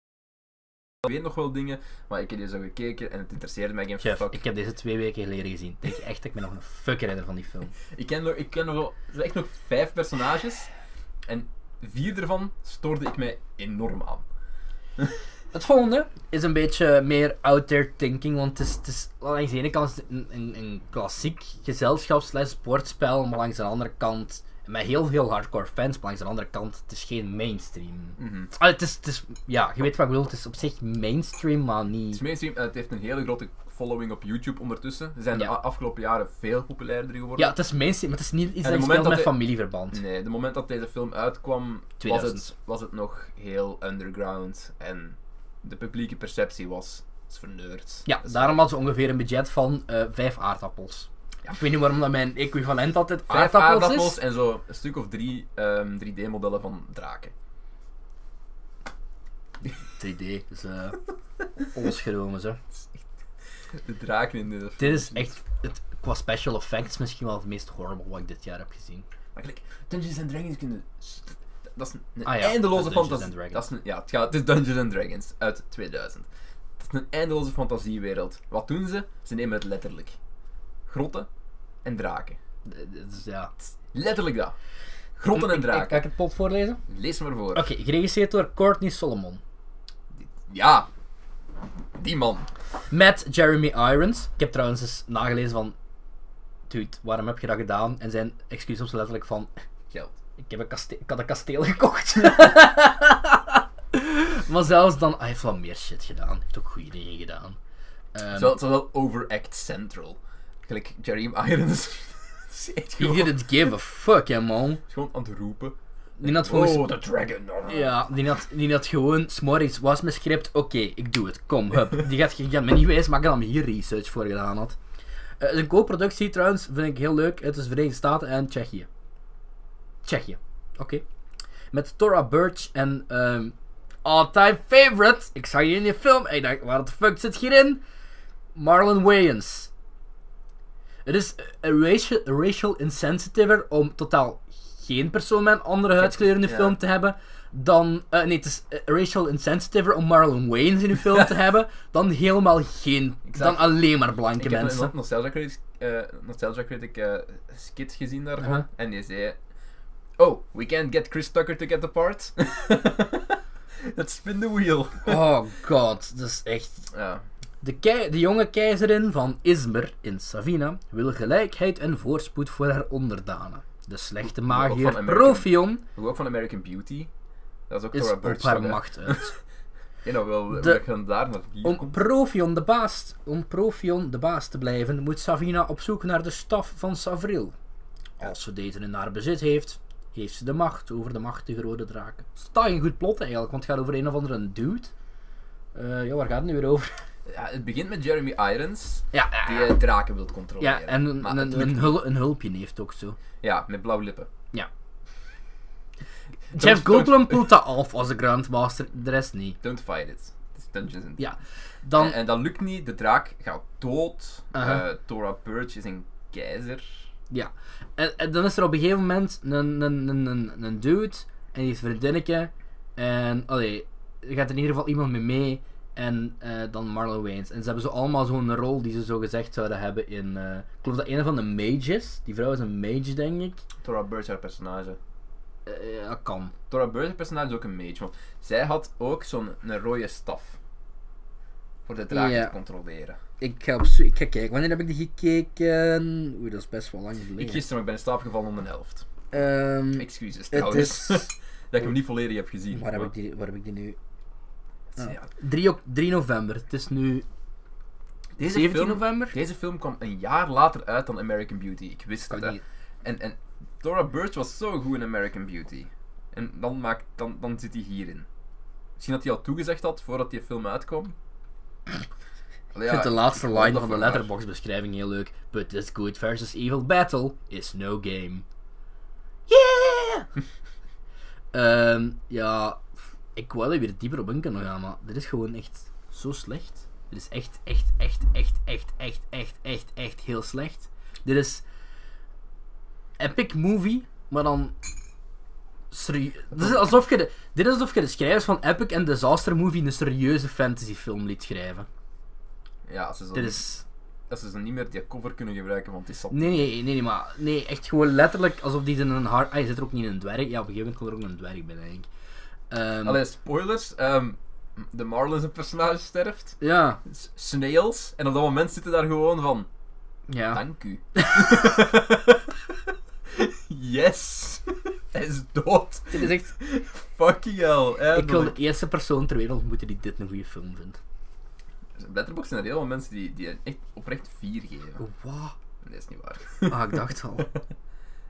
Speaker 2: Ik weet nog wel dingen, maar ik heb hier zo gekeken en het interesseerde mij geen
Speaker 1: Jeff,
Speaker 2: fuck.
Speaker 1: ik heb deze twee weken geleden gezien. Ik denk echt dat ik me nog een fuck herinner van die film.
Speaker 2: Ik ken, nog- ik ken nog wel, er zijn echt nog vijf personages. En vier ervan stoorde ik mij enorm aan.
Speaker 1: Het volgende is een beetje meer out there thinking, want het is, het is langs de ene kant is het een, een, een klassiek gezelschap slash sportspel, maar langs de andere kant, met heel veel hardcore fans, maar langs de andere kant, het is geen mainstream. Ah, het, is, het is, ja, je weet wat ik bedoel, het is op zich mainstream, maar
Speaker 2: Het is
Speaker 1: niet...
Speaker 2: mainstream en het heeft een hele grote following op YouTube ondertussen. Ze zijn
Speaker 1: Ja.
Speaker 2: de a- afgelopen jaren veel populairder geworden.
Speaker 1: Ja, het is mainstream, maar het is niet iets
Speaker 2: het
Speaker 1: dat je
Speaker 2: moment
Speaker 1: speelt met
Speaker 2: dat hij-
Speaker 1: familieverband.
Speaker 2: Nee, de moment dat deze film uitkwam, was
Speaker 1: 2000.
Speaker 2: het, was het nog heel underground. En de publieke perceptie was Dus is verneukt.
Speaker 1: Ja,
Speaker 2: Dat is-
Speaker 1: daarom had ze ongeveer een budget van eh vijf aardappels. Ik weet niet waarom dat mijn equivalent altijd
Speaker 2: Vijf
Speaker 1: aardappels,
Speaker 2: aardappels
Speaker 1: is.
Speaker 2: en zo een stuk of drie ehm, 3D-modellen van draken.
Speaker 1: 3D, dus eh <laughs> onschromen ze.
Speaker 2: De draken in de
Speaker 1: Dit is echt, het, qua special effects, misschien wel het meest horrible wat ik dit jaar heb gezien.
Speaker 2: Maar gelijk, Dungeons and Dragons kunnen. Dat is een
Speaker 1: Ah ja,
Speaker 2: eindeloze
Speaker 1: Dungeons and
Speaker 2: fantasie.
Speaker 1: Dragons.
Speaker 2: Dat is een, ja, het, gaat, het is Dungeons and Dragons uit 2000. Dat is een eindeloze fantasiewereld. Wat doen ze? Ze nemen het letterlijk. Grotten en draken.
Speaker 1: D- d- Dus ja.
Speaker 2: Letterlijk dat. Grotten en
Speaker 1: Ik, kan
Speaker 2: draken.
Speaker 1: ik het plot voorlezen?
Speaker 2: Lees maar voor.
Speaker 1: Oké, geregisseerd door Courtney Solomon.
Speaker 2: Ja. Die man.
Speaker 1: Met Jeremy Irons. Ik heb trouwens eens nagelezen van... Dude, waarom heb je dat gedaan? En zijn excuus was letterlijk van... <laughs>
Speaker 2: Geld.
Speaker 1: Ik, heb een kaste- ik had een kasteel <laughs> gekocht. maar zelfs dan... Hij heeft wel meer shit gedaan. Hij heeft ook goede dingen gedaan. Ehm,
Speaker 2: Zo, zo wel overact central. Gelijk Jeremy Irons. <laughs> is echt
Speaker 1: he
Speaker 2: gewoon,
Speaker 1: didn't give a fuck, hè, man.
Speaker 2: is gewoon aan het roepen.
Speaker 1: Die had volgens...
Speaker 2: Oh, the dragon.
Speaker 1: Ja, die had, die had gewoon, s'morgens was mijn script, oké, ik doe het, kom, hup. Die gaat, die gaat me niet wijs maken dat hij hier research voor gedaan had. Eh, Het is een co-productie trouwens, vind ik heel leuk, het is Verenigde Staten en Tsjechië. Tsjechië, oké. Met Tora Birch en, ehm all-time favorite, ik zag je in die film en ik dacht, waar de fuck zit hierin? Marlon Wayans. Het is een racial, een racial insensitiever om totaal geen persoon met een andere huidskleur in de
Speaker 2: Ja.
Speaker 1: film te hebben. Dan, eh, nee, het is eh, racial insensitiever om Marlon Wayans in de film te hebben. Dan helemaal geen,
Speaker 2: Exact.
Speaker 1: dan alleen maar blanke
Speaker 2: Ik heb
Speaker 1: mensen.
Speaker 2: een Nostalgia Critic, eh, Nostalgia Critic eh, skit gezien daarvan.
Speaker 1: Uh-huh.
Speaker 2: En die zei... Oh, we can't get Chris Tucker to get the
Speaker 1: <laughs>
Speaker 2: part. Let's spin the wheel.
Speaker 1: Oh god, dat is echt.
Speaker 2: Ja.
Speaker 1: De, kei- de jonge keizerin van Izmir in Savina wil gelijkheid en voorspoed voor haar onderdanen. De slechte
Speaker 2: van
Speaker 1: magier
Speaker 2: American-
Speaker 1: Profion
Speaker 2: Hoe ook van American Beauty. Dat is ook
Speaker 1: is
Speaker 2: Thora
Speaker 1: op
Speaker 2: Birch.
Speaker 1: haar macht uit.
Speaker 2: Ja, nou wel,
Speaker 1: De-
Speaker 2: we gaan daar naar hier
Speaker 1: Om
Speaker 2: komt.
Speaker 1: Profion, de baas, om Profion de baas te blijven, moet Savina op zoek naar de staf van Savril. Als ze deze in haar bezit heeft, heeft ze de macht over de machtige rode draken. Het is totaal geen goed plot eigenlijk, want het gaat over een of andere dude. Eh, ja, waar gaat het nu weer over?
Speaker 2: Ja, het begint met Jeremy Irons,
Speaker 1: Ja,
Speaker 2: die
Speaker 1: ja,
Speaker 2: eh, draken wil controleren.
Speaker 1: ja en een,
Speaker 2: Maar
Speaker 1: een,
Speaker 2: het
Speaker 1: een,
Speaker 2: lukt niet.
Speaker 1: hul- een hulpje heeft ook zo.
Speaker 2: Ja, met blauwe lippen.
Speaker 1: Ja.
Speaker 2: Don't-
Speaker 1: Jeff Goldblum pult dat af als de Grandmaster, de rest niet.
Speaker 2: Don't fight it. It's Dungeons and
Speaker 1: Ja, dan...
Speaker 2: En, en dat lukt niet, de draak gaat dood. Eh
Speaker 1: Aha.
Speaker 2: Thora Birch is een keizer.
Speaker 1: Ja. En, en dan is er op een gegeven moment een, een, een, een, een dude en die is vriendinnetje. En allee, er gaat in ieder geval iemand mee mee. En eh, dan Marlon Wayans. En ze hebben zo allemaal zo'n rol die ze zo gezegd zouden hebben in. eh ik geloof dat een van de mages. Die vrouw is een mage, denk ik.
Speaker 2: Thora Birch, haar personage.
Speaker 1: Eh, ja, dat kan.
Speaker 2: Dora Bird personage is ook een mage, want zij had ook zo'n een rode staf. Voor de draken
Speaker 1: Ja.
Speaker 2: te controleren.
Speaker 1: Ik ga, op zo- ik ga kijken. Wanneer heb ik die gekeken? Oei, dat is best wel lang
Speaker 2: Ik
Speaker 1: geleden.
Speaker 2: gisteren, maar ik ben in slaap gevallen om een helft.
Speaker 1: Ehm,
Speaker 2: Excuses
Speaker 1: het
Speaker 2: trouwens.
Speaker 1: is...
Speaker 2: <laughs> dat ik hem niet volledig heb gezien.
Speaker 1: Waar heb
Speaker 2: maar-
Speaker 1: ik die, waar heb ik die nu? Ah.
Speaker 2: Ja.
Speaker 1: 3, ok- 3 november. Het is nu
Speaker 2: Deze
Speaker 1: 17
Speaker 2: film,
Speaker 1: november?
Speaker 2: Deze film kwam een jaar later uit dan American Beauty. Ik wist
Speaker 1: Kan
Speaker 2: het. hè.
Speaker 1: niet.
Speaker 2: En, en Dora Birch was zo goed in American Beauty. En dan, maakt, dan, dan zit hij hierin. Misschien dat hij al toegezegd had voordat die film uitkwam. Allee,
Speaker 1: Ik
Speaker 2: ja,
Speaker 1: vind de laatste
Speaker 2: ik hoop
Speaker 1: line
Speaker 2: dat
Speaker 1: van de
Speaker 2: voor haar.
Speaker 1: letterbox beschrijving heel leuk. But this good versus evil battle is no game. Yeah! <laughs> Ehm, ja, pff, ik wou er weer dieper op in kunnen gaan, maar dit is gewoon echt zo slecht. Dit is echt, echt, echt, echt, echt, echt, echt, echt, echt heel slecht. Dit is epic movie, maar dan serie- Dit is alsof je de, dit is alsof je de schrijvers van epic en disaster movie een serieuze fantasyfilm liet schrijven.
Speaker 2: Ja, als ze, zo
Speaker 1: Dit
Speaker 2: niet-
Speaker 1: is
Speaker 2: als ze zo niet meer die cover kunnen gebruiken, want het is sap.
Speaker 1: Nee, nee, nee, nee, maar nee, echt gewoon letterlijk alsof die in een hard. Ah, je zit er ook niet in een dwerg. Ja, op een gegeven moment komt er ook een dwerg bij, denk ik. Ehm,
Speaker 2: Allee, spoilers. ehm, de Marlin zijn personage sterft.
Speaker 1: Ja,
Speaker 2: S- Snails. En op dat moment zitten daar gewoon van...
Speaker 1: ja.
Speaker 2: Dank u. <laughs> yes. <laughs> Hij is dood.
Speaker 1: Dit is echt.
Speaker 2: Fucking hell.
Speaker 1: Ik wil de
Speaker 2: eindelijk.
Speaker 1: eerste persoon ter wereld ontmoeten die dit een goede film vindt.
Speaker 2: Letterboxd zijn er heel veel mensen die, die echt oprecht 4 geven.
Speaker 1: Wat?
Speaker 2: Dat is niet
Speaker 1: <laughs>
Speaker 2: waar.
Speaker 1: Oh, Ah, ik dacht <laughs> al.
Speaker 2: Er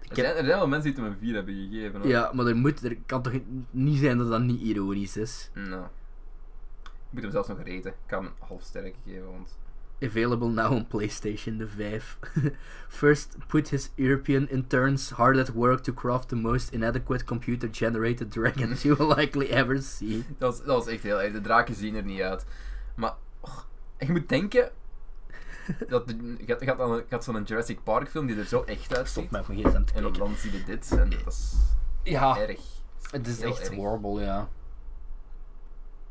Speaker 1: Ik
Speaker 2: zijn,
Speaker 1: heb...
Speaker 2: er zijn wel mensen die het hem een 4 hebben gegeven. hoor.
Speaker 1: Ja, maar er, moet, er kan toch niet zijn dat dat niet ironisch is?
Speaker 2: Nou. Ik moet hem zelfs nog reten. Ik ga hem een half sterk geven, want...
Speaker 1: Available now on PlayStation the 5. <laughs> First, put his European interns hard at work to craft the most inadequate computer generated <laughs> dragons you will likely ever see.
Speaker 2: Dat was, dat was echt heel erg. De draken zien er niet uit. Maar, och, en je moet denken. Dat de- je gaat, gaat, aan een- gaat zo'n Jurassic Park film die er zo echt
Speaker 1: Stop
Speaker 2: uitziet.
Speaker 1: mij op mijn gsm te
Speaker 2: En dan,
Speaker 1: kijken. Ah.
Speaker 2: dan zie je dit en dat is
Speaker 1: Ja,
Speaker 2: erg.
Speaker 1: het is
Speaker 2: Heel
Speaker 1: echt
Speaker 2: erg.
Speaker 1: horrible, ja.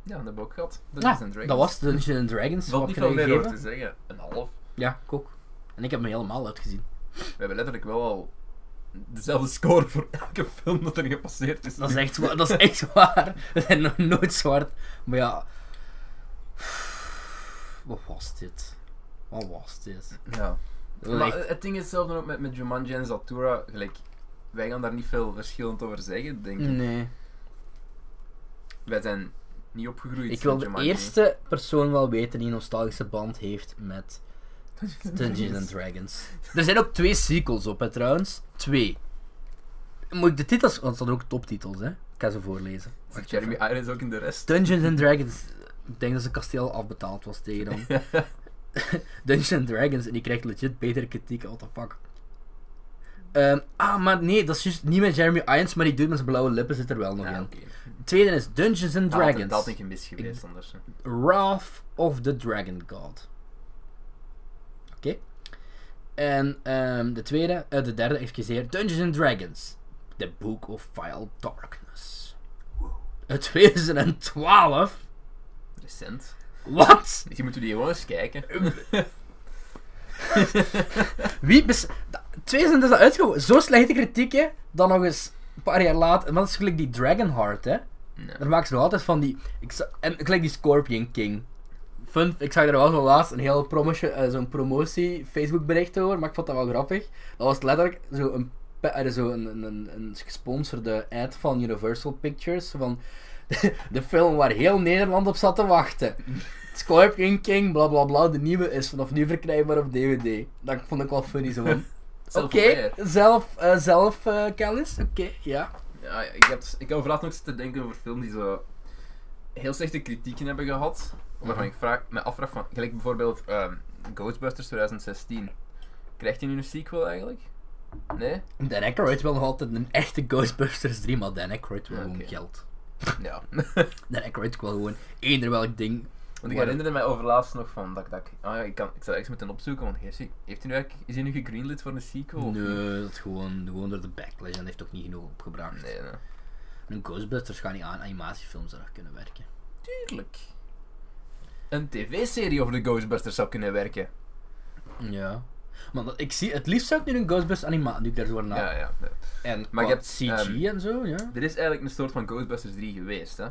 Speaker 2: Ja, dat heb ik ook gehad.
Speaker 1: Ja,
Speaker 2: Dungeons and Dragons.
Speaker 1: dat was Dungeons and Dragons.
Speaker 2: Er valt
Speaker 1: Wat
Speaker 2: niet
Speaker 1: heb
Speaker 2: veel
Speaker 1: jij
Speaker 2: meer over te
Speaker 1: gegeven?
Speaker 2: zeggen. Een half.
Speaker 1: Ja, ik ook. En ik heb me helemaal uitgezien.
Speaker 2: We hebben letterlijk wel al dezelfde score voor elke film dat er gepasseerd is.
Speaker 1: Dat is echt, wa- dat is echt <laughs> waar. We zijn nog nooit zwart. Maar ja... Wat was dit? Wat was dit?
Speaker 2: Ja.
Speaker 1: Dat was
Speaker 2: Maar
Speaker 1: echt-
Speaker 2: het ding is hetzelfde ook met, met Jumanji en Zatura. Gelijk, wij gaan daar niet veel verschillend over zeggen, denk ik.
Speaker 1: Nee.
Speaker 2: Wij zijn niet opgegroeid
Speaker 1: Ik wil
Speaker 2: met
Speaker 1: de
Speaker 2: Jumanji.
Speaker 1: eerste persoon wel weten die een nostalgische band heeft met Dungeons and Dragons. Er zijn ook twee sequels op, hè, trouwens. Twee. Moet ik de titels... Want het zijn ook toptitels, hè. Ik ga ze voorlezen.
Speaker 2: Zit Jeremy Irons ook in de rest?
Speaker 1: Dungeons
Speaker 2: <laughs>
Speaker 1: and Dragons. Ik denk dat zijn kasteel afbetaald was tegen hem. Dungeons and Dragons en die krijgt legit betere kritiek. What the fuck. Ehm, ah, maar nee, dat is juist niet met Jeremy Irons, maar die dude met zijn blauwe lippen zit er wel nog
Speaker 2: Ja,
Speaker 1: in.
Speaker 2: oké.
Speaker 1: Tweede is Dungeons and
Speaker 2: Dat had-
Speaker 1: Dragons.
Speaker 2: Dat had ik gemist geweest anders. hè.
Speaker 1: Wrath of the Dragon God. Oké. En ehm, de tweede, eh, de derde, excuseer, Dungeons and Dragons. The Book of Vile Darkness. Uit 2012.
Speaker 2: Recent. Dus
Speaker 1: Wat?
Speaker 2: Je moet die gewoon eens kijken.
Speaker 1: Um, Wie bes... da- 2000 is dat uitgekomen. Zo slechte kritiek, hè. Dan nog eens een paar jaar later. Maar dat is gelijk die Dragonheart, hè.
Speaker 2: Nee.
Speaker 1: Daar maken ze nog altijd van die... Ik za- en gelijk die Scorpion King. Fun, ik zag er wel zo laatst een heel promotio- eh, zo'n promotie Facebook bericht over, maar ik vond dat wel grappig. Dat was letterlijk zo'n een, pe- eh, zo een, een, een, een gesponsorde ad van Universal Pictures, van <laughs> de film waar heel Nederland op zat te wachten. Scorpion King, bla bla bla, de nieuwe is vanaf nu verkrijgbaar op DVD. Dat vond ik wel funny zo van. Oké,
Speaker 2: Self-aware.
Speaker 1: zelf, eh, zelf eh, kennis, oké, ja.
Speaker 2: Ja, ik, heb, ik heb vooral nog zitten denken over films die zo heel slechte kritieken hebben gehad. Waarvan
Speaker 1: Mhm.
Speaker 2: ik vraag, me afvraag van, gelijk bijvoorbeeld ehm, Ghostbusters 2016. Krijgt hij nu een sequel eigenlijk? Nee?
Speaker 1: Dan Aykroyd wil nog altijd een echte Ghostbusters 3, maar Dan Aykroyd wil
Speaker 2: Ja,
Speaker 1: gewoon
Speaker 2: Ah, oké.
Speaker 1: geld.
Speaker 2: Ja.
Speaker 1: Dan Aykroyd wil gewoon eender welk ding.
Speaker 2: Want ik herinnerde mij overlaatst nog van dat, ik- dat ik, ah ja, ik, kan, ik zou echt moeten opzoeken, want heeft hij, heeft hij nu eigenlijk, is hij nu gegreenlit voor een sequel? of niet?
Speaker 1: Nee, dat is gewoon, gewoon door de backlash en heeft ook niet genoeg opgebracht.
Speaker 2: Nee, nee.
Speaker 1: Een Ghostbusters gaan niet aan animatiefilms erg kunnen werken.
Speaker 2: Tuurlijk. Een tv-serie over de Ghostbusters zou kunnen werken.
Speaker 1: Ja. Maar dat- ik zie, het liefst zou ik nu een Ghostbusters animatie nu ik daar zo over na.
Speaker 2: Ja, ja. nee.
Speaker 1: En
Speaker 2: Maar
Speaker 1: maar
Speaker 2: je hebt,
Speaker 1: CG
Speaker 2: ehm,
Speaker 1: en zo, ja.
Speaker 2: Er is eigenlijk een soort van Ghostbusters 3 geweest, hè.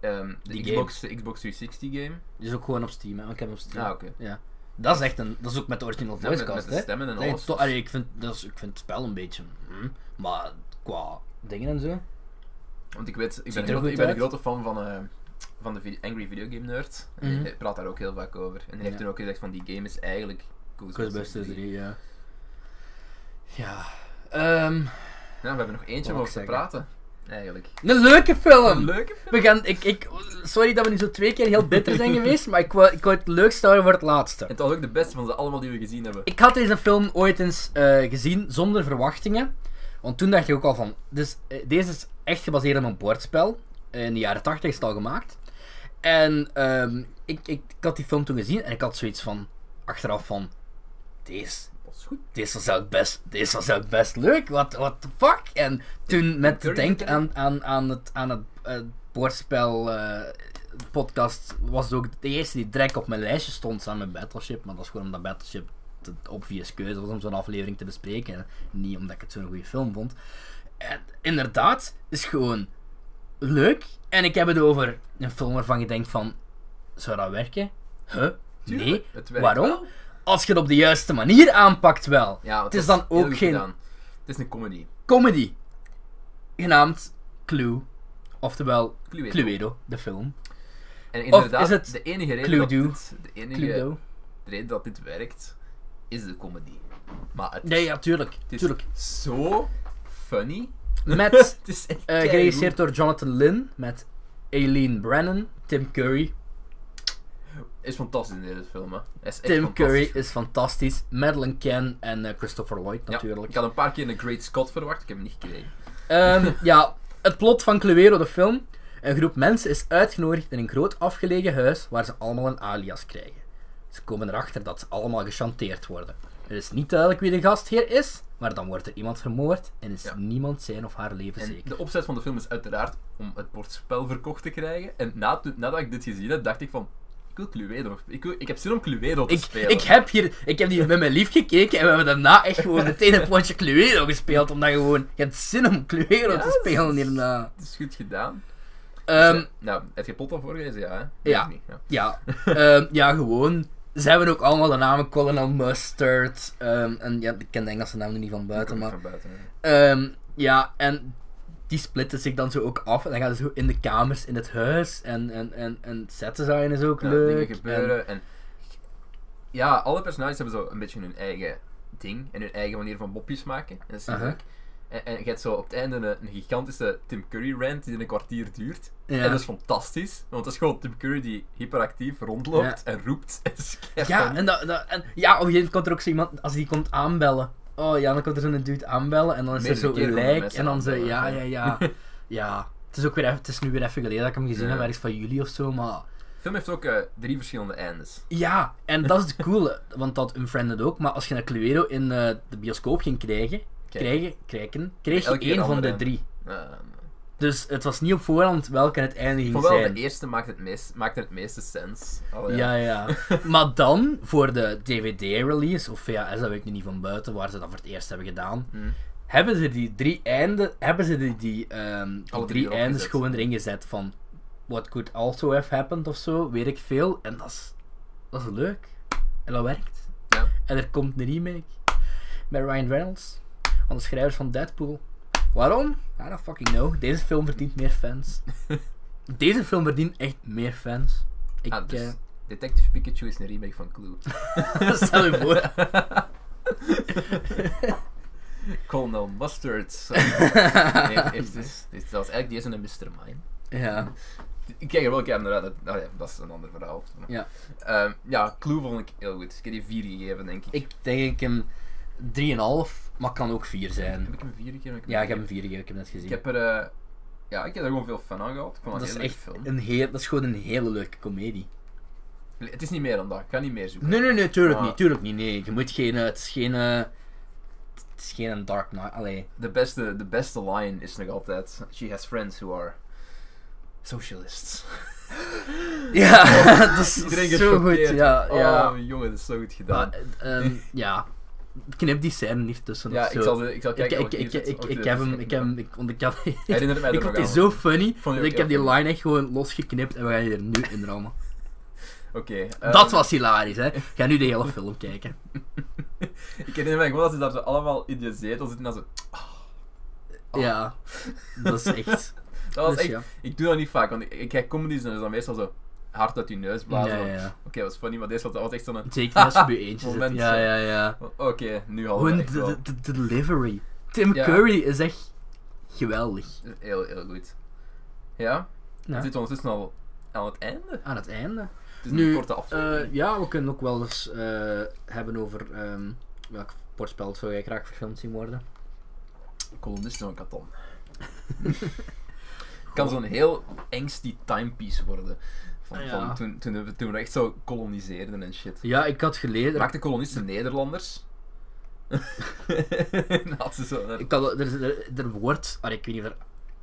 Speaker 2: Ehm, de,
Speaker 1: Die
Speaker 2: Xbox, de Xbox 360 game.
Speaker 1: Die is ook gewoon op Steam, hè. want Ik heb hem op Steam.
Speaker 2: Ah, oké.
Speaker 1: Ja. Dat is echt een, dat is ook met de original
Speaker 2: Ja, met-
Speaker 1: voicecast,
Speaker 2: met de
Speaker 1: hè.
Speaker 2: stemmen en
Speaker 1: Nee,
Speaker 2: alles.
Speaker 1: to- allee, ik, vind, dat is, ik vind het spel een beetje, hm, maar qua dingen en zo.
Speaker 2: Want ik weet, ik ben,
Speaker 1: er
Speaker 2: een, gro-
Speaker 1: goed
Speaker 2: ik ben een
Speaker 1: uit.
Speaker 2: grote fan van, eh, van de video- Angry Video Game Nerd. En
Speaker 1: Mhm.
Speaker 2: die praat daar ook heel vaak over. En die heeft
Speaker 1: Ja.
Speaker 2: toen ook gezegd van die game is eigenlijk Ghostbusters,
Speaker 1: Ghostbusters
Speaker 2: 3.
Speaker 1: 3, ja. Ja. Ehm,
Speaker 2: Ja, we hebben nog eentje om
Speaker 1: Wat
Speaker 2: over
Speaker 1: ik
Speaker 2: te
Speaker 1: zeggen?
Speaker 2: praten. Eigenlijk.
Speaker 1: een leuke film!
Speaker 2: Een leuke film.
Speaker 1: We gaan, ik, ik, sorry dat we nu zo twee keer heel bitter zijn geweest, maar ik wou, ik wou het leukste houden voor het laatste.
Speaker 2: En het was ook de beste van ze allemaal die we gezien hebben.
Speaker 1: Ik had deze film ooit eens eh, gezien zonder verwachtingen. Want toen dacht ik ook al van. Dus, eh, deze is echt gebaseerd op een bordspel. In de jaren 80 is het al gemaakt. En ehm, ik, ik, ik had die film toen gezien en ik had zoiets van. Achteraf van. Deze.
Speaker 2: Dat is goed.
Speaker 1: Deze was eigenlijk best, deze was eigenlijk best leuk. What, what the fuck? En toen met te
Speaker 2: Curry
Speaker 1: denken
Speaker 2: erin.
Speaker 1: aan, aan, aan het, aan het eh, bordspel. eh, podcast was het ook de eerste die direct op mijn lijstje stond samen met Battleship. Maar dat is gewoon omdat Battleship de obvious keuze was om zo'n aflevering te bespreken. en Niet omdat ik het zo'n goede film vond. En inderdaad, is gewoon leuk. En ik heb het over een film waarvan je denkt van, zou dat werken? Huh? Nee.
Speaker 2: Tuurlijk, het werkt
Speaker 1: Waarom?
Speaker 2: wel.
Speaker 1: Als je het op de juiste manier aanpakt wel.
Speaker 2: Ja, want
Speaker 1: het is
Speaker 2: dat
Speaker 1: dan
Speaker 2: heel
Speaker 1: ook
Speaker 2: goed
Speaker 1: geen
Speaker 2: gedaan. Het is een comedy.
Speaker 1: comedy. Genaamd Clue. Oftewel
Speaker 2: Cluedo.
Speaker 1: Cluedo, de film.
Speaker 2: En inderdaad,
Speaker 1: is het
Speaker 2: de enige reden
Speaker 1: Cluedo?
Speaker 2: dat dit, de enige
Speaker 1: Cluedo.
Speaker 2: reden dat dit werkt, is de comedy. Maar het,
Speaker 1: Nee, ja, tuurlijk.
Speaker 2: het is dus
Speaker 1: tuurlijk. Eh,
Speaker 2: zo funny.
Speaker 1: Met,
Speaker 2: <laughs> het is echt
Speaker 1: eh
Speaker 2: keigoed.
Speaker 1: geregisseerd door Jonathan Lynn. Met Aileen Brennan. Tim Curry.
Speaker 2: is fantastisch in deze film, hè. Hij is echt
Speaker 1: Tim Curry
Speaker 2: fantastisch.
Speaker 1: is fantastisch. Madeleine Ken en eh, Christopher Lloyd
Speaker 2: Ja,
Speaker 1: natuurlijk.
Speaker 2: ik had een paar keer een Great Scott verwacht, ik heb hem niet gekregen.
Speaker 1: Ehm, ja, het plot van Cluedo, de film. Een groep mensen is uitgenodigd in een groot afgelegen huis waar ze allemaal een alias krijgen. Ze komen erachter dat ze allemaal gechanteerd worden. Er is niet duidelijk wie de gastheer is, maar dan wordt er iemand vermoord en is
Speaker 2: Ja.
Speaker 1: niemand zijn of haar leven
Speaker 2: En
Speaker 1: zeker.
Speaker 2: de opzet van de film is uiteraard om het bordspel verkocht te krijgen. En na, nadat ik dit gezien heb, dacht ik van... Ik wil Cluedo. Ik, wil, ik heb zin om Cluedo te
Speaker 1: Ik,
Speaker 2: spelen.
Speaker 1: ik, heb hier, ik heb hier met mijn lief gekeken en we hebben daarna echt gewoon meteen een potje Cluedo gespeeld. Omdat je gewoon, je hebt zin om Cluedo
Speaker 2: Ja,
Speaker 1: te
Speaker 2: dat
Speaker 1: spelen
Speaker 2: is-
Speaker 1: hierna.
Speaker 2: Het is goed gedaan.
Speaker 1: Ehm,
Speaker 2: Dus, eh, nou, heb je plot al voorgelezen? Ja, hè? Nee,
Speaker 1: Ja.
Speaker 2: ik niet, ja.
Speaker 1: Ja, <laughs> ehm, ja gewoon. Ze hebben ook allemaal de namen Colonel Mustard. ehm, en ja, ik ken de Engelse naam er niet van buiten, maar...
Speaker 2: Van buiten, hè.
Speaker 1: ehm, ja, en die splitten zich dan zo ook af. En dan gaan ze zo in de kamers in het huis. En, en, en, en zetten zijn is ook
Speaker 2: Ja,
Speaker 1: leuk.
Speaker 2: dingen gebeuren. En... ja, alle personages hebben zo een beetje hun eigen ding en hun eigen manier van mopjes maken. En dat is
Speaker 1: Aha.
Speaker 2: leuk. En, en je hebt zo op het einde een, een gigantische Tim Curry rant die een kwartier duurt.
Speaker 1: Ja.
Speaker 2: En dat is fantastisch, want dat is gewoon Tim Curry die hyperactief rondloopt en roept. Het is
Speaker 1: En,
Speaker 2: kei
Speaker 1: ja,
Speaker 2: funny.
Speaker 1: en, dat, dat, en ja, op een gegeven moment komt er ook zo iemand, als die komt aanbellen. Oh ja, dan komt er zo'n dude aanbellen. En dan is
Speaker 2: Meerdere
Speaker 1: er zo
Speaker 2: keren
Speaker 1: een
Speaker 2: komen
Speaker 1: lijk.
Speaker 2: mensen
Speaker 1: En dan zo,
Speaker 2: aanbellen,
Speaker 1: ja,
Speaker 2: ja.
Speaker 1: ja,
Speaker 2: <laughs>
Speaker 1: ja. ja. Het is, ook weer even, het is nu weer even geleden dat ik hem gezien
Speaker 2: Ja.
Speaker 1: heb, ergens van juli of zo, maar...
Speaker 2: De film heeft ook eh, drie verschillende eindes.
Speaker 1: Ja, en dat is het coole, want dat Unfriended ook, maar als je naar Cluedo in eh, de bioscoop ging krijgen, krijgen, krijgen kreeg je
Speaker 2: Elke keer
Speaker 1: één van de
Speaker 2: andere.
Speaker 1: drie.
Speaker 2: Eh,
Speaker 1: Dus het was niet op voorhand welke het einde
Speaker 2: ik
Speaker 1: ging
Speaker 2: vond wel
Speaker 1: zijn.
Speaker 2: de eerste maakt het, meest, maakt het meeste sens. Oh, Al
Speaker 1: ja, ja. maar dan, voor de DVD-release, of VHS, dat weet ik nu niet van buiten, waar ze dat voor het eerst hebben gedaan,
Speaker 2: Hmm.
Speaker 1: hebben ze die drie einden, hebben ze die, die, ehm, die
Speaker 2: Alle drie
Speaker 1: drie
Speaker 2: erop
Speaker 1: eindes
Speaker 2: gezet.
Speaker 1: gewoon erin gezet van what could also have happened of zo, weet ik veel. En dat is, dat is leuk. En dat werkt.
Speaker 2: Ja.
Speaker 1: En er komt een remake met Ryan Reynolds van de schrijvers van Deadpool. Waarom? I don't fucking know. Deze film verdient meer
Speaker 2: <laughs>
Speaker 1: fans. Deze film verdient echt meer fans. Ik,
Speaker 2: Ah, dus
Speaker 1: eh,
Speaker 2: Detective Pikachu is een remake van Clue.
Speaker 1: <laughs> stel je voor.
Speaker 2: <laughs> Colonel
Speaker 1: <laughs>
Speaker 2: Mustard. nee, heeft dus, dus dat was eigenlijk deze een Mr. Mime.
Speaker 1: ja.
Speaker 2: Ik kijk er wel een keer naar uit. dat- nou ja, dat is een ander verhaal.
Speaker 1: ja.
Speaker 2: Ehm, ja, Clue vond ik heel goed. Ik heb die 4 gegeven, denk ik.
Speaker 1: Ik denk hem 3,5, maar kan ook 4
Speaker 2: Heb
Speaker 1: zijn.
Speaker 2: ik hem 4 gegeven?
Speaker 1: Ja, ik heb hem 4 gegeven, ik heb net gezien.
Speaker 2: Ik heb er... eh, ja, ik heb er gewoon veel fan aan gehad. Ik vond
Speaker 1: dat
Speaker 2: dat
Speaker 1: is
Speaker 2: een hele
Speaker 1: echt
Speaker 2: film.
Speaker 1: een heel, dat is gewoon een hele leuke komedie.
Speaker 2: Het is niet meer dan dat. Ik ga niet meer zoeken.
Speaker 1: Nee, nee, nee, tuurlijk
Speaker 2: Maar-
Speaker 1: niet, tuurlijk niet. Nee, je moet geen, eh, het is geen, eh, het is geen Dark Knight,
Speaker 2: <laughs>
Speaker 1: allee.
Speaker 2: De beste, de beste line is nog altijd... She has friends who are... Socialists.
Speaker 1: <laughs> Ja, dat is
Speaker 2: Iedereen
Speaker 1: <laughs> zo goed.
Speaker 2: gechoqueerd.
Speaker 1: Ja, ja.
Speaker 2: Oh, jongen, dat is zo goed gedaan.
Speaker 1: Maar, eh, ehm, ja, knip die scène hier tussen.
Speaker 2: Ja,
Speaker 1: of zo.
Speaker 2: ik zal, ik zal kijken.
Speaker 1: ik, ik, ik, ik, ik heb
Speaker 2: eh,
Speaker 1: hem, ik heb hem, ik, want ik had,
Speaker 2: Herinner
Speaker 1: <laughs>
Speaker 2: mij
Speaker 1: ik
Speaker 2: er
Speaker 1: vond
Speaker 2: nog
Speaker 1: die zo
Speaker 2: aan.
Speaker 1: funny,
Speaker 2: ook
Speaker 1: dat ik
Speaker 2: heel
Speaker 1: heb die
Speaker 2: funny.
Speaker 1: line echt gewoon losgeknipt en we gaan die er nu in rammen.
Speaker 2: Oké.
Speaker 1: <laughs> dat
Speaker 2: ehm,
Speaker 1: was hilarisch, hè. Ga nu de hele film kijken.
Speaker 2: <laughs> Ik herinner mij gewoon dat ze daar zo allemaal in je zetel zitten. en Dat, ze- Oh.
Speaker 1: Ja, <laughs> dat is echt...
Speaker 2: <laughs> dat was
Speaker 1: Dus
Speaker 2: echt...
Speaker 1: ja.
Speaker 2: Ik doe dat niet vaak, want ik, ik kijk comedies en dat is dan meestal zo hard uit je neus blazen.
Speaker 1: Ja,
Speaker 2: van,
Speaker 1: ja, ja.
Speaker 2: Oké, dat was funny, maar deze was, dat was echt zo'n...
Speaker 1: Zeker
Speaker 2: <laughs>
Speaker 1: als je bij eentje zit.
Speaker 2: Moment,
Speaker 1: Ja,
Speaker 2: ja.
Speaker 1: ja, ja.
Speaker 2: Oké, nu al.
Speaker 1: Gewoon
Speaker 2: Echt wel.
Speaker 1: de, de, de delivery. Tim
Speaker 2: Ja.
Speaker 1: Curry is echt geweldig.
Speaker 2: Heel, heel goed. Ja?
Speaker 1: Ja.
Speaker 2: We zitten ondertussen al aan het einde.
Speaker 1: Aan het einde.
Speaker 2: Het is
Speaker 1: Nu,
Speaker 2: een korte aflevering.
Speaker 1: eh, ja, we kunnen ook wel eens eh, hebben over ehm, welk sportspel zou jij graag verfilmd zien worden. eh,
Speaker 2: Kolonist
Speaker 1: <laughs>
Speaker 2: van Catan. kan zo'n heel angsty timepiece worden. Van,
Speaker 1: Ah, Ja.
Speaker 2: van toen, toen, we, toen we echt zo koloniseerden en shit.
Speaker 1: Ja, ik had geleerd.
Speaker 2: Maakten kolonisten
Speaker 1: <laughs>
Speaker 2: Nederlanders? <laughs> Had ze zo daar-
Speaker 1: Ik had, er, er, er wordt, ah, ik weet niet of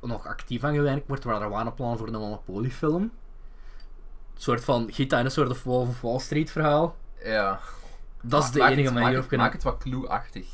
Speaker 1: er nog actief aan gewerkt wordt, maar er waren plannen voor een Monopoly-film. Een soort van Gita en een soort of Wolf of Wall Street verhaal.
Speaker 2: Ja.
Speaker 1: Dat is de
Speaker 2: Maak
Speaker 1: enige
Speaker 2: het- maak
Speaker 1: manier
Speaker 2: het-
Speaker 1: op kunnen.
Speaker 2: Maak het wat clue-achtig.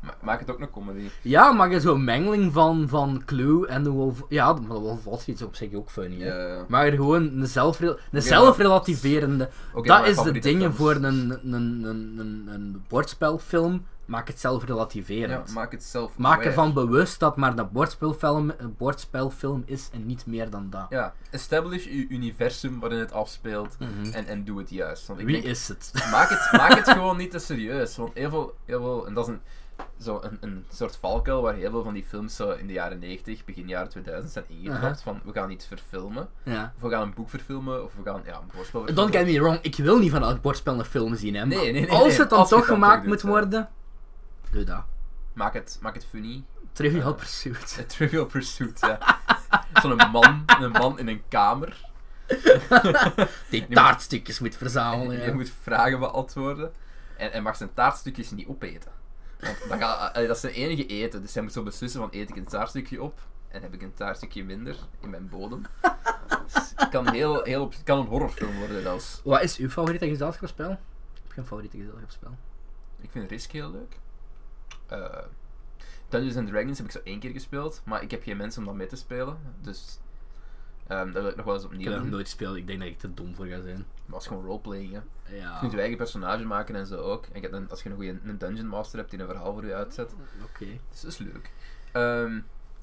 Speaker 2: Ma- Maak het ook een comedy.
Speaker 1: Ja, maar je zo'n mengeling van, van Clue en de Wolf. Ja, maar de Wolf of Wall Street is op zich ook funny. hè.
Speaker 2: Ja.
Speaker 1: Maar er gewoon een, zelfrel een
Speaker 2: maar-
Speaker 1: zelfrelativerende.
Speaker 2: Oké,
Speaker 1: dat
Speaker 2: maar mijn
Speaker 1: is de
Speaker 2: favoriete
Speaker 1: dingen
Speaker 2: films.
Speaker 1: voor een, een, een, een, een bordspelfilm. Maak het zelfrelativerend.
Speaker 2: Ja, maak het zelf.
Speaker 1: Maak ervan bewust dat maar een bordspelfilm, een bordspelfilm is en niet meer dan dat.
Speaker 2: Ja, establish je universum waarin het afspeelt en, en doe het juist. Want ik
Speaker 1: Mhm. Wie
Speaker 2: denk-
Speaker 1: is het? <laughs>
Speaker 2: maak, het, maak het gewoon niet te serieus. Want heel veel, heel veel en dat is een, zo een, een soort valkuil waar heel veel van die films zo in de jaren 90, begin jaren 2000 zijn ingetrapt.
Speaker 1: Aha.
Speaker 2: Van we gaan iets verfilmen.
Speaker 1: ja.
Speaker 2: Of we gaan een boek verfilmen. Of we gaan ja, een borstspel
Speaker 1: Don't
Speaker 2: verfilmen.
Speaker 1: get me wrong, ik wil niet van dat bordspel een film zien. Hè, maar
Speaker 2: Nee, nee, nee,
Speaker 1: als
Speaker 2: nee.
Speaker 1: het dan
Speaker 2: Als je
Speaker 1: toch
Speaker 2: het dan
Speaker 1: gemaakt
Speaker 2: toch
Speaker 1: moet
Speaker 2: doet, hè.
Speaker 1: worden, doe dat.
Speaker 2: Maak het, maak het funny.
Speaker 1: Trivial
Speaker 2: Ja.
Speaker 1: Pursuit.
Speaker 2: A Trivial Pursuit, ja. <laughs> Zo'n man, een man in een kamer.
Speaker 1: Die
Speaker 2: moet-
Speaker 1: taartstukjes moet verzamelen.
Speaker 2: Je
Speaker 1: ja.
Speaker 2: moet vragen beantwoorden. En, en mag zijn taartstukjes niet opeten. Want dan ga, <laughs> allee, dat is zijn enige eten. Dus hij moet zo beslissen van eet ik een taartstukje op? En heb ik een taartstukje minder in mijn
Speaker 1: <laughs>
Speaker 2: bodem? Dus het kan, heel, heel, op- het kan een horrorfilm worden zelfs.
Speaker 1: Wat is uw favoriete gezelschapsspel? Ik heb geen favoriete gezelschapsspel.
Speaker 2: Ik vind Risk heel leuk. Eh, Dungeons and Dragons heb ik zo één keer gespeeld. Maar ik heb geen mensen om dat mee te spelen. Dus ehm dat wil ik nog wel eens
Speaker 1: Ik
Speaker 2: opnieuw
Speaker 1: heb dat
Speaker 2: doen.
Speaker 1: nog
Speaker 2: Maar
Speaker 1: nooit Ah. gespeeld, ik denk dat ik te dom voor ga zijn.
Speaker 2: het is gewoon roleplaying, hè.
Speaker 1: Ja,
Speaker 2: Je kunt je eigen personage maken en zo ook. En je hebt een- als je een goede een dungeon master hebt die een verhaal voor je uitzet.
Speaker 1: oké.
Speaker 2: Dus dat is leuk. Ehm,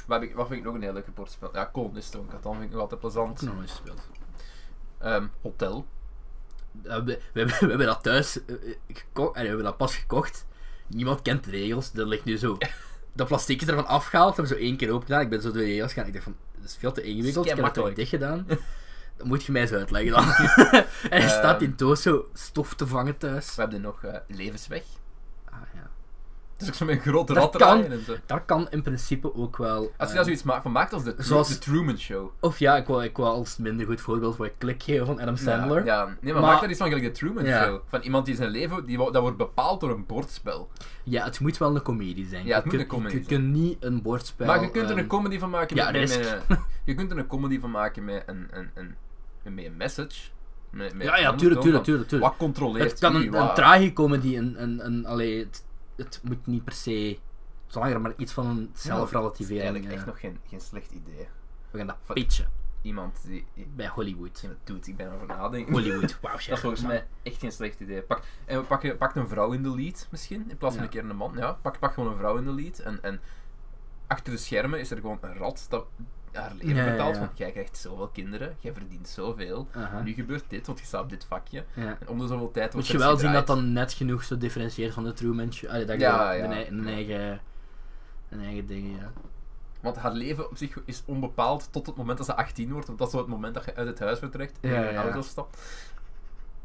Speaker 2: wat, heb ik, wat vind ik nog een heel leuke bordspel? Ja, Colonisten van Catan vind ik nog altijd
Speaker 1: Ik
Speaker 2: plezant.
Speaker 1: heb nog nooit gespeeld.
Speaker 2: Ehm, hotel.
Speaker 1: Eh, we, we, hebben- we hebben dat thuis eh, gekocht, we hebben dat pas gekocht. Niemand kent de regels, dat ligt nu <laughs> zo. Dat plastic is ervan afgehaald, hebben we zo één keer open gedaan. Ik ben zo door de regels gegaan. Ik dacht van, dat is veel te ingewikkeld. Ik heb dat toch
Speaker 2: Skemakkelijk.
Speaker 1: dicht gedaan. Dat moet je mij eens uitleggen <laughs> dan. en hij staat in doos zo stof te vangen thuis.
Speaker 2: We hebben nog eh, Levensweg.
Speaker 1: Ah, ja.
Speaker 2: Het is ook zo'n grote
Speaker 1: Dat
Speaker 2: rat
Speaker 1: kan.
Speaker 2: draaien en zo.
Speaker 1: Daar kan in principe ook wel.
Speaker 2: Als je
Speaker 1: eh,
Speaker 2: daar zoiets maakt, van maakt als de, Tru-
Speaker 1: Zoals-
Speaker 2: de Truman Show.
Speaker 1: Of ja, ik wil, ik wil als minder goed voorbeeld voor klik geven van Adam Sandler.
Speaker 2: Ja, ja. nee, maar,
Speaker 1: Maar-
Speaker 2: maak daar iets van gelijk de Truman
Speaker 1: Ja.
Speaker 2: Show. Van iemand die zijn leven, die, wo- dat wordt bepaald door een bordspel.
Speaker 1: Ja, het moet wel een komedie zijn.
Speaker 2: Ja, het
Speaker 1: Je
Speaker 2: moet
Speaker 1: kunt-
Speaker 2: een comedy
Speaker 1: Je kunt niet een bordspel...
Speaker 2: Maar je kunt er
Speaker 1: ehm,
Speaker 2: een comedy van maken.
Speaker 1: ja,
Speaker 2: met,
Speaker 1: risk.
Speaker 2: met- eh, <laughs> je kunt er een comedy van maken met een, een, een, een, met een message. Met, met
Speaker 1: Ja, ja,
Speaker 2: een
Speaker 1: tuurlijk,
Speaker 2: ondertoon
Speaker 1: tuurlijk,
Speaker 2: van
Speaker 1: tuurlijk, tuurlijk.
Speaker 2: Wat controleert
Speaker 1: Het kan
Speaker 2: u,
Speaker 1: een, een
Speaker 2: wat-
Speaker 1: tragicomedy, een, een, een, allee, het, het moet niet per se... Zolang er maar iets van een
Speaker 2: Ja,
Speaker 1: zelfrelativering...
Speaker 2: Eigenlijk
Speaker 1: eh,
Speaker 2: echt nog geen, geen slecht idee.
Speaker 1: We gaan dat
Speaker 2: Fuck.
Speaker 1: pitchen
Speaker 2: Iemand die, die
Speaker 1: bij Hollywood.
Speaker 2: dat doet, ik ben erover nadenken.
Speaker 1: Hollywood, wauw
Speaker 2: <laughs> Dat
Speaker 1: zeg.
Speaker 2: is volgens mij echt geen slecht idee. Pak, en we pakken, pak een vrouw in de lead misschien, in plaats van
Speaker 1: Ja.
Speaker 2: een keer een man. Ja, pak, pak gewoon een vrouw in de lead. En, en achter de schermen is er gewoon een rat dat haar leven
Speaker 1: Ja, ja,
Speaker 2: betaalt.
Speaker 1: ja.
Speaker 2: Van, jij krijgt zoveel kinderen, jij verdient zoveel.
Speaker 1: Aha.
Speaker 2: Nu gebeurt dit, want je staat op dit vakje.
Speaker 1: Ja.
Speaker 2: En om de zoveel tijd
Speaker 1: Moet
Speaker 2: wordt
Speaker 1: je
Speaker 2: het
Speaker 1: wel zien dat
Speaker 2: gedraaid.
Speaker 1: dan net genoeg zo differentieert van de Truman Show. Allee, dat je
Speaker 2: Ja,
Speaker 1: een,
Speaker 2: ja.
Speaker 1: ei- een eigen... Een eigen ding, ja.
Speaker 2: Want haar leven op zich is onbepaald tot het moment dat ze 18 wordt. Want dat is zo het moment dat je uit het huis vertrekt en
Speaker 1: Ja,
Speaker 2: in een
Speaker 1: ja.
Speaker 2: auto stapt.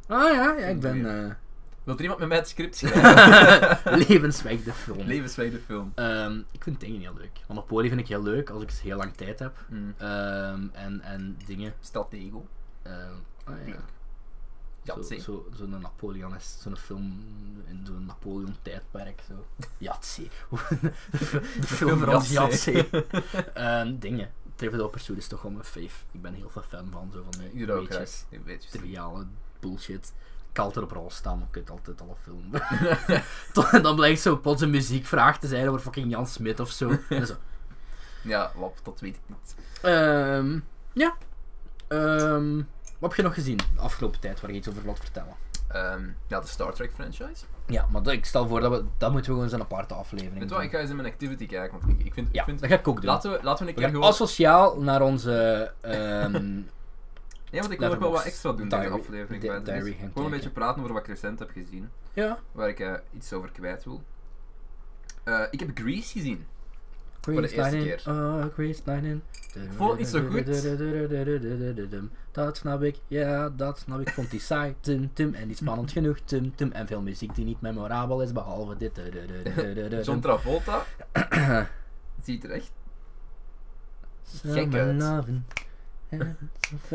Speaker 1: Ah ja, ja ik ben...
Speaker 2: Wil er iemand met mij het
Speaker 1: <laughs>
Speaker 2: script schrijven?
Speaker 1: eh, <laughs> levensweg de
Speaker 2: <laughs>
Speaker 1: film.
Speaker 2: Levenswijde film.
Speaker 1: Ehm, ik vind dingen heel leuk. Monopoly vind ik heel leuk als ik eens heel lang tijd heb.
Speaker 2: Mm.
Speaker 1: Ehm, en, en dingen.
Speaker 2: Stratego.
Speaker 1: ehm, ah, ja.
Speaker 2: Leuk. Yahtzee.
Speaker 1: Zo'n zo, zo'n Napoleon is zo'n film in zo'n Napoleon tijdperk. Zo. Yahtzee. <laughs> de, film
Speaker 2: film
Speaker 1: van ons
Speaker 2: Yahtzee.
Speaker 1: Yahtzee.
Speaker 2: <laughs>
Speaker 1: Ehm, dingen. Trivial Pursuit is toch wel mijn fave. Ik ben heel veel fan van zo van die
Speaker 2: Hier ook,
Speaker 1: weetjes,
Speaker 2: hè. Weetjes.
Speaker 1: triviale bullshit. kan altijd op rol staan, maar ik kunt altijd alle
Speaker 2: <laughs>
Speaker 1: filmen. <laughs> Tot- en dan blijkt zo plots een muziekvraag te zijn over fucking Jan Smit of zo. En zo.
Speaker 2: Ja, wap, dat weet ik niet.
Speaker 1: Ehm, ja. Ehm, wat heb je nog gezien de afgelopen tijd waar je iets over wilt vertellen?
Speaker 2: Ehm, ja, de Star Trek franchise.
Speaker 1: Ja, maar dat- ik stel voor dat we dat moeten we gewoon eens een aparte aflevering
Speaker 2: Weet je wat, ik ga eens in mijn activity kijken, want ik, ik vind...
Speaker 1: Ja,
Speaker 2: ik vind
Speaker 1: dat ga ik ook doen.
Speaker 2: laten, we, laten we een
Speaker 1: we
Speaker 2: keer
Speaker 1: gaan
Speaker 2: gewoon...
Speaker 1: asociaal naar onze
Speaker 2: <laughs>
Speaker 1: ehm,
Speaker 2: Nee, want ik wil ook wel
Speaker 1: Letterboxd
Speaker 2: wat extra doen deze
Speaker 1: diary-
Speaker 2: aflevering.
Speaker 1: di-
Speaker 2: bij. Dus
Speaker 1: diary gaan
Speaker 2: gewoon een
Speaker 1: kijken.
Speaker 2: beetje praten over wat ik recent heb gezien,
Speaker 1: ja,
Speaker 2: waar ik eh, iets over kwijt wil. Eh, ik heb Grease gezien.
Speaker 1: Grease
Speaker 2: eerste
Speaker 1: Lightning,
Speaker 2: keer.
Speaker 1: Oh, Grease Lightning.
Speaker 2: vond het niet zo
Speaker 1: Dat snap ik, ja, dat snap ik. Ik Vond die saai, tum tum, en niet spannend genoeg, tum tum. En veel muziek die niet memorabel is, behalve dit. du- du- du- du- du- du-
Speaker 2: John
Speaker 1: <coughs>
Speaker 2: Travolta ziet er echt gek
Speaker 1: Summer
Speaker 2: uit.
Speaker 1: lovin'.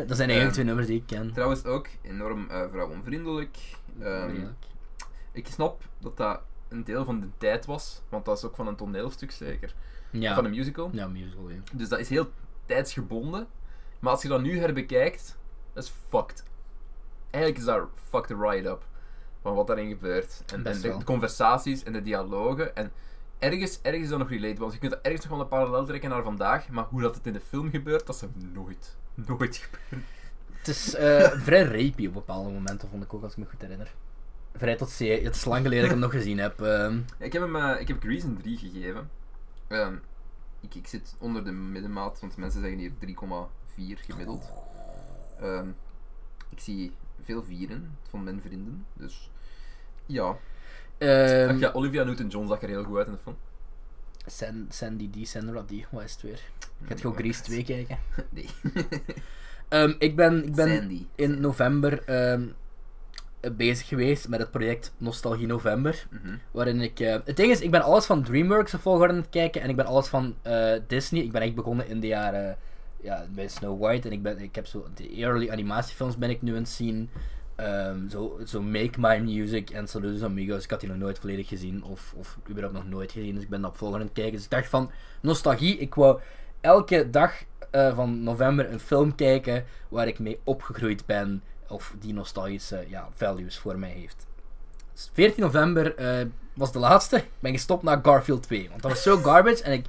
Speaker 1: Dat zijn eigenlijk
Speaker 2: Ehm,
Speaker 1: twee nummers die ik ken.
Speaker 2: Trouwens ook enorm eh, vrouwonvriendelijk. Ehm, ik snap dat dat een deel van de tijd was, want dat is ook van een toneelstuk zeker,
Speaker 1: Ja,
Speaker 2: van een musical.
Speaker 1: ja, musical, ja.
Speaker 2: Dus dat is heel tijdsgebonden. Maar als je dat nu herbekijkt, dat is fucked. Eigenlijk is daar fucked right up. Van wat daarin gebeurt. En, en
Speaker 1: Best
Speaker 2: de,
Speaker 1: wel.
Speaker 2: conversaties en de dialogen. En ergens, ergens is dat nog relatable. Want je kunt dat ergens nog wel een parallel trekken naar vandaag. Maar hoe dat het in de film gebeurt, dat is er nooit. Nooit gebeurd.
Speaker 1: Het is eh, <laughs> vrij rapey op bepaalde momenten, vond ik ook, als ik me goed herinner. Vrij tot zeer, het is lang geleden dat ik hem nog gezien heb. ehm.
Speaker 2: Ik heb, hem, eh, ik heb Grease een 3 gegeven. Ehm, ik, ik zit onder de middenmaat, want mensen zeggen hier 3,4 gemiddeld. Ehm, ik zie veel vieren van mijn vrienden, dus ja.
Speaker 1: Ehm,
Speaker 2: Ach ja, Olivia Newton-John zag er heel goed uit in de film.
Speaker 1: San- Sandy D, Sandra D, wat is het weer? Gaat gewoon
Speaker 2: Nee,
Speaker 1: Grease 2 kijken?
Speaker 2: Nee. <laughs>
Speaker 1: Ehm, ik ben, ik ben
Speaker 2: Sandy.
Speaker 1: in november ehm, eh, bezig geweest met het project Nostalgie November.
Speaker 2: Mhm.
Speaker 1: Waarin ik... eh, het ding is, ik ben alles van DreamWorks de volgorde aan het kijken en ik ben alles van eh, Disney. Ik ben echt begonnen in de jaren... Ja, bij Snow White en ik, ben, ik heb zo... De early animatiefilms ben ik nu aan het zien. Ehm, zo, zo Make My Music en Saludos Amigos. Ik had die nog nooit volledig gezien of, of überhaupt nog nooit gezien. Dus ik ben dat volgende aan het kijken. Dus ik dacht van, nostalgie. Ik wou elke dag eh, van november een film kijken waar ik mee opgegroeid ben. Of die nostalgische ja, values voor mij heeft. Dus 14 november eh, was de laatste. Ik ben gestopt na Garfield 2. Want dat was zo garbage. En ik,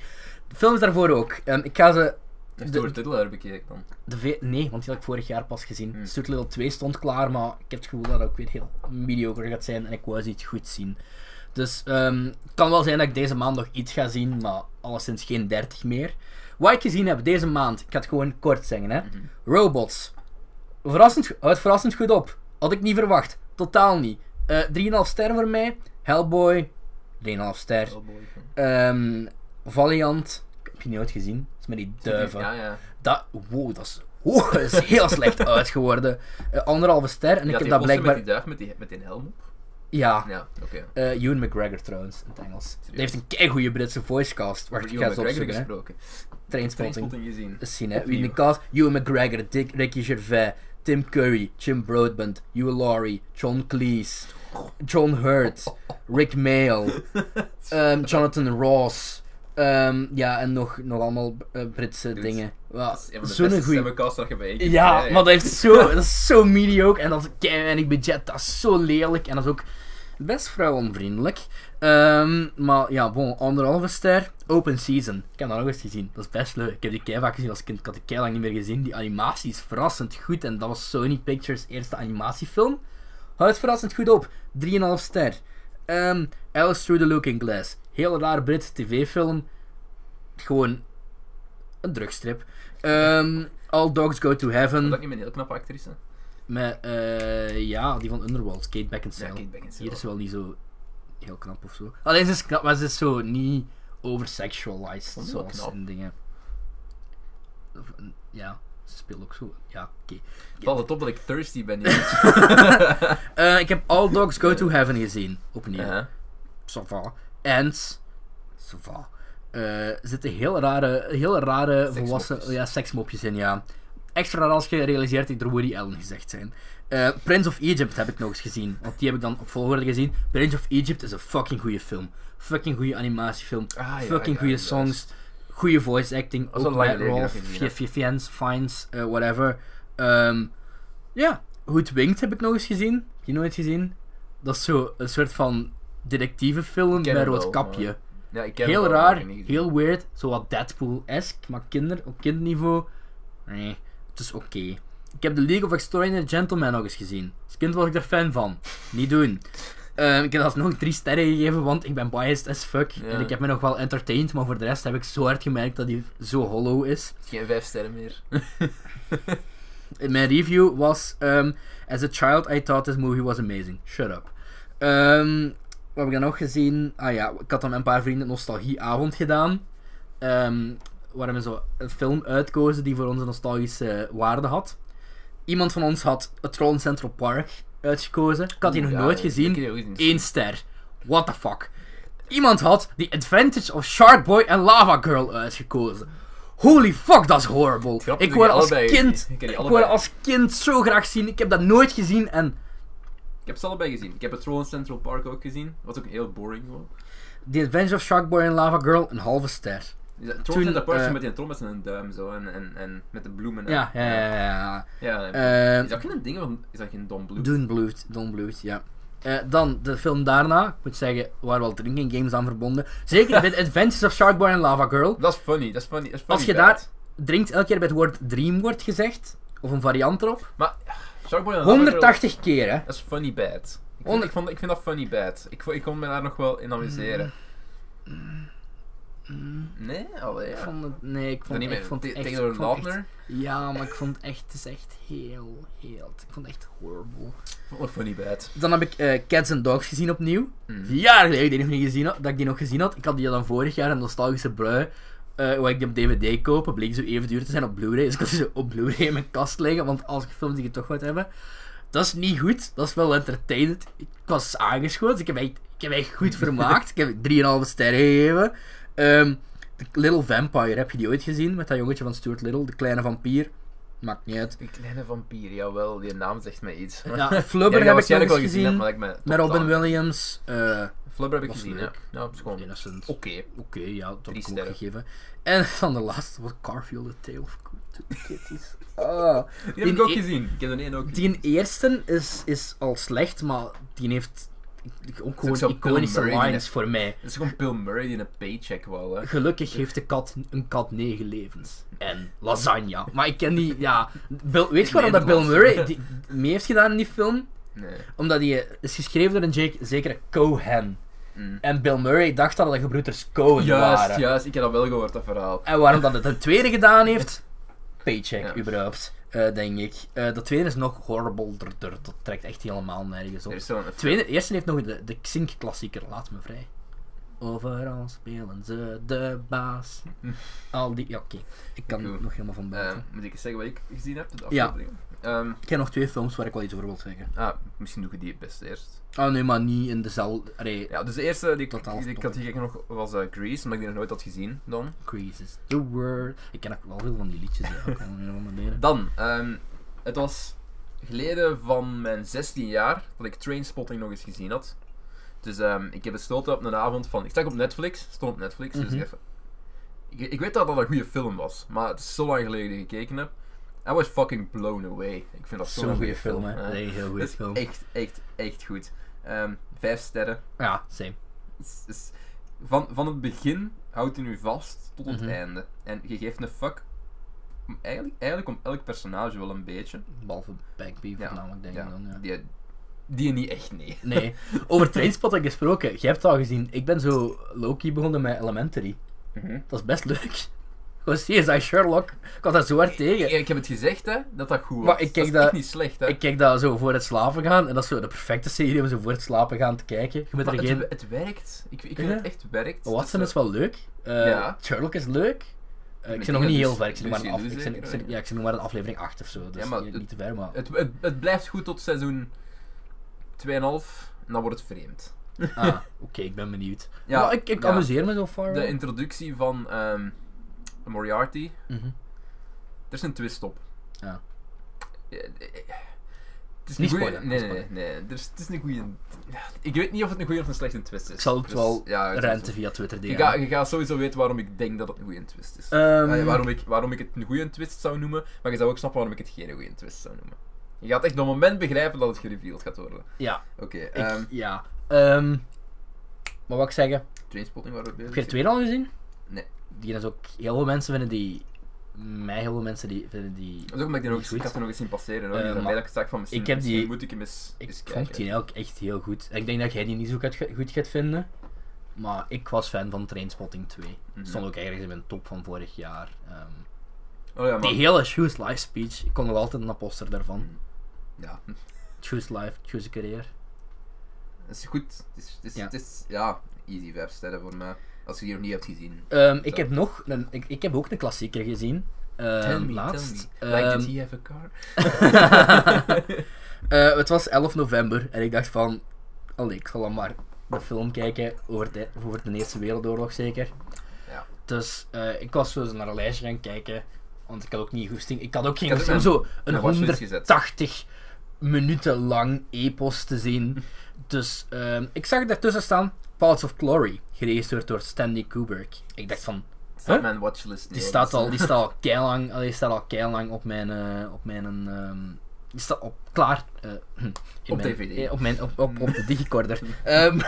Speaker 1: de films daarvoor ook. Ehm, ik ga ze
Speaker 2: Heeft
Speaker 1: De-
Speaker 2: door de titel herbekeken dan.
Speaker 1: de ve- nee, want die had ik vorig jaar pas gezien.
Speaker 2: Hmm.
Speaker 1: Stuart Little 2 stond klaar, maar ik heb het gevoel dat het ook weer heel mediocre gaat zijn en ik wou ze iets goed zien. Dus ehm, het kan wel zijn dat ik deze maand nog iets ga zien, maar alleszins geen 30 meer. Wat ik gezien heb deze maand, ik ga het gewoon kort zeggen
Speaker 2: Mhm.
Speaker 1: hè. Robots. Verrassend, go- houdt verrassend goed op. Had ik niet verwacht. Totaal niet. Eh 3,5 ster voor mij. Hellboy. 3,5 ster.
Speaker 2: Wel mooi. film.
Speaker 1: Ehm, Valiant. Ik heb je nooit gezien. Dat is met die duiven.
Speaker 2: Ja, ja.
Speaker 1: Dat, wow, dat is, wow, <laughs> dat is heel slecht uitgeworden. Eh, anderhalve ster. En
Speaker 2: Ik
Speaker 1: ik
Speaker 2: had
Speaker 1: heb
Speaker 2: die
Speaker 1: dat
Speaker 2: poster
Speaker 1: blijkbaar...
Speaker 2: met die duif met die, met die helm op.
Speaker 1: Ja,
Speaker 2: Ja, oké.
Speaker 1: eh Ewan McGregor trouwens, in het Engels. Die heeft een keigoede Britse voicecast. Wacht, ik
Speaker 2: Ewan
Speaker 1: ga eens
Speaker 2: McGregor
Speaker 1: opzoeken. hè.
Speaker 2: gesproken.
Speaker 1: Trainspotting.
Speaker 2: Trainspotting gezien.
Speaker 1: Zien, hè. Wie
Speaker 2: Opnieuw.
Speaker 1: in de cast? Ewan McGregor, Dick, Ricky Gervais, Tim Curry, Jim Broadbent, Hugh Laurie, John Cleese, John Hurt, Rick
Speaker 2: <laughs>
Speaker 1: Mail, ehm, Jonathan Ross. ehm, ja, en nog, nog allemaal eh, Britse
Speaker 2: Dudes.
Speaker 1: dingen.
Speaker 2: Dat
Speaker 1: Wel,
Speaker 2: is een van de
Speaker 1: Zo'n
Speaker 2: beste
Speaker 1: goeie
Speaker 2: stemmencast dat je bij één
Speaker 1: Ja,
Speaker 2: keer
Speaker 1: maar dat, heeft <laughs> zo, dat is zo mediocre en dat is keiweinig budget. Dat is zo lelijk en dat is ook best vrouwonvriendelijk. Ehm, maar ja, bon, anderhalve ster, open season. Ik heb dat nog eens gezien, dat is best leuk. Ik heb die kei vaak gezien als kind, ik had die kei lang niet meer gezien. Die animatie is verrassend goed en dat was Sony Pictures eerste animatiefilm. Houdt verrassend goed op, 3,5 ster. Ehm, Alice Through the Looking Glass, heel raar Britse tv-film. Gewoon een drugstrip. Ehm, All Dogs Go to Heaven.
Speaker 2: Dat is niet met een heel knappe actrice.
Speaker 1: Met, eh, ja, die van Underworld, Kate Beckinsale.
Speaker 2: Ja, Kate Beckinsale.
Speaker 1: Hier is ze wel niet zo heel knap of zo. Alleen ze is knap, maar ze is zo niet oversexualized
Speaker 2: Dat is wel
Speaker 1: zoals
Speaker 2: Oh, knap.
Speaker 1: in dingen. Of, eh, Ja, ze speelt ook zo. Ja, oké.
Speaker 2: Valt het op dat ik thirsty ben <laughs> hier.
Speaker 1: Eh, ik heb All Dogs Go to Heaven gezien. Opnieuw.
Speaker 2: Ja.
Speaker 1: ça va. Ants, ça va. Eh, er zitten heel rare, heel rare volwassen
Speaker 2: Seksmopjes.
Speaker 1: ja, seksmopjes in, ja. Extra raar als je realiseert dat die door Woody Allen gezegd zijn. Eh, Prince of Egypt heb ik nog eens gezien, want die heb ik dan op volgorde gezien. Prince of Egypt is een fucking goede film. Fucking goede animatiefilm.
Speaker 2: Ah, ja,
Speaker 1: fucking
Speaker 2: ja,
Speaker 1: goede
Speaker 2: juist.
Speaker 1: songs. Goede voice acting.
Speaker 2: is al
Speaker 1: Ook
Speaker 2: lang
Speaker 1: met
Speaker 2: geleden dat
Speaker 1: Rolf,
Speaker 2: ik die gezien heb.
Speaker 1: Fiennes, Fines, eh, whatever. Ehm, ja, Goed Winkt heb ik nog eens gezien. Heb je nooit gezien? Dat is zo een soort van detectivefilm
Speaker 2: ken
Speaker 1: met
Speaker 2: hem wel,
Speaker 1: rood kapje.
Speaker 2: Ja, ik ken
Speaker 1: Heel
Speaker 2: hem wel, maar ik
Speaker 1: raar,
Speaker 2: heb hem niet gezien.
Speaker 1: heel weird. Zo wat Deadpool-esque, maar kinder, op kinderniveau. Nee, het is oké. Ik heb de League of Extraordinary Gentlemen nog eens gezien. Als kind was ik er fan van. Niet doen. Ehm, ik heb alsnog drie sterren gegeven, want ik ben biased as fuck.
Speaker 2: Ja.
Speaker 1: En ik heb me nog wel entertained, maar voor de rest heb ik zo hard gemerkt dat hij zo hollow is.
Speaker 2: Geen vijf sterren meer.
Speaker 1: In mijn review was: ehm, As a child, I thought this movie was amazing. Shut up. Ehm, wat heb ik dan nog gezien? Ah ja, ik had dan met een paar vrienden nostalgieavond gedaan. Ehm waar we zo een film uitkozen die voor onze nostalgische waarde had. Iemand van ons had A Troll in Central Park uitgekozen. Ik had die nog
Speaker 2: Ja,
Speaker 1: nooit
Speaker 2: ik
Speaker 1: gezien.
Speaker 2: heb die ook niet gezien.
Speaker 1: Eén ster. What the fuck. Iemand had The Advantage of Shark Boy and Lava Girl uitgekozen. Holy fuck, dat is horrible.
Speaker 2: Grappig
Speaker 1: Ik
Speaker 2: dat je
Speaker 1: word als
Speaker 2: allebei
Speaker 1: kind,
Speaker 2: gezien. Ik heb die
Speaker 1: ik
Speaker 2: allebei.
Speaker 1: wou dat als kind zo graag zien. Ik heb dat nooit gezien en
Speaker 2: Ik heb ze allebei gezien. Ik heb het Throne Central Park ook gezien. Wat ook heel boring was.
Speaker 1: The Adventure of Shark Boy and Lava Girl een halve ster.
Speaker 2: Throne
Speaker 1: Toen,
Speaker 2: Central Park
Speaker 1: eh,
Speaker 2: met die trommels en een duim zo. En, en, en met de bloemen. en-
Speaker 1: Ja, ja, ja, Eh, ja.
Speaker 2: ja.
Speaker 1: ja.
Speaker 2: is dat geen ding? van- Is dat geen Don Blue?
Speaker 1: Doen Bloed, Don Bloed, ja. Eh, dan de film daarna, ik moet zeggen, waren wel drinking games aan verbonden. <laughs> Zeker met Adventures of Shark Boy and Lava Girl.
Speaker 2: Dat is funny. Dat is funny. Dat is funny
Speaker 1: Als je
Speaker 2: bad.
Speaker 1: daar drinkt, elke keer bij het woord dream wordt gezegd, of een variant erop.
Speaker 2: Maar Sharkboy en Lava Girl-
Speaker 1: 180 keer, hè.
Speaker 2: Dat is funny bad.
Speaker 1: Honderd-
Speaker 2: Ik vind, ik, vond, ik vind dat funny bad. Ik, vo- ik kon me daar nog wel in amuseren. Nee, allee.
Speaker 1: Mm. Ik
Speaker 2: Ja.
Speaker 1: vond het, nee, ik vond,
Speaker 2: Dan niet
Speaker 1: het
Speaker 2: meer
Speaker 1: ik vond het echt...
Speaker 2: tegen
Speaker 1: ik vond het echt-
Speaker 2: Lautner.
Speaker 1: ja, maar ik vond het echt, het is echt heel, heel, ik vond het echt horrible.
Speaker 2: Ik vond het funny bad.
Speaker 1: Dan heb ik eh, Cats and Dogs gezien opnieuw.
Speaker 2: Mm.
Speaker 1: Vier jaar geleden die nog niet gezien had, dat ik die nog gezien had. Ik had die dan vorig jaar een nostalgische brui. eh waar ik die op DVD kopen, bleek zo even duur te zijn op Blu-ray. Dus ik had die zo op Blu-ray in mijn kast liggen, want als ik films die je toch wilt hebben. Dat is niet goed, dat is wel entertainend. Ik was aangeschoten, dus ik heb echt, ik heb echt goed vermaakt. ik heb 3,5 sterren gegeven. Ehm, The Little Vampire, heb je die ooit gezien? Met dat jongetje van Stuart Little, de kleine vampier. Maakt niet uit.
Speaker 2: Die kleine vampier, jawel, die naam zegt mij iets.
Speaker 1: Ja,
Speaker 2: Ja, die
Speaker 1: Flubber heb ik nog
Speaker 2: waarschijnlijk
Speaker 1: eens
Speaker 2: wel
Speaker 1: gezien.
Speaker 2: hebt, maar lijkt me top
Speaker 1: met Robin
Speaker 2: down.
Speaker 1: Williams. eh, oh,
Speaker 2: Flubber heb ik
Speaker 1: Was
Speaker 2: gezien, ja.
Speaker 1: leuk.
Speaker 2: Ja, het
Speaker 1: Of
Speaker 2: is gewoon oké.
Speaker 1: Innocent. Oké, ja, dat heb
Speaker 2: Drie
Speaker 1: ik hem ook
Speaker 2: sterren.
Speaker 1: gegeven. En <laughs> van de laatste was Garfield, The Tale of Two Kitties. Ah.
Speaker 2: Die heb ik ook
Speaker 1: Die-
Speaker 2: gezien. Ik heb er één ook gezien.
Speaker 1: Die eerste is, is al slecht, maar die heeft ook
Speaker 2: ook
Speaker 1: gewoon
Speaker 2: zo'n Bill
Speaker 1: iconische
Speaker 2: Murray die
Speaker 1: lines
Speaker 2: net-
Speaker 1: voor mij.
Speaker 2: Het is gewoon Bill Murray die een paycheck wou, hè.
Speaker 1: Gelukkig heeft de kat een kat negen levens. En lasagne. Maar ik ken die, ja... Bill, weet je waarom dat Bill
Speaker 2: Nederlands. <laughs>
Speaker 1: Murray die, mee heeft gedaan in die film?
Speaker 2: Nee.
Speaker 1: Omdat die is geschreven door een Jake, zekere Cohen.
Speaker 2: Mm.
Speaker 1: En Bill Murray dacht dat dat gebroeders Cohen Oh, waren.
Speaker 2: Juist, juist. Ik heb dat wel gehoord, dat verhaal.
Speaker 1: En waarom dat het een tweede gedaan heeft? Paycheck,
Speaker 2: Ja.
Speaker 1: überhaupt. eh, denk ik. Eh dat tweede is nog horrible. Dat- Dat dat trekt echt helemaal nergens op.
Speaker 2: Er is zo'n...
Speaker 1: Tweede, de eerste heeft nog de, de Xink-klassieker. Laat me vrij. Overal spelen ze de <laughs> baas. Al die... Ja, oké. Ik kan
Speaker 2: Goed.
Speaker 1: nog helemaal van buiten.
Speaker 2: eh, moet ik eens zeggen wat ik gezien heb? De
Speaker 1: Ja.
Speaker 2: aflevering? Ehm,
Speaker 1: Ehm. Ik heb nog twee films waar ik wel iets over wil zeggen.
Speaker 2: ah, misschien doe ik die het best eerst.
Speaker 1: Ah nee, maar niet in dezelfde... Allee,
Speaker 2: Ja, dus de eerste die ik,
Speaker 1: Totaal
Speaker 2: die ik had gekeken nog was eh, Grease, omdat ik die nog nooit had gezien dan.
Speaker 1: Grease is the word. Ik ken ook wel veel van die liedjes. hè. <laughs> Ik kan er helemaal beneden.
Speaker 2: Dan, ehm, het was geleden van mijn 16 jaar dat ik Trainspotting nog eens gezien had. Dus ehm, ik heb besloten op een avond van. Ik stak op Netflix, stond op Netflix, dus
Speaker 1: Mhm.
Speaker 2: ik even. Ik, ik weet dat dat een goede film was, maar het is zo lang geleden dat ik gekeken heb. I was fucking blown away. Ik vind dat zo'n
Speaker 1: Zo'n goede
Speaker 2: goede eh.
Speaker 1: film, hè. Dus
Speaker 2: Ja.
Speaker 1: Dat is een heel
Speaker 2: Het
Speaker 1: goede
Speaker 2: is
Speaker 1: film.
Speaker 2: Dus echt, echt, echt goed. Ehm, vijf sterren.
Speaker 1: Ja, same.
Speaker 2: Is- is- van, van het begin houdt u nu vast tot het
Speaker 1: Mhm.
Speaker 2: einde. En je geeft een fuck. om- Eigenlijk, eigenlijk om elk personage wel een beetje.
Speaker 1: Behalve Backbeef
Speaker 2: Ja,
Speaker 1: voornamelijk, denk ik dan. Ja.
Speaker 2: Die, die niet echt, nee.
Speaker 1: <laughs> Nee. Over Trainspotting gesproken. Je hebt het al gezien. Ik ben zo low-key begonnen met Elementary. Dat is best leuk. <laughs> Gewoon CSI Sherlock. Ik had dat zo hard tegen.
Speaker 2: Ik, ik heb het gezegd, hè, dat dat goed was.
Speaker 1: Maar ik
Speaker 2: dat
Speaker 1: kijk
Speaker 2: is
Speaker 1: dat-
Speaker 2: echt niet slecht, hè.
Speaker 1: Ik kijk dat zo voor het slapen gaan. En dat is zo de perfecte serie om zo voor het slapen gaan te kijken. Je moet
Speaker 2: Maar
Speaker 1: er
Speaker 2: het,
Speaker 1: geen...
Speaker 2: het werkt. Ik, ik
Speaker 1: Ja.
Speaker 2: vind het echt werkt.
Speaker 1: Watson
Speaker 2: Dus,
Speaker 1: is wel leuk. Eh,
Speaker 2: Ja.
Speaker 1: Sherlock is leuk. Eh, ik
Speaker 2: Ik
Speaker 1: zit
Speaker 2: denk
Speaker 1: nog niet
Speaker 2: dat
Speaker 1: heel
Speaker 2: dus
Speaker 1: ver. Ik zit nog maar, een af...
Speaker 2: Lucy
Speaker 1: ik
Speaker 2: Liu
Speaker 1: zit,
Speaker 2: zeker,
Speaker 1: ik zit-
Speaker 2: hè?
Speaker 1: ja, ik zit nog maar een aflevering 8 of zo. Dus
Speaker 2: Ja, maar
Speaker 1: niet,
Speaker 2: het-
Speaker 1: niet te ver, maar...
Speaker 2: eh, Het, het, het blijft goed tot seizoen 2,5 en dan wordt het vreemd.
Speaker 1: Ah, oké. ik ben benieuwd.
Speaker 2: <laughs> Ja,
Speaker 1: maar ik, ik
Speaker 2: ja.
Speaker 1: amuseer me zo far.
Speaker 2: De introductie van ehm, Moriarty,
Speaker 1: Mhm.
Speaker 2: er is een twist op.
Speaker 1: Ja.
Speaker 2: Eh, eh, Het is
Speaker 1: Niet
Speaker 2: een goeie-
Speaker 1: spoilen,
Speaker 2: Nee,
Speaker 1: niet
Speaker 2: nee, nee. nee. Er is- Het is een goede. Ik weet niet of het een goede of een slechte twist is.
Speaker 1: Ik zal het
Speaker 2: Dus,
Speaker 1: wel
Speaker 2: ja, het is-
Speaker 1: rente via Twitter
Speaker 2: Je,
Speaker 1: DM'en.
Speaker 2: gaat, je gaat sowieso weten waarom ik denk dat het een goede twist is.
Speaker 1: Ehm,
Speaker 2: Ah, ja, waarom, ik, waarom ik het een goede twist zou noemen, maar je zou ook snappen waarom ik het geen goede twist zou noemen. Je gaat echt op het moment begrijpen dat het gereveeld gaat worden.
Speaker 1: Ja,
Speaker 2: Oké,
Speaker 1: ik,
Speaker 2: ehm
Speaker 1: ja. Ehm, maar wat ik zeggen,
Speaker 2: Trainspotting waar we
Speaker 1: heb
Speaker 2: bezig
Speaker 1: je de tweede al gezien?
Speaker 2: Nee.
Speaker 1: Die is ook heel veel mensen vinden die. Mij heel veel mensen die vinden die.
Speaker 2: Dat is ook omdat ik, die nog
Speaker 1: Niet
Speaker 2: eens, ik had
Speaker 1: goed.
Speaker 2: er nog eens zien passeren hoor.
Speaker 1: Eh,
Speaker 2: die zijn
Speaker 1: maar-
Speaker 2: bij dat ik zag van misschien,
Speaker 1: ik heb die-
Speaker 2: misschien moet ik hem eens,
Speaker 1: Ik
Speaker 2: eens kijken.
Speaker 1: vond die ook echt heel goed. En ik denk dat jij die niet zo goed- goed gaat vinden. Maar ik was fan van Trainspotting 2. Stond ook ergens in mijn top van vorig jaar. Ehm,
Speaker 2: Oh Mhm. ja,
Speaker 1: die
Speaker 2: maar...
Speaker 1: hele Choose Life speech, ik kon nog altijd een poster
Speaker 2: Mhm.
Speaker 1: daarvan.
Speaker 2: Ja,
Speaker 1: Choose Life, Choose a Career.
Speaker 2: het is goed. Het is, het is,
Speaker 1: Ja.
Speaker 2: ja. Het is, ja, easy vibes stellen voor mij. Als je die nog niet hebt gezien.
Speaker 1: Ehm, ik
Speaker 2: Zo.
Speaker 1: heb nog een, ik, ik heb ook een klassieker gezien. Ehm, laatst.
Speaker 2: tell me. Like,
Speaker 1: Ehm,
Speaker 2: did he have a car?
Speaker 1: <laughs> Eh, het was 11 november en ik dacht van, allee, ik zal dan maar de film kijken over de, over de Eerste Wereldoorlog zeker.
Speaker 2: Ja.
Speaker 1: Dus eh, ik was zo eens naar een lijstje gaan kijken, want ik had ook niet goesting. Ik had ook geen
Speaker 2: Ik had
Speaker 1: goesting om
Speaker 2: ook
Speaker 1: zo een
Speaker 2: mijn watchlist gezet.
Speaker 1: 180 minuten lang epos te
Speaker 2: <laughs>
Speaker 1: zien. Dus ehm, ik zag daartussen staan Paths of Glory, geregisseerd door Stanley Kubrick. Ik dacht van,
Speaker 2: Staat
Speaker 1: huh?
Speaker 2: mijn watchlist niet
Speaker 1: die
Speaker 2: hoor,
Speaker 1: staat
Speaker 2: dus-
Speaker 1: al,
Speaker 2: <laughs>
Speaker 1: die staat al keilang, allee, die staat al keilang op mijn, eh, op mijn, ehm, die staat op klaar. eh, <clears throat> in
Speaker 2: Op
Speaker 1: mijn-
Speaker 2: DVD.
Speaker 1: eh, op mijn, op, op, op de digicorder. Ehm,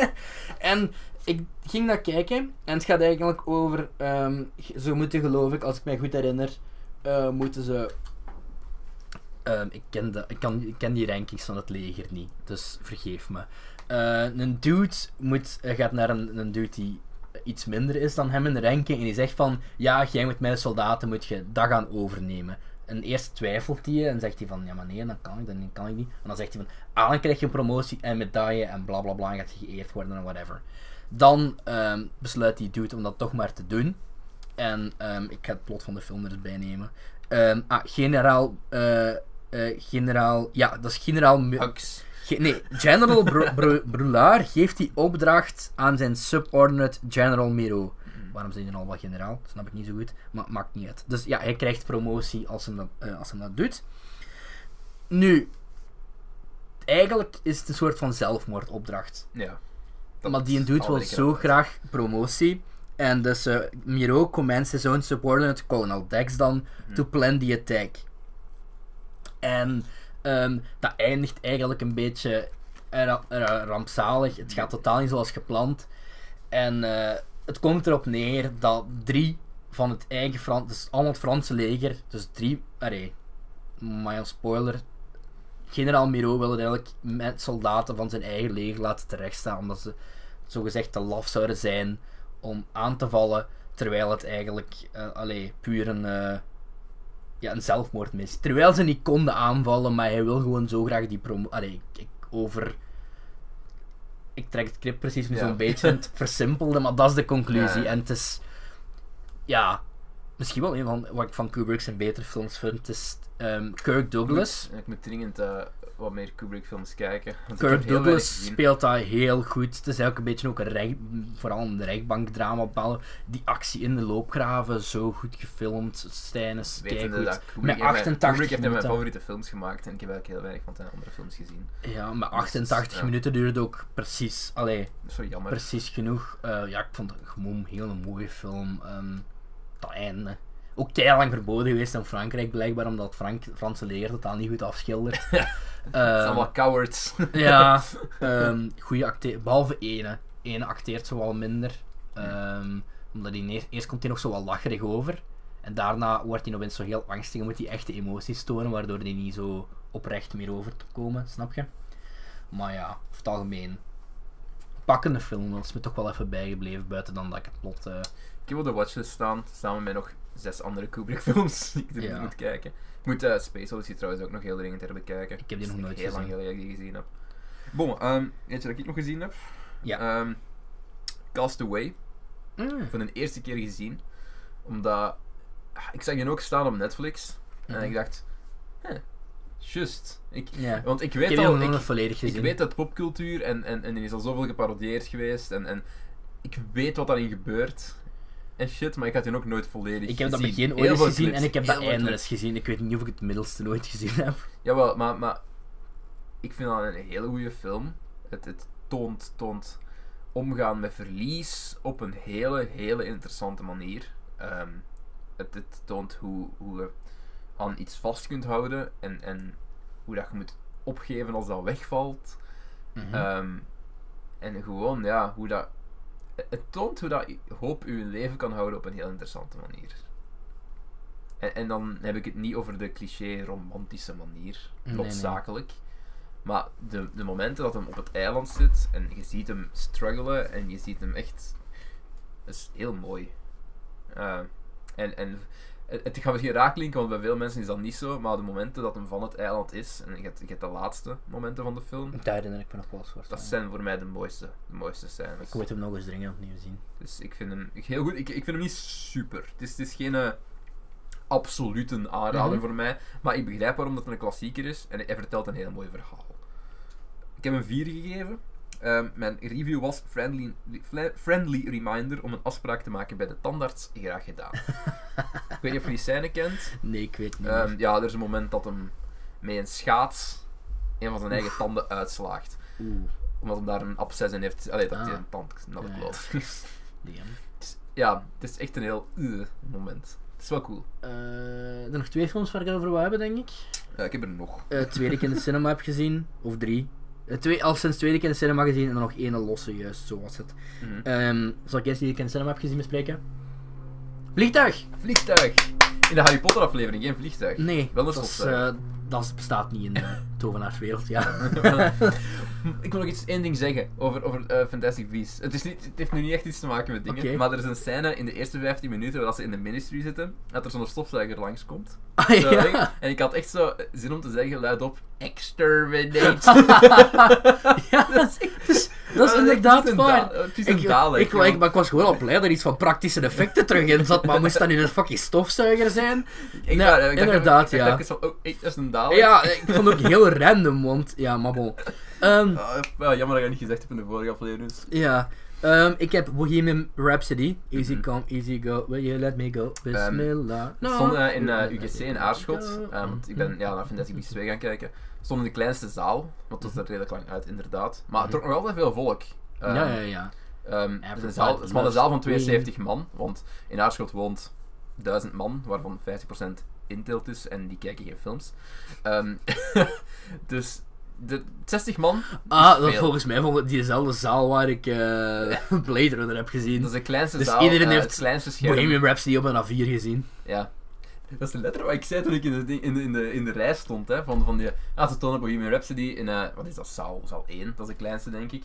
Speaker 1: <laughs> en ik ging naar kijken en het gaat eigenlijk over, ehm, g- ze moeten geloof ik, als ik mij goed herinner, eh, moeten ze Ehm, ik, ken de, ik, kan, ik ken die rankings van het leger niet, dus vergeef me. Eh, een dude moet, eh, gaat naar een, een dude die iets minder is dan hem in de ranking en die zegt van, ja, jij moet mijn soldaten, moet je dat gaan overnemen. En eerst twijfelt hij en zegt hij van, ja maar nee, dan kan ik dat niet, kan ik niet. En dan zegt hij van, ah, dan krijg je een promotie en medaille en bla bla bla, en gaat je geëerd worden en whatever. Dan ehm, besluit die dude om dat toch maar te doen. En ehm, ik ga het plot van de film er eens bij nemen. Ehm, ah, generaal. eh, eh, generaal. Ja, dat is generaal. Mu-
Speaker 2: Hux.
Speaker 1: ge- nee, General Br- Br- Brulard geeft die opdracht aan zijn subordinate General Miro. Waarom zijn die al wel generaal? Dat snap ik niet zo goed. Maar maakt niet uit. Dus ja, hij krijgt promotie als hem dat, eh, als hem dat doet. Nu. Eigenlijk is het een soort van zelfmoordopdracht
Speaker 2: Ja.
Speaker 1: maar die dude wil zo graag promotie. En dus eh, Miro commences his own subordinate, Colonel Dex dan, to plan the attack. En ehm, dat eindigt eigenlijk een beetje ra- ra- rampzalig. Het gaat totaal niet zoals gepland. En eh, het komt erop neer dat drie van het eigen Frans, dus allemaal het Franse leger, dus drie, allee, mild spoiler. Generaal Miro wil het eigenlijk met soldaten van zijn eigen leger laten terechtstaan, omdat ze zogezegd te laf zouden zijn om aan te vallen, terwijl het eigenlijk eh, allee, puur een, eh, ja, een zelfmoord is. Terwijl ze niet konden aanvallen, maar hij wil gewoon zo graag die promo... Allee, ik, ik over... Ik trek het clip precies nu
Speaker 2: Ja.
Speaker 1: zo'n beetje
Speaker 2: <laughs>
Speaker 1: het versimpelde, maar dat is de conclusie.
Speaker 2: Ja.
Speaker 1: En het is... Ja... Misschien wel een van wat ik van Kubrick zijn betere films vind. Het is ehm, Kirk Douglas.
Speaker 2: Ik moet dringend eh, wat meer Kubrick-films kijken. want ik
Speaker 1: Kirk
Speaker 2: heb heel weinig
Speaker 1: Douglas
Speaker 2: gezien.
Speaker 1: speelt dat heel goed. Het is eigenlijk een beetje ook een recht, vooral een rechtbankdrama. op alle- Die actie in de loopgraven, zo goed gefilmd. Stijn is
Speaker 2: Wetende
Speaker 1: keigoed.
Speaker 2: dat Kubrick
Speaker 1: Met
Speaker 2: heeft mijn- Kubrick
Speaker 1: 88
Speaker 2: heeft mijn
Speaker 1: minuten.
Speaker 2: favoriete films gemaakt en ik heb eigenlijk heel weinig van zijn andere films gezien.
Speaker 1: Ja, maar 88
Speaker 2: Ja.
Speaker 1: minuten duurde ook precies, allee,
Speaker 2: Dat is zo jammer.
Speaker 1: precies genoeg. Eh, ja, ik vond het gewoon heel een mooie film. Ehm dat einde. Ook lang verboden geweest in Frankrijk, blijkbaar, omdat het Frank, Franse leger totaal niet goed
Speaker 2: <laughs>
Speaker 1: afschildert.
Speaker 2: Het zijn
Speaker 1: Ehm,
Speaker 2: allemaal cowards. <laughs>
Speaker 1: Ja, <laughs> ehm goede acteer. Behalve ene. Ene acteert zo wel minder. Ehm, omdat hij neer- eerst komt hij nog zo wel lacherig over. En daarna wordt hij opeens zo heel angstig en moet hij echte emoties tonen, waardoor hij niet zo oprecht meer over te komen, snap je? Maar ja, over het algemeen. Pakkende film, dat is me toch wel even bijgebleven, buiten dan dat ik het plot. eh,
Speaker 2: Ik heb op de watchlist staan, samen met nog zes andere Kubrick-films <laughs> die ik er
Speaker 1: Ja.
Speaker 2: moet kijken. Ik moet eh, Space Odyssey trouwens ook nog heel dringend herbekijken.
Speaker 1: Ik heb die
Speaker 2: Het is
Speaker 1: nog nooit
Speaker 2: heel lang
Speaker 1: gezien.
Speaker 2: geleden dat ik die gezien heb. Bon, ehm, weet je dat ik nog gezien heb?
Speaker 1: Ja.
Speaker 2: Ehm, Cast Away,
Speaker 1: mm,
Speaker 2: voor de eerste keer gezien. Omdat, ah, ik zag die ook staan op Netflix. En
Speaker 1: Mhm.
Speaker 2: ik dacht, huh, just. Ik,
Speaker 1: ja.
Speaker 2: Want ik
Speaker 1: Ik
Speaker 2: weet
Speaker 1: heb die
Speaker 2: al,
Speaker 1: nog
Speaker 2: ik,
Speaker 1: nooit volledig gezien.
Speaker 2: ik weet dat popcultuur en, en, en er is al zoveel geparodieerd geweest en, en ik weet wat daarin gebeurt en shit, maar ik had die ook nooit volledig
Speaker 1: Ik heb dat
Speaker 2: gezien.
Speaker 1: begin ooit
Speaker 2: Heel
Speaker 1: eens
Speaker 2: veel
Speaker 1: gezien
Speaker 2: clips,
Speaker 1: en ik heb
Speaker 2: heel
Speaker 1: dat
Speaker 2: veel
Speaker 1: einde
Speaker 2: clips.
Speaker 1: eens gezien. Ik weet niet of ik het middelste nooit gezien heb.
Speaker 2: Jawel, maar, maar ik vind dat een hele goede film. Het, het toont, toont omgaan met verlies op een hele, hele interessante manier. Ehm, het, het toont hoe, hoe je aan iets vast kunt houden en, en hoe dat je moet opgeven als dat wegvalt.
Speaker 1: Mhm.
Speaker 2: Ehm, en gewoon, ja, hoe dat... Het toont hoe dat hoop u in leven kan houden op een heel interessante manier. En, en dan heb ik het niet over de cliché-romantische manier,
Speaker 1: Nee, nee.
Speaker 2: noodzakelijk. Maar de, de momenten dat hem op het eiland zit en je ziet hem struggelen en je ziet hem echt... Dat is heel mooi. Eh, en, en het, het gaat misschien raaklinken, want bij veel mensen is dat niet zo. Maar de momenten dat hem van het eiland is, en je hebt, je hebt de laatste momenten van de film,
Speaker 1: Daar herinner ik me nog wel eens voor.
Speaker 2: dat
Speaker 1: ja.
Speaker 2: zijn voor mij de mooiste, de mooiste scènes.
Speaker 1: Ik moet hem nog eens dringend opnieuw zien. <laughs>
Speaker 2: Dus ik vind hem heel goed. Ik, ik vind hem niet super. Het is, het is geen eh, absolute aanrader
Speaker 1: Mhm.
Speaker 2: voor mij. Maar ik begrijp waarom dat een klassieker is. En hij vertelt een heel mooi verhaal. Ik heb een 4 gegeven. Ehm, mijn review was friendly, fla- friendly reminder om een afspraak te maken bij de tandarts. Graag gedaan. ik weet niet of je die scène kent.
Speaker 1: Nee, ik weet niet.
Speaker 2: Ehm, ja, er is een moment dat hem met een schaats een van zijn eigen tanden uitslaagt.
Speaker 1: Oeh,
Speaker 2: Omdat hem daar een absces in heeft. Allee, dat hij
Speaker 1: Ah.
Speaker 2: een tand naar de
Speaker 1: Ja, ja.
Speaker 2: <laughs> kloot.
Speaker 1: die hem.
Speaker 2: Dus ja, het is echt een heel eh, moment. Het is wel cool.
Speaker 1: Eh, er zijn nog twee films waar ik het over wil hebben, denk ik.
Speaker 2: Ja, ik heb er nog.
Speaker 1: Eh, twee die ik in de cinema heb gezien, of drie. Eh, twee, al sinds twee die ik in de cinema gezien en dan nog één losse, juist, zo was het.
Speaker 2: Mhm.
Speaker 1: Ehm, zal ik eerst die ik in de cinema heb gezien bespreken? Vliegtuig!
Speaker 2: Vliegtuig! In de Harry Potter aflevering, geen vliegtuig.
Speaker 1: Eh, Nee,
Speaker 2: Wel een
Speaker 1: dat, is,
Speaker 2: stofzuiger.
Speaker 1: eh, dat is- bestaat niet in de tovenaarswereld, ja.
Speaker 2: <laughs> Ik wil nog iets één ding zeggen over, over eh, Fantastic Beasts. Het, is niet, het heeft nu niet echt iets te maken met dingen,
Speaker 1: Oké.
Speaker 2: maar er is een scène in de eerste 15 minuten waar ze in de ministry zitten, dat er zo'n stofzuiger langskomt.
Speaker 1: Ah, <laughs>
Speaker 2: Zo,
Speaker 1: ja.
Speaker 2: En ik had echt zo eh, zin om te zeggen, luidop, exterminate.
Speaker 1: Ja, dat is, echt- <laughs> dat is inderdaad waar.
Speaker 2: Het is
Speaker 1: Ik,
Speaker 2: een daal,
Speaker 1: ik, wou- ik- maar ik was gewoon al blij dat er iets van praktische effecten terug in zat, maar moest dat nu een fucking stofzuiger zijn?
Speaker 2: Ik
Speaker 1: Ja,
Speaker 2: wou- ik dacht even-
Speaker 1: inderdaad,
Speaker 2: ik dacht
Speaker 1: ja.
Speaker 2: even zo, oh, hey, dat is een daal.
Speaker 1: Ja, ik vond het ook heel random, want... Ja, maar bon. Ehm,
Speaker 2: Ah, wel, jammer dat je niet gezegd hebt in de vorige aflevering. dus-
Speaker 1: ja. Ehm, ik heb Bohemian Rhapsody.
Speaker 2: Mhm.
Speaker 1: Easy come, easy go, will you let me go? Bismillah.
Speaker 2: Het stond eh, in eh, UGC in Aarschot, eh, want ik ben ja, naar Fantastic Beasts 2 gaan kijken. Het stond in de kleinste zaal, want het was er redelijk lang uit, inderdaad. Maar het trok nog altijd veel volk. Ehm,
Speaker 1: Mhm. ja, ja, ja.
Speaker 2: ehm, het is een,
Speaker 1: Everybody
Speaker 2: zaal, het is maar een
Speaker 1: loves
Speaker 2: zaal van 72 man, want in Aarschot woont 1000 man, waarvan 50% inteelt is en die kijken geen films. Ehm, <laughs> dus de 60 man,
Speaker 1: Ah, dat
Speaker 2: veel.
Speaker 1: volgens mij vond ik diezelfde zaal waar ik eh
Speaker 2: <laughs>
Speaker 1: Blade Runner heb gezien.
Speaker 2: dat is de kleinste
Speaker 1: Dus
Speaker 2: zaal,
Speaker 1: iedereen
Speaker 2: eh,
Speaker 1: heeft
Speaker 2: het kleinste scherm.
Speaker 1: Bohemian Rhapsody op een A4 gezien.
Speaker 2: Ja. Dat is de letter wat ik zei toen ik in de, ding- in de, in de, in de rij stond. Hè, van, van die, ah, ze tonen Bohemian Rhapsody in, eh, wat is dat, zaal, zaal 1, dat is de kleinste denk ik.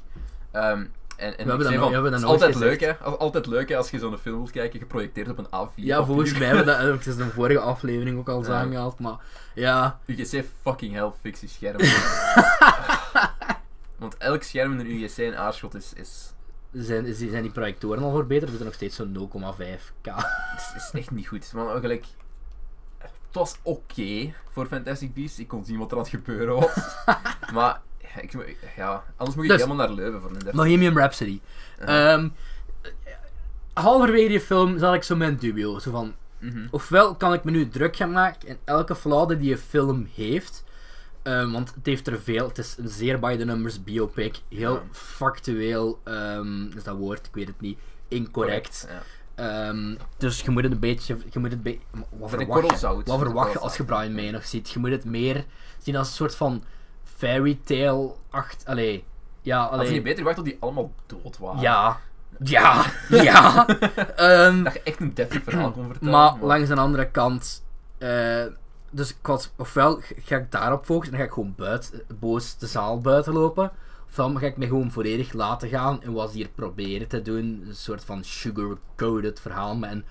Speaker 2: Ehm, en, en
Speaker 1: hebben
Speaker 2: ik
Speaker 1: dat
Speaker 2: zei
Speaker 1: nog-
Speaker 2: van,
Speaker 1: we hebben dat
Speaker 2: het is
Speaker 1: nooit
Speaker 2: altijd
Speaker 1: gezegd.
Speaker 2: leuk, hè, al- altijd leuk hè, als je zo'n film wilt kijken, geprojecteerd op een A4.
Speaker 1: Ja, volgens mij hebben we dat ook in de vorige aflevering ook al eens
Speaker 2: Ja.
Speaker 1: aangehaald, maar ja.
Speaker 2: UGC fucking hell, fix
Speaker 1: <laughs>
Speaker 2: die schermen. Want elk scherm in een UGC in Aarschot is, is,
Speaker 1: Zijn, is- zijn die projectoren al verbeterd? Er zitten nog steeds zo'n 0,5k.
Speaker 2: is, is echt niet goed. Maar eh, gelijk, het was oké voor Fantastic Beasts. Ik kon zien wat er aan het gebeuren was. <laughs> maar ik, moet- ja, anders moet ik
Speaker 1: Dus-
Speaker 2: helemaal naar Leuven voor een deftige
Speaker 1: <laughs> Bohemian Rhapsody. Ehm, halverwege die film zat ik zo mijn dubio. Zo van,
Speaker 2: Mhm.
Speaker 1: ofwel kan ik me nu druk gaan maken in elke flaude die een film heeft. ehm, want het heeft er veel. Het is een zeer by the numbers biopic. Heel
Speaker 2: Ja.
Speaker 1: factueel. ehm, is dat woord? Ik weet het niet. Incorrect.
Speaker 2: Ja.
Speaker 1: Ehm, dus je moet het een beetje. Je moet het be- wat,
Speaker 2: Met een
Speaker 1: verwacht je,
Speaker 2: korrelzout.
Speaker 1: wat verwacht je
Speaker 2: Korrelzout.
Speaker 1: als je Brian May nog ziet? Je moet het meer zien als een soort van fairy tale. Acht, allee, ja,
Speaker 2: Had je
Speaker 1: allee,
Speaker 2: niet beter gewacht tot die allemaal dood waren?
Speaker 1: ja. Ja.
Speaker 2: <laughs>
Speaker 1: Ja. Ehm,
Speaker 2: Dat je echt een
Speaker 1: <clears throat>
Speaker 2: deftig verhaal kon vertellen.
Speaker 1: maar langs een andere kant. eh, dus ik was, ofwel ga ik daarop focussen en dan ga ik gewoon buiten, boos de zaal buiten lopen. Ofwel ga ik me gewoon volledig laten gaan en wat ze hier proberen te doen. Een soort van sugar-coated verhaal met een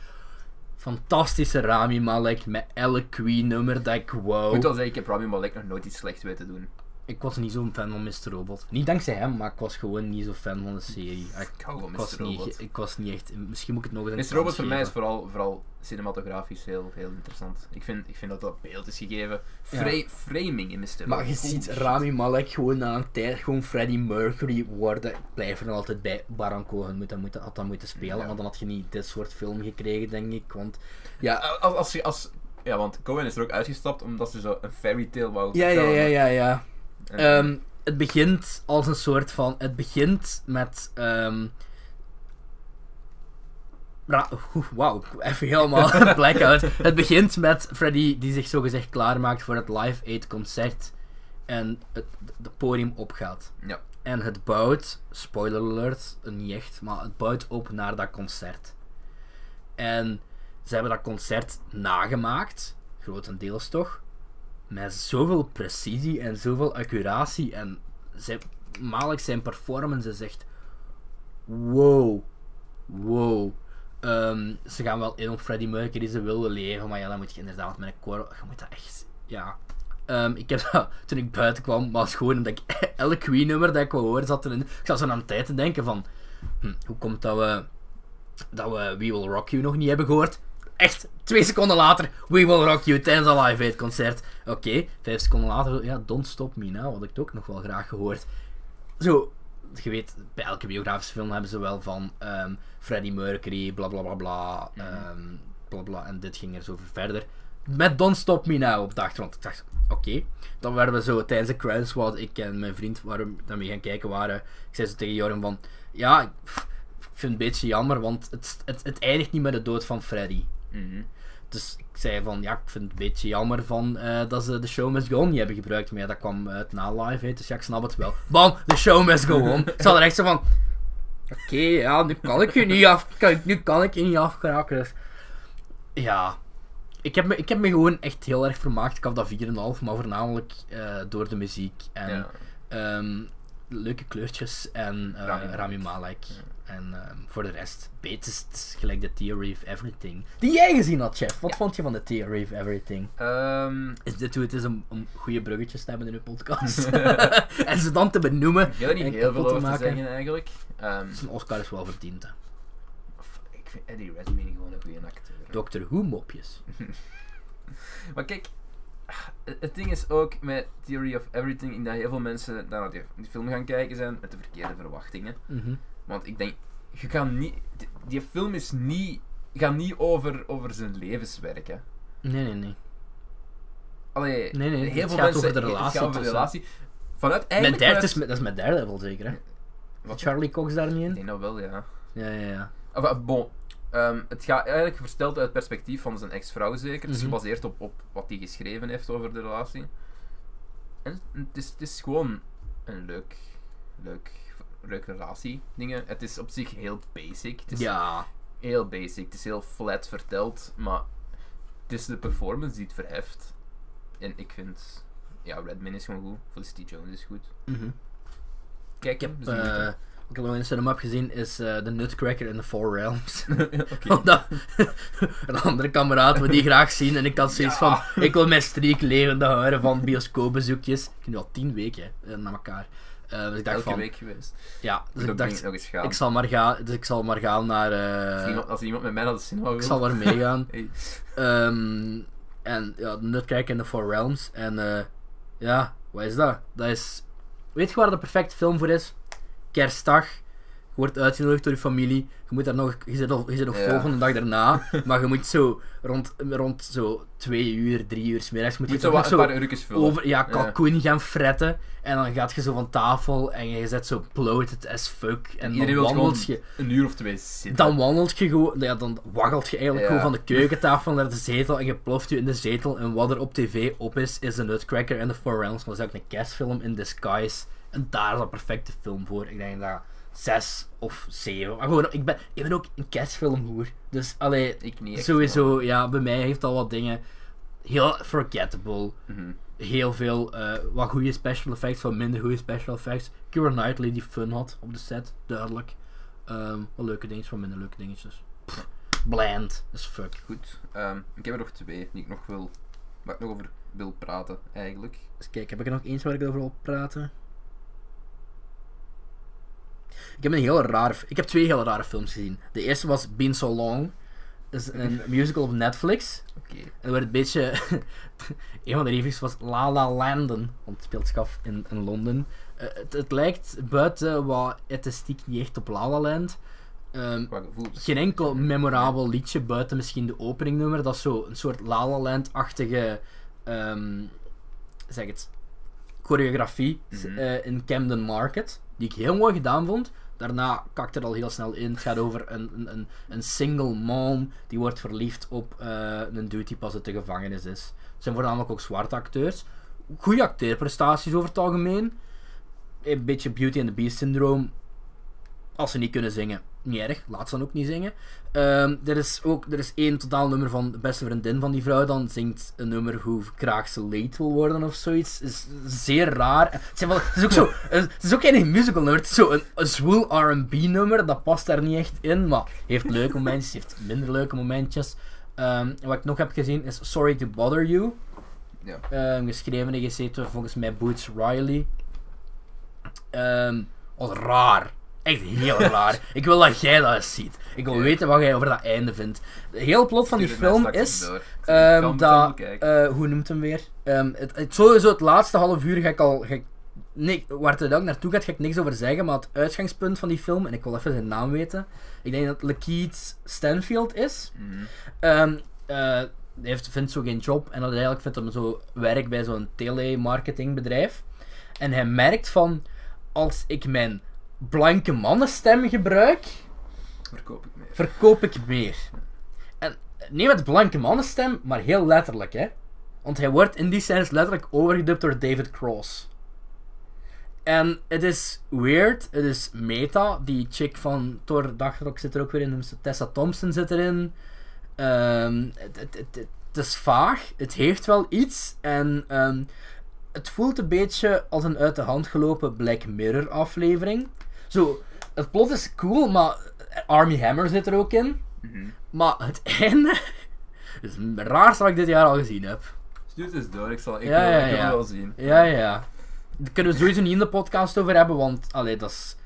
Speaker 1: fantastische Rami Malek met elk Queen-nummer dat ik
Speaker 2: Ik moet
Speaker 1: wow.
Speaker 2: wel zeggen, ik heb Rami Malek nog nooit iets slechts weten doen.
Speaker 1: Ik was niet zo'n fan van Mr. Robot. Niet dankzij hem, maar ik was gewoon niet zo fan van de serie. Ik,
Speaker 2: Ik hou van
Speaker 1: ik
Speaker 2: Mr.
Speaker 1: was,
Speaker 2: Robot.
Speaker 1: Niet, ik was niet echt... Misschien moet ik het nog eens
Speaker 2: Mr. Robot voor mij is vooral, vooral cinematografisch heel, heel interessant. Ik vind, ik vind dat dat beeld is gegeven. Fra- Framing in Mr. Robot.
Speaker 1: Maar je ziet Rami Malek gewoon na een tijd gewoon Freddie Mercury worden. Ik blijf er nog altijd bij. Baran Cohen moet dat moeten, had dat moeten spelen,
Speaker 2: Ja.
Speaker 1: want dan had je niet dit soort film gekregen, denk ik. Want ja,
Speaker 2: Eh, Als, als, je- als, ja, want Cohen is er ook uitgestapt omdat ze zo een fairy tale wou
Speaker 1: ja, ja,
Speaker 2: vertellen.
Speaker 1: ja, ja, ja.
Speaker 2: En-
Speaker 1: Ehm, het begint als een soort van. Het begint met. ehm ra- oeh, Wauw, even <laughs> helemaal blackout. Het begint met Freddy die zich zogezegd klaarmaakt voor het Live Aid concert. en het de podium opgaat.
Speaker 2: Ja.
Speaker 1: En het bouwt, spoiler alert, eh, niet echt, maar het bouwt op naar dat concert. En ze hebben dat concert nagemaakt, grotendeels toch, met zoveel precisie en zoveel accuratie. En ze, Malik zijn performance is echt wow, wow. Ehm, ze gaan wel in op Freddie Mercury, ze wilden leven, maar ja, dan moet je inderdaad met een koor... Je moet dat echt... Ja. Ehm, ik heb dat, toen ik buiten kwam, was gewoon omdat ik <laughs> elk Queen-nummer dat ik wou horen zat erin. Ik zat zo aan de tijd te denken van... hm, hoe komt dat we... Dat we We Will Rock You nog niet hebben gehoord? Echt, twee seconden later, We Will Rock You tijdens een Live Aid concert. Oké, vijf seconden later, ja, Don't Stop Me Now had ik het ook nog wel graag gehoord. Zo, je weet, bij elke biografische film hebben ze wel van ehm Freddie Mercury, bla bla bla bla, ehm, bla bla, en dit ging er zo ver verder. Met Don't Stop Me Now op de achtergrond. Ik dacht, oké. Dan werden we zo tijdens de credits, wat ik en mijn vriend waar we daarmee gaan kijken waren, ik zei zo tegen Joram van, ja, ik pff, ik vind het een beetje jammer, want het, het, het eindigt niet met de dood van Freddie.
Speaker 2: Mhm.
Speaker 1: Dus ik zei van, ja, ik vind het een beetje jammer van, eh, dat ze de Show Must Go On niet hebben gebruikt. Maar ja, dat kwam uit na live, hè, dus ja, ik snap het wel. Bam, de Show Must Go On. Ik zat er echt zo van, oké, ja, nu kan ik je niet af, kan- nu kan ik je niet afgeraken. Dus ja, ik heb, me, ik heb me gewoon echt heel erg vermaakt. Ik had dat 4,5, maar voornamelijk eh, door de muziek en
Speaker 2: Ja.
Speaker 1: ehm, leuke kleurtjes en eh,
Speaker 2: Rami Malek.
Speaker 1: Rami Malek. En ehm, voor de rest, beet is het gelijk de Theory of Everything. Die jij gezien had, chef. Wat vond je van de Theory of Everything?
Speaker 2: Ehm,
Speaker 1: Is dit hoe het is om, om goede bruggetjes te hebben in een podcast? <laughs> en ze dan te benoemen.
Speaker 2: ik heb er niet
Speaker 1: en
Speaker 2: heel veel
Speaker 1: kapot
Speaker 2: over te zeggen eigenlijk. Ehm,
Speaker 1: Zijn Oscar is wel verdiend. Hè.
Speaker 2: f- ik vind Eddie Redmayne gewoon een goede acteur.
Speaker 1: Doctor Who mopjes.
Speaker 2: Maar kijk, eh, het ding is ook met Theory of Everything ik dat heel veel mensen naar die, die film gaan kijken zijn met de verkeerde verwachtingen.
Speaker 1: Mhm.
Speaker 2: Want ik denk, je kan niet, die, die film is niet, gaat niet over, over zijn levenswerk. Hè.
Speaker 1: Nee, nee, nee.
Speaker 2: Allee,
Speaker 1: Nee, nee,
Speaker 2: heel
Speaker 1: het
Speaker 2: veel
Speaker 1: gaat
Speaker 2: mensen,
Speaker 1: over de
Speaker 2: het gaat
Speaker 1: relatie
Speaker 2: over de
Speaker 1: tussen-
Speaker 2: relatie. Vanuit
Speaker 1: Met
Speaker 2: eigenlijk.
Speaker 1: derde
Speaker 2: vanuit-
Speaker 1: is, met- dat is met Daredevil zeker, hè?
Speaker 2: Wat?
Speaker 1: Charlie Cox daar niet
Speaker 2: Ik
Speaker 1: in?
Speaker 2: denk dat wel, ja.
Speaker 1: Ja, ja, ja.
Speaker 2: Of, eh, bon, ehm, het gaat eigenlijk versteld uit het perspectief van zijn ex-vrouw zeker. Het is
Speaker 1: Mhm.
Speaker 2: gebaseerd op, op wat hij geschreven heeft over de relatie. En het is, het is gewoon een leuk, leuk, leuk relatie dingen. Het is op zich heel basic. Het is
Speaker 1: Ja.
Speaker 2: heel basic. Het is heel flat verteld, maar het is de performance die het verheft. En ik vind, ja, Redman is gewoon goed. Felicity Jones is goed.
Speaker 1: Mhm.
Speaker 2: Kijk, dus hem.
Speaker 1: Eh, wat ik nog in de cinema heb gezien is eh The Nutcracker in the Four Realms.
Speaker 2: <laughs>
Speaker 1: <laughs>
Speaker 2: Oké.
Speaker 1: Omdat een andere kameraad wil die graag zien en ik had zoiets
Speaker 2: Ja.
Speaker 1: van: ik wil mijn streak levende houden van bioscoopbezoekjes. Ik heb nu al tien weken hè, na elkaar. Eh, dus ik dacht
Speaker 2: Elke
Speaker 1: van:
Speaker 2: week geweest.
Speaker 1: ja, dus
Speaker 2: Moet
Speaker 1: ik
Speaker 2: ook
Speaker 1: dacht,
Speaker 2: nog eens gaan.
Speaker 1: ik zal maar gaan, dus ik zal maar gaan naar. eh,
Speaker 2: Als iemand- als iemand met mij naar de cinema wil.
Speaker 1: ik zal maar meegaan.
Speaker 2: Hey.
Speaker 1: Ehm, en ja, The Nutcracker in the Four Realms. En eh, ja, wat is dat? Dat is. Weet je waar de perfecte film voor is? Kerstdag. Je wordt uitgenodigd door je familie. Je, moet daar nog, je zit nog, je zit nog
Speaker 2: Ja.
Speaker 1: vol van de dag daarna.
Speaker 2: <laughs>
Speaker 1: maar je moet zo rond, rond zo twee uur, drie uur 's middags. Moet je
Speaker 2: Moet zo
Speaker 1: toch
Speaker 2: wat
Speaker 1: nog
Speaker 2: een
Speaker 1: zo
Speaker 2: paar uurtjes vullen.
Speaker 1: over, ja, kalkoen gaan fretten. En dan gaat je zo van tafel en je zet zo bloated as fuck. En
Speaker 2: Iedereen
Speaker 1: dan
Speaker 2: wil gewoon
Speaker 1: wandelt je.
Speaker 2: een uur of twee zitten.
Speaker 1: Dan wandelt je gewoon, ja, dan waggelt je eigenlijk
Speaker 2: Ja.
Speaker 1: gewoon van de keukentafel naar de zetel en je ploft je in de zetel. En wat er op tv op is, is de Nutcracker en de Four Realms. Maar dat is ook een kerstfilm in disguise. En daar is een perfecte film voor. Ik denk dat zes of zeven. Maar gewoon, ik ben, ik ben ook een kerstfilmhoer. Dus allee,
Speaker 2: Ik niet echt,
Speaker 1: sowieso, ja, bij mij heeft al wat dingen heel forgettable
Speaker 2: maar- Mhm.
Speaker 1: heel veel eh, wat goede special effects, wat minder goede special effects. Keira Knightley die fun had op de set, duidelijk. Ehm, wat leuke dingetjes, wat minder leuke dingetjes. Pff, bland as fuck.
Speaker 2: Goed. Ehm, ik heb er nog twee die ik nog wil... Waar ik nog over wil praten, eigenlijk.
Speaker 1: Dus kijk, heb ik er nog eens waar ik over wil praten? Ik heb een heel rare... f- Ik heb twee heel rare films gezien. De eerste was Been So Long. Dat is een musical op Netflix.
Speaker 2: Oké.
Speaker 1: En er werd een beetje. <laughs> een van de reviews was La La Landen, want het speelt zich af in, in Londen. Eh, het, het lijkt buiten wat ethniek niet echt op La La Land. Ehm,
Speaker 2: Qua gevoel.
Speaker 1: geen enkel memorabel liedje buiten misschien de openingnummer. Dat is zo een soort La La Land-achtige. ehm, zeg het. Choreografie s-
Speaker 2: Mhm.
Speaker 1: eh, in Camden Market. Die ik heel mooi gedaan vond. Daarna kakt het al heel snel in. Het gaat over een, een, een, een single mom die wordt verliefd op eh, een dude die pas uit de gevangenis is. Het zijn voornamelijk ook zwarte acteurs. goede acteerprestaties over het algemeen. Een beetje Beauty and the Beast syndroom. Als ze niet kunnen zingen, niet erg. Laat ze dan ook niet zingen. Ehm, er is ook er is één totaal nummer van de beste vriendin van die vrouw. Dan zingt een nummer hoe graag ze late wil worden of zoiets. Is zeer raar. Het, zijn wel, het is ook zo. Het is ook geen musical nummer. Het is zo een, een zwoel R&B nummer. Dat past daar niet echt in. Maar heeft leuke momentjes, heeft minder leuke momentjes. Ehm, wat ik nog heb gezien is Sorry to Bother You.
Speaker 2: Ja.
Speaker 1: Ehm, geschreven en gezeten volgens mij Boots Riley. Ehm wat raar. Echt
Speaker 2: <laughs>
Speaker 1: heel raar. Ik wil dat jij dat eens ziet. Ik wil
Speaker 2: Ja.
Speaker 1: weten wat jij over dat einde vindt. De heel plot van die
Speaker 2: Stuur het mij
Speaker 1: film
Speaker 2: straks
Speaker 1: is.
Speaker 2: door. Ik zal die
Speaker 1: ehm,
Speaker 2: film meteen
Speaker 1: dat,
Speaker 2: bekijken.
Speaker 1: eh, hoe noemt hem weer? Ehm, het, het- sowieso het laatste half uur ga ik al. Ga ik, nee, waar het dan naartoe gaat, ga ik niks over zeggen. Maar het uitgangspunt van die film, en ik wil even zijn naam weten. Ik denk dat Lakeith Stanfield is.
Speaker 2: Mhm.
Speaker 1: Ehm, eh, hij heeft, vindt zo geen job en uiteindelijk vindt hem zo werk bij zo'n telemarketingbedrijf. En hij merkt van, als ik mijn blanke mannenstem gebruik,
Speaker 2: Verkoop ik meer.
Speaker 1: verkoop ik meer. En niet met blanke mannenstem, maar heel letterlijk, hè. Want hij wordt in die scènes letterlijk overgedubt door David Cross. En het is weird, het is meta. Die chick van Thor Dagrok zit er ook weer in, Tessa Thompson zit erin. Ehm, het, het, het, het is vaag, het heeft wel iets. En ehm, het voelt een beetje als een uit de hand gelopen Black Mirror aflevering. Zo, het plot is cool, maar Army Hammer zit er ook in.
Speaker 2: Mhm.
Speaker 1: Maar het <laughs> einde is het raarste wat ik dit jaar al gezien heb.
Speaker 2: Stuur het eens door, ik zal ik
Speaker 1: Ja,
Speaker 2: wil,
Speaker 1: ja,
Speaker 2: ik wil
Speaker 1: ja.
Speaker 2: wel zien.
Speaker 1: Ja, ja. Daar kunnen we sowieso niet in de podcast over hebben, want allee, dat is...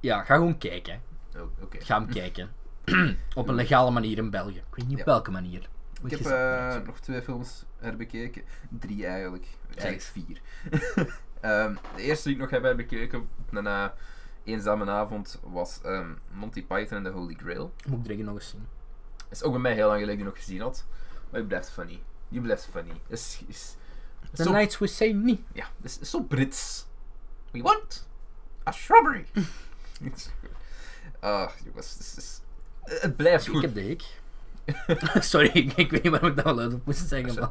Speaker 1: Ja, ga gewoon kijken.
Speaker 2: Oh, Oké.
Speaker 1: Ga hem kijken. <clears throat> Op een legale manier in België. Ik weet niet
Speaker 2: Ja.
Speaker 1: op welke manier.
Speaker 2: Ik
Speaker 1: Moet
Speaker 2: heb
Speaker 1: je zelf
Speaker 2: eh,
Speaker 1: weten.
Speaker 2: nog twee films herbekeken. Drie eigenlijk. Eigenlijk
Speaker 1: eens.
Speaker 2: vier. <laughs> Ehm, de eerste die ik nog heb herbekeken op een eh, eenzame avond was ehm, Monty Python en the Holy Grail.
Speaker 1: Moet ik drinken nog eens zien.
Speaker 2: Is ook bij mij heel lang geleden die nog gezien had. Maar die blijft funny. Die blijft funny. Is, is,
Speaker 1: The
Speaker 2: is zo,
Speaker 1: Nights We Say niet.
Speaker 2: ja, is, is zo Brits. We want
Speaker 1: <laughs>
Speaker 2: a shrubbery. Ah, jongens. het is- is- Het blijft
Speaker 1: Ik
Speaker 2: goed.
Speaker 1: heb de
Speaker 2: <laughs>
Speaker 1: hik. <laughs> Sorry, ik, ik weet niet waarom ik dat wel uit op moest zeggen, maar...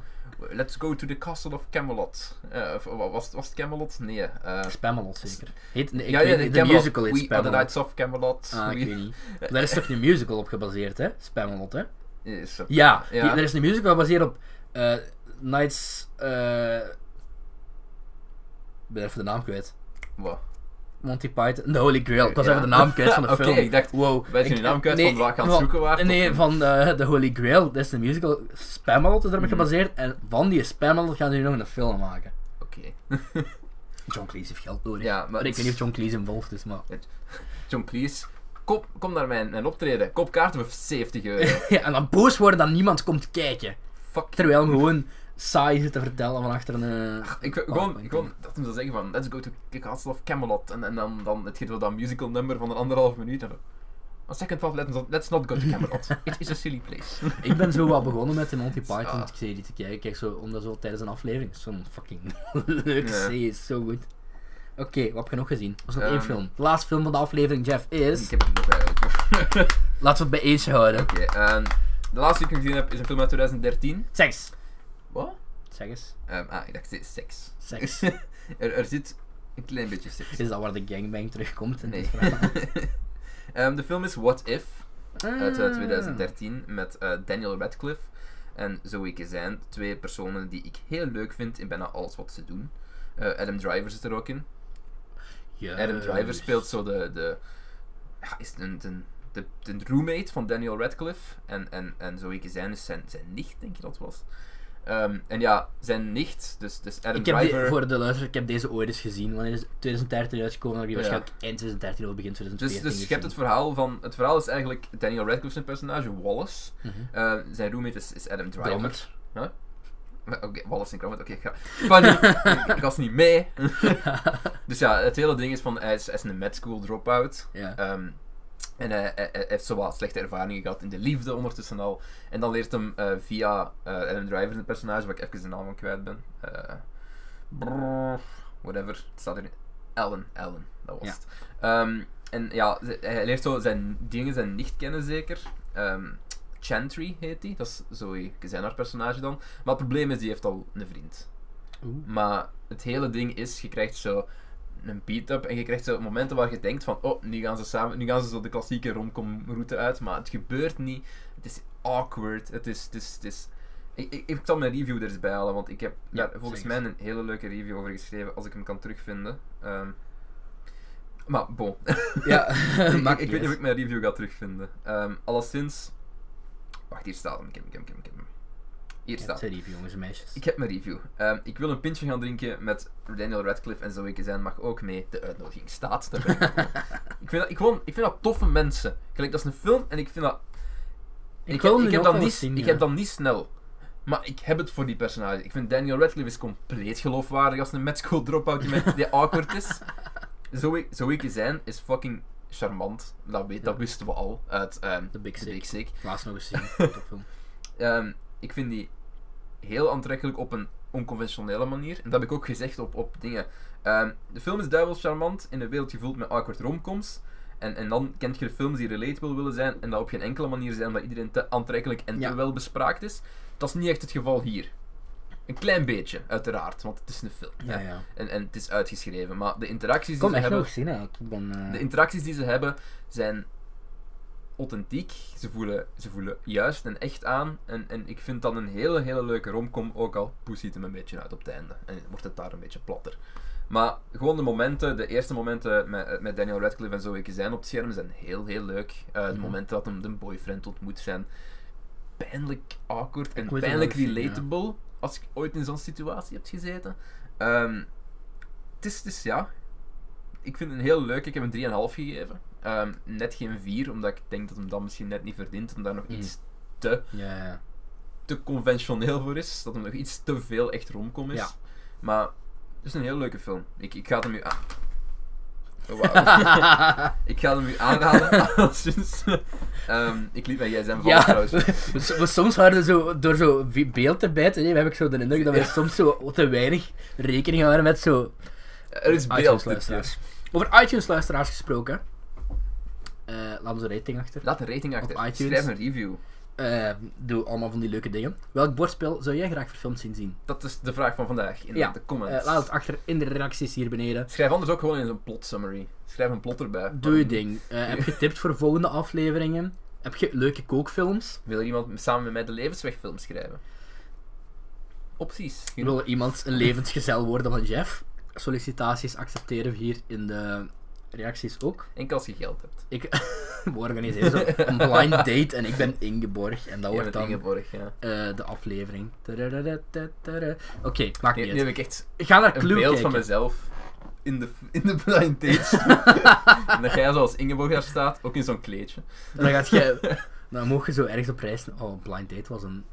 Speaker 2: Let's go to the castle of Camelot. Eh, of, wa- was, was het Camelot? Nee. eh,
Speaker 1: Spamalot zeker. Heet, nee, ik
Speaker 2: ja,
Speaker 1: weet
Speaker 2: ja,
Speaker 1: niet, de
Speaker 2: Camelot.
Speaker 1: musical heet
Speaker 2: We are the
Speaker 1: Spamalot.
Speaker 2: Knights of Camelot.
Speaker 1: Ah,
Speaker 2: We-
Speaker 1: ik weet niet. Daar is toch een musical op gebaseerd, hè? Spamalot, hè?
Speaker 2: Is zo.
Speaker 1: Ja,
Speaker 2: Ja.
Speaker 1: die- er is een musical gebaseerd op eh Nights... eh, Ik ben even de naam kwijt.
Speaker 2: Wat?
Speaker 1: Monty Python, The Holy Grail. Ik was
Speaker 2: Ja.
Speaker 1: even de naam kwijt van de
Speaker 2: <laughs> Oké,
Speaker 1: film.
Speaker 2: ik dacht,
Speaker 1: wow.
Speaker 2: ben je de naam kwijt van waar ik aan het
Speaker 1: van-
Speaker 2: zoeken was?
Speaker 1: Nee,
Speaker 2: Of-
Speaker 1: van eh, The Holy Grail. Dat is de musical. Spamalot is erop
Speaker 2: Mhm.
Speaker 1: gebaseerd. En van die Spamalot gaan ze nu nog een film maken.
Speaker 2: Oké.
Speaker 1: John Cleese heeft geld nodig.
Speaker 2: Ja, maar-
Speaker 1: maar ik weet niet of John Cleese involved is, maar... <laughs>
Speaker 2: John Cleese, kom, kom naar mijn, mijn optreden. Koop kaarten voor
Speaker 1: <laughs>
Speaker 2: 70 euro.
Speaker 1: Ja, en dan boos worden dat niemand komt kijken.
Speaker 2: Fuck.
Speaker 1: Terwijl hem gewoon saai zit te vertellen van achter een... eh,
Speaker 2: Ik, wil gewoon, gewoon dat hem zou zeggen van, let's go to the castle of Camelot. En, en dan, dan het geeft wel dat musical number van een anderhalf minuut. En dan, on second thought, let's not, let's not go to
Speaker 1: <laughs>
Speaker 2: Camelot. It is a silly place.
Speaker 1: Ik ben zo wat begonnen met de Monty Python
Speaker 2: Ah.
Speaker 1: serie te kijken. Ik Kijk, zo, omdat zo tijdens een aflevering. Zo'n fucking <laughs> leuke
Speaker 2: Ja.
Speaker 1: serie, is zo goed. Oké, wat heb je nog gezien? Er was nog één
Speaker 2: Ehm.
Speaker 1: film. De laatste film van de aflevering, Jeff, is...
Speaker 2: <laughs> Ik heb het nog eigenlijk.
Speaker 1: Laten we het bij eentje houden.
Speaker 2: <laughs> Oké, en de laatste die ik gezien heb is een film uit 2013.
Speaker 1: Seks.
Speaker 2: Wat?
Speaker 1: Zeg eens.
Speaker 2: Ehm, ah, ik dacht seks. <laughs>
Speaker 1: Seks.
Speaker 2: er, er zit een klein beetje seks.
Speaker 1: Is dat waar de gangbang terugkomt? In
Speaker 2: Nee.
Speaker 1: dit verhaal?
Speaker 2: Ehm, de film is What If <laughs> uit eh,
Speaker 1: Ah.
Speaker 2: 2013 met eh, Daniel Radcliffe en Zoe Kazan. Twee personen die ik heel leuk vind in bijna alles wat ze doen. Eh, Adam Driver zit er ook in.
Speaker 1: Juist.
Speaker 2: Adam Driver speelt zo de. de ja, is een, de, de, de roommate van Daniel Radcliffe. En, en, en Zoe Kazan is zijn, zijn nicht, denk je dat was. Ehm, en ja, zijn nicht, dus, dus Adam
Speaker 1: Ik heb
Speaker 2: Driver.
Speaker 1: de, voor de luisteraar, ik heb deze ooit eens gezien. Wanneer is 2013 uitgekomen? Dan heb je
Speaker 2: Ja.
Speaker 1: waarschijnlijk eind 2013 of begin
Speaker 2: Dus,
Speaker 1: 2014
Speaker 2: dus je hebt het
Speaker 1: gezien.
Speaker 2: verhaal van. Het verhaal is eigenlijk Daniel Radcliffe zijn personage, Wallace.
Speaker 1: Mhm.
Speaker 2: Eh, zijn roommate is, is Adam Driver.
Speaker 1: Grommet.
Speaker 2: Maar Oké, Wallace en Gromit, oké, ga. Funny, ik- ik was niet mee. dus ja, het hele ding is van, hij is, hij is een med school dropout.
Speaker 1: Ja.
Speaker 2: Ehm, en hij, hij- hij heeft zowat slechte ervaringen gehad in de liefde ondertussen al. En dan leert hem eh, via eh, Adam Driver, een personage waar ik even zijn naam van kwijt ben. Eh, brrr, whatever, het staat erin. Ellen, Ellen, dat was
Speaker 1: Ja.
Speaker 2: het. Ehm, en ja, ze- hij leert zo zijn dingen zijn nicht kennen zeker. Ehm, Chantry heet die, dat is Zoe Kazan haar personage dan. Maar het probleem is, die heeft al een vriend.
Speaker 1: Oeh.
Speaker 2: Maar het hele ding is, je krijgt zo een beat-up en je krijgt zo momenten waar je denkt van, oh, nu gaan ze samen, nu gaan ze zo de klassieke romcom route uit, maar het gebeurt niet. Het is awkward, het is, het is, het is... Ik, ik, ik zal mijn review er eens bij halen, want ik heb
Speaker 1: Ja,
Speaker 2: daar volgens
Speaker 1: zeg eens.
Speaker 2: mij een hele leuke review over geschreven, als ik hem kan terugvinden. Ehm, maar
Speaker 1: <laughs>
Speaker 2: bon, <laughs>
Speaker 1: Ja,
Speaker 2: ik,
Speaker 1: maakt niet
Speaker 2: ik weet niet of
Speaker 1: uit.
Speaker 2: ik mijn review ga terugvinden. Ehm alleszins... Wacht, hier staat hem, ik heb hem, ik heb hem, ik heb hem. Hier
Speaker 1: Ja,
Speaker 2: staat
Speaker 1: het zijn lieve jongens en meisjes.
Speaker 2: ik heb mijn review. Ehm, ik wil een pintje gaan drinken met Daniel Radcliffe en Zoe zijn mag ook mee. De uitnodiging staat. Daar ben ik, voor. ik, vind dat, ik, gewoon, ik vind dat toffe mensen. Gelijk, dat is een film en ik vind dat...
Speaker 1: Ik
Speaker 2: ik
Speaker 1: wil
Speaker 2: heb,
Speaker 1: hem nu
Speaker 2: ik heb
Speaker 1: ook wel
Speaker 2: dat niet,
Speaker 1: eens zien,
Speaker 2: ik
Speaker 1: ja.
Speaker 2: heb dat niet snel. Maar ik heb het voor die personage. Ik vind Daniel Radcliffe is compleet geloofwaardig als een med school dropout die, met- die awkward is. <laughs> Zoe, Zoe zijn is fucking charmant. Dat, weet, dat wisten we al uit ehm,
Speaker 1: The Big
Speaker 2: The
Speaker 1: Sick.
Speaker 2: Big Sick.
Speaker 1: Laatst nog eens zien. <laughs> Topfilm.
Speaker 2: Ehm, ik vind die heel aantrekkelijk op een onconventionele manier. En dat heb ik ook gezegd op, op dingen. Ehm, de film is duivels charmant in een wereld gevuld met awkward romcoms. En, en dan kent je de films die relatable willen zijn en dat op geen enkele manier zijn omdat iedereen te aantrekkelijk en
Speaker 1: Ja.
Speaker 2: te wel bespraakt is. Dat is niet echt het geval hier. Een klein beetje, uiteraard, want het is een film.
Speaker 1: Ja, ja.
Speaker 2: En, en het is uitgeschreven. Maar de interacties
Speaker 1: Ik kon
Speaker 2: die
Speaker 1: hem
Speaker 2: ze
Speaker 1: echt
Speaker 2: hebben...
Speaker 1: nog zien eigenlijk. Ik ben... eh,
Speaker 2: De interacties die ze hebben zijn authentiek. Ze voelen, ze voelen juist en echt aan. En, en ik vind dat een hele, hele leuke romcom. Ook al poesiet het hem een beetje uit op het einde. En wordt het daar een beetje platter. Maar gewoon de momenten, de eerste momenten met, met Daniel Radcliffe en Zoe zijn op het scherm zijn heel, heel leuk. Eh De
Speaker 1: Mhm.
Speaker 2: momenten dat hem de boyfriend ontmoet zijn pijnlijk awkward en
Speaker 1: moet hem
Speaker 2: pijnlijk
Speaker 1: wel zien, ja.
Speaker 2: relatable. Als ik ooit in zo'n situatie heb gezeten. Ehm, het is dus ja. Ik vind het een heel leuk. Ik heb hem 3,5 gegeven. Ehm, net geen 4, omdat ik denk dat hem dat misschien net niet verdient. Omdat er nog
Speaker 1: Mm.
Speaker 2: iets te,
Speaker 1: Ja, ja.
Speaker 2: te conventioneel voor is. Dat hem nog iets te veel echt romcom is.
Speaker 1: Ja.
Speaker 2: Maar het is een heel leuke film. Ik, ik ga het hem u aan. Oh, wauw.
Speaker 1: <laughs>
Speaker 2: ik ga het hem u aanraden. <laughs> Alleszins. Ehm, ik liet mij jij zijn van
Speaker 1: Ja.
Speaker 2: trouwens.
Speaker 1: S- <laughs> we- soms hadden we zo, door zo vi- beeld te bijten, nee, heb ik zo de indruk dat we
Speaker 2: Ja.
Speaker 1: soms zo te weinig rekening houden met zo
Speaker 2: Er is beeld. dit keer.
Speaker 1: iTunes-luisteraars. Over iTunes-luisteraars gesproken. Eh laat ons een rating achter.
Speaker 2: Laat een rating achter.
Speaker 1: Op iTunes.
Speaker 2: Schrijf een review.
Speaker 1: Eh, doe allemaal van die leuke dingen. Welk bordspel zou jij graag verfilmd zien zien?
Speaker 2: Dat is de vraag van vandaag in
Speaker 1: Ja.
Speaker 2: de
Speaker 1: Eh,
Speaker 2: comments.
Speaker 1: laat het achter in de reacties hier beneden.
Speaker 2: Schrijf anders ook gewoon in een plot summary. Schrijf een plot erbij.
Speaker 1: Doe je ding. Eh, heb je tips voor volgende afleveringen? Heb je leuke kookfilms?
Speaker 2: Wil er iemand samen met mij de levenswegfilm schrijven? Opties.
Speaker 1: Wil iemand een levensgezel worden van Jeff? Sollicitaties accepteren we hier in de reacties ook.
Speaker 2: Enkel als je geld hebt.
Speaker 1: Ik, we organiseren zo een blind date en ik ben Ingeborg. En dat
Speaker 2: Jij
Speaker 1: wordt
Speaker 2: bent
Speaker 1: dan
Speaker 2: Ingeborg, ja.
Speaker 1: eh, de aflevering. Tadadadadadada. Oké, maakt
Speaker 2: Nu,
Speaker 1: niet
Speaker 2: nu
Speaker 1: uit.
Speaker 2: heb ik echt
Speaker 1: Ik ga naar
Speaker 2: een
Speaker 1: Clue
Speaker 2: beeld
Speaker 1: kijken.
Speaker 2: van mezelf in de, in de
Speaker 1: <laughs>
Speaker 2: blind dates. en dat jij zoals Ingeborg daar staat, ook in zo'n kleedje.
Speaker 1: En dan gaat
Speaker 2: <laughs>
Speaker 1: jij... Dan mocht je zo ergens op reizen. Oh, Blind Date was een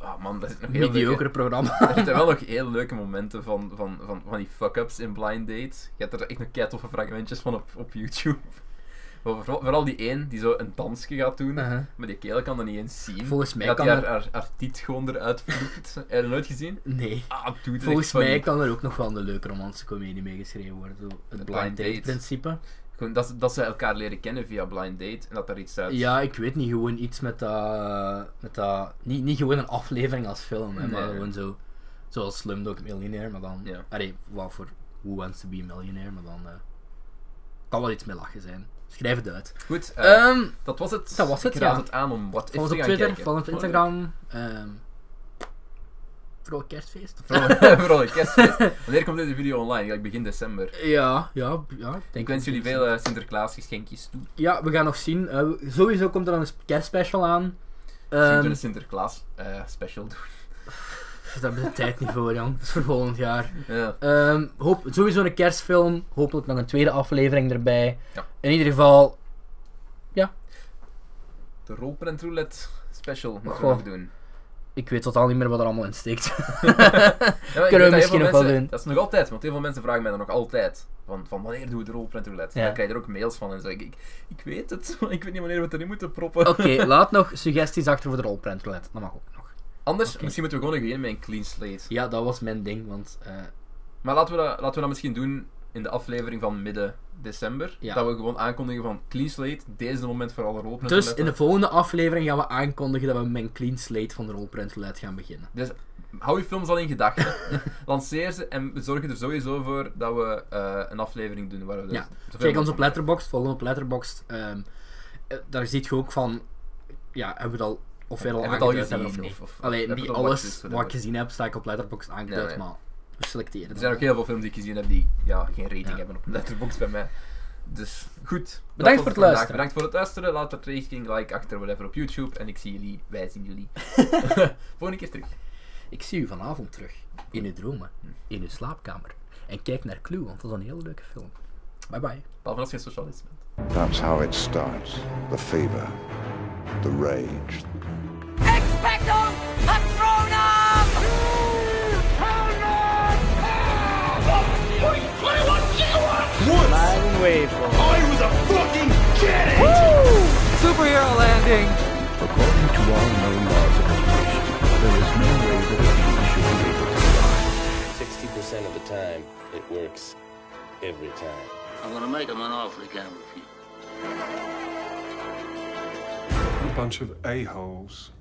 Speaker 2: Oh man, dat is nog heel leuk.
Speaker 1: mediocre
Speaker 2: <laughs>
Speaker 1: programma.
Speaker 2: Er zitten wel nog heel leuke momenten van, van, van, van die fuck-ups in Blind Date. Je hebt er echt nog kei toffe fragmentjes van op, op YouTube. <laughs> Maar vooral, vooral die één die zo een dansje gaat doen,
Speaker 1: Uh-huh.
Speaker 2: maar die kerel kan dat niet eens zien.
Speaker 1: Volgens mij
Speaker 2: dat
Speaker 1: kan
Speaker 2: die
Speaker 1: er-
Speaker 2: haar, haar, haar tiet gewoon eruit vloept. <laughs> Heb je dat nooit gezien?
Speaker 1: Nee.
Speaker 2: Ah, doe het
Speaker 1: Volgens
Speaker 2: echt
Speaker 1: mij
Speaker 2: funny.
Speaker 1: kan er ook nog wel een leuke romantische comedie mee geschreven worden. Zo, het blind
Speaker 2: Blind
Speaker 1: date
Speaker 2: Date.
Speaker 1: principe.
Speaker 2: Gewoon dat, ze- dat ze elkaar leren kennen via Blind Date en dat daar iets uit...
Speaker 1: Ja, ik weet niet, gewoon iets met dat... Met dat niet, niet gewoon een aflevering als film, hè, maar
Speaker 2: Nee.
Speaker 1: gewoon zo... Zoals Slumdog Millionaire, maar dan...
Speaker 2: Ja.
Speaker 1: Allee, wat voor Who Wants to be a Millionaire, maar dan... eh, kan wel iets met lachen zijn. Schrijf het uit.
Speaker 2: Goed, eh,
Speaker 1: Ehm,
Speaker 2: dat was het.
Speaker 1: dat was het,
Speaker 2: Ik raad
Speaker 1: ja.
Speaker 2: het aan om wat
Speaker 1: volg ons
Speaker 2: te
Speaker 1: op
Speaker 2: gaan
Speaker 1: Twitter,
Speaker 2: kijken.
Speaker 1: volg ons op
Speaker 2: Gewoon <laughs>
Speaker 1: Instagram. Ehm vooral kerstfeest.
Speaker 2: leuk. Vooral- Vooral een
Speaker 1: <laughs>
Speaker 2: kerstfeest. Wanneer komt deze video online? Gelijk Begin december.
Speaker 1: Ja, ja, ja.
Speaker 2: Ik wens jullie veel eh, Sinterklaasgeschenkjes toe.
Speaker 1: Ja, we gaan nog zien. Eh, we- sowieso komt er dan een sp- kerstspecial aan.
Speaker 2: Misschien
Speaker 1: Ehm
Speaker 2: doen we een Sinterklaas eh, special doen.
Speaker 1: <laughs> daar hebben we de tijd niet voor, jong. Dat is voor volgend jaar.
Speaker 2: Ja.
Speaker 1: Ehm, hoop, sowieso een kerstfilm. Hopelijk nog een tweede aflevering erbij.
Speaker 2: Ja.
Speaker 1: In ieder geval,
Speaker 2: De rolprent roulette special moeten we
Speaker 1: Goh.
Speaker 2: nog doen.
Speaker 1: ik weet totaal niet meer wat er allemaal in steekt. <laughs>
Speaker 2: Ja, maar ik
Speaker 1: we
Speaker 2: weet dat heel
Speaker 1: misschien
Speaker 2: veel
Speaker 1: nog wel
Speaker 2: mensen-
Speaker 1: doen.
Speaker 2: Dat is nog altijd, want heel veel mensen vragen mij dan nog altijd. Van, van wanneer doen we de rolprent roulette?
Speaker 1: Ja.
Speaker 2: Dan krijg je er ook mails van en zeg ik, ik, ik weet het, <laughs> maar ik weet niet wanneer we het erin moeten proppen.
Speaker 1: Oké, laat nog suggesties achter voor de rolprent roulette. Dat mag ook nog.
Speaker 2: Anders,
Speaker 1: oké.
Speaker 2: misschien moeten we gewoon beginnen met een clean slate.
Speaker 1: Ja, dat was mijn ding, want eh,
Speaker 2: Maar laten we, dat, laten we dat misschien doen in de aflevering van midden december.
Speaker 1: Ja.
Speaker 2: Dat we gewoon aankondigen van clean slate, deze moment voor alle rolprent
Speaker 1: Dus
Speaker 2: roulette.
Speaker 1: in de volgende aflevering gaan we aankondigen dat we met een clean slate van de rolprint roulette gaan beginnen.
Speaker 2: Dus hou je films al
Speaker 1: <laughs>
Speaker 2: in gedachten. Lanceer ze en we zorgen er sowieso voor dat we eh, een aflevering doen. Waar we dus
Speaker 1: Ja.
Speaker 2: zoveel
Speaker 1: Check ons
Speaker 2: mogelijk-
Speaker 1: op Letterboxd, volg ons op Letterboxd. ehm, eh, daar ziet je ook van, ja, hebben we het al, of we het al
Speaker 2: Hebben we het al
Speaker 1: aangeduid hebben of
Speaker 2: gezien,
Speaker 1: niet.
Speaker 2: of- of- of
Speaker 1: Allee,
Speaker 2: hebben we
Speaker 1: niet
Speaker 2: het al
Speaker 1: alles
Speaker 2: watchlist,
Speaker 1: wat ik
Speaker 2: whatever.
Speaker 1: gezien heb, sta ik op Letterboxd aangeduid,
Speaker 2: Nee, nee.
Speaker 1: maar we selecteren
Speaker 2: Er
Speaker 1: dan.
Speaker 2: zijn ook heel veel films die ik gezien heb die ja, geen rating
Speaker 1: Ja.
Speaker 2: hebben op Letterboxd bij mij. Dus goed. dat
Speaker 1: voor
Speaker 2: was
Speaker 1: het
Speaker 2: vandaag.
Speaker 1: luisteren.
Speaker 2: Bedankt voor het luisteren. Laat een rating, like achter, whatever op YouTube. En ik zie jullie, wij zien
Speaker 1: <laughs>
Speaker 2: jullie. <laughs> Volgende keer terug.
Speaker 1: Ik zie u vanavond terug, in uw dromen, in uw slaapkamer. En kijk naar Clue, want dat is een hele leuke film. Bye bye.
Speaker 2: Behalve als je een socialist bent.
Speaker 3: That's how it starts. The fever, the rage,
Speaker 4: Expecto Patronum!
Speaker 3: According to all known laws of evolution, there is no way that a human should be able to fly.
Speaker 5: 60% of the time, it works every time.
Speaker 6: I'm gonna make him an offer he can't refuse.
Speaker 7: bunch of a-holes.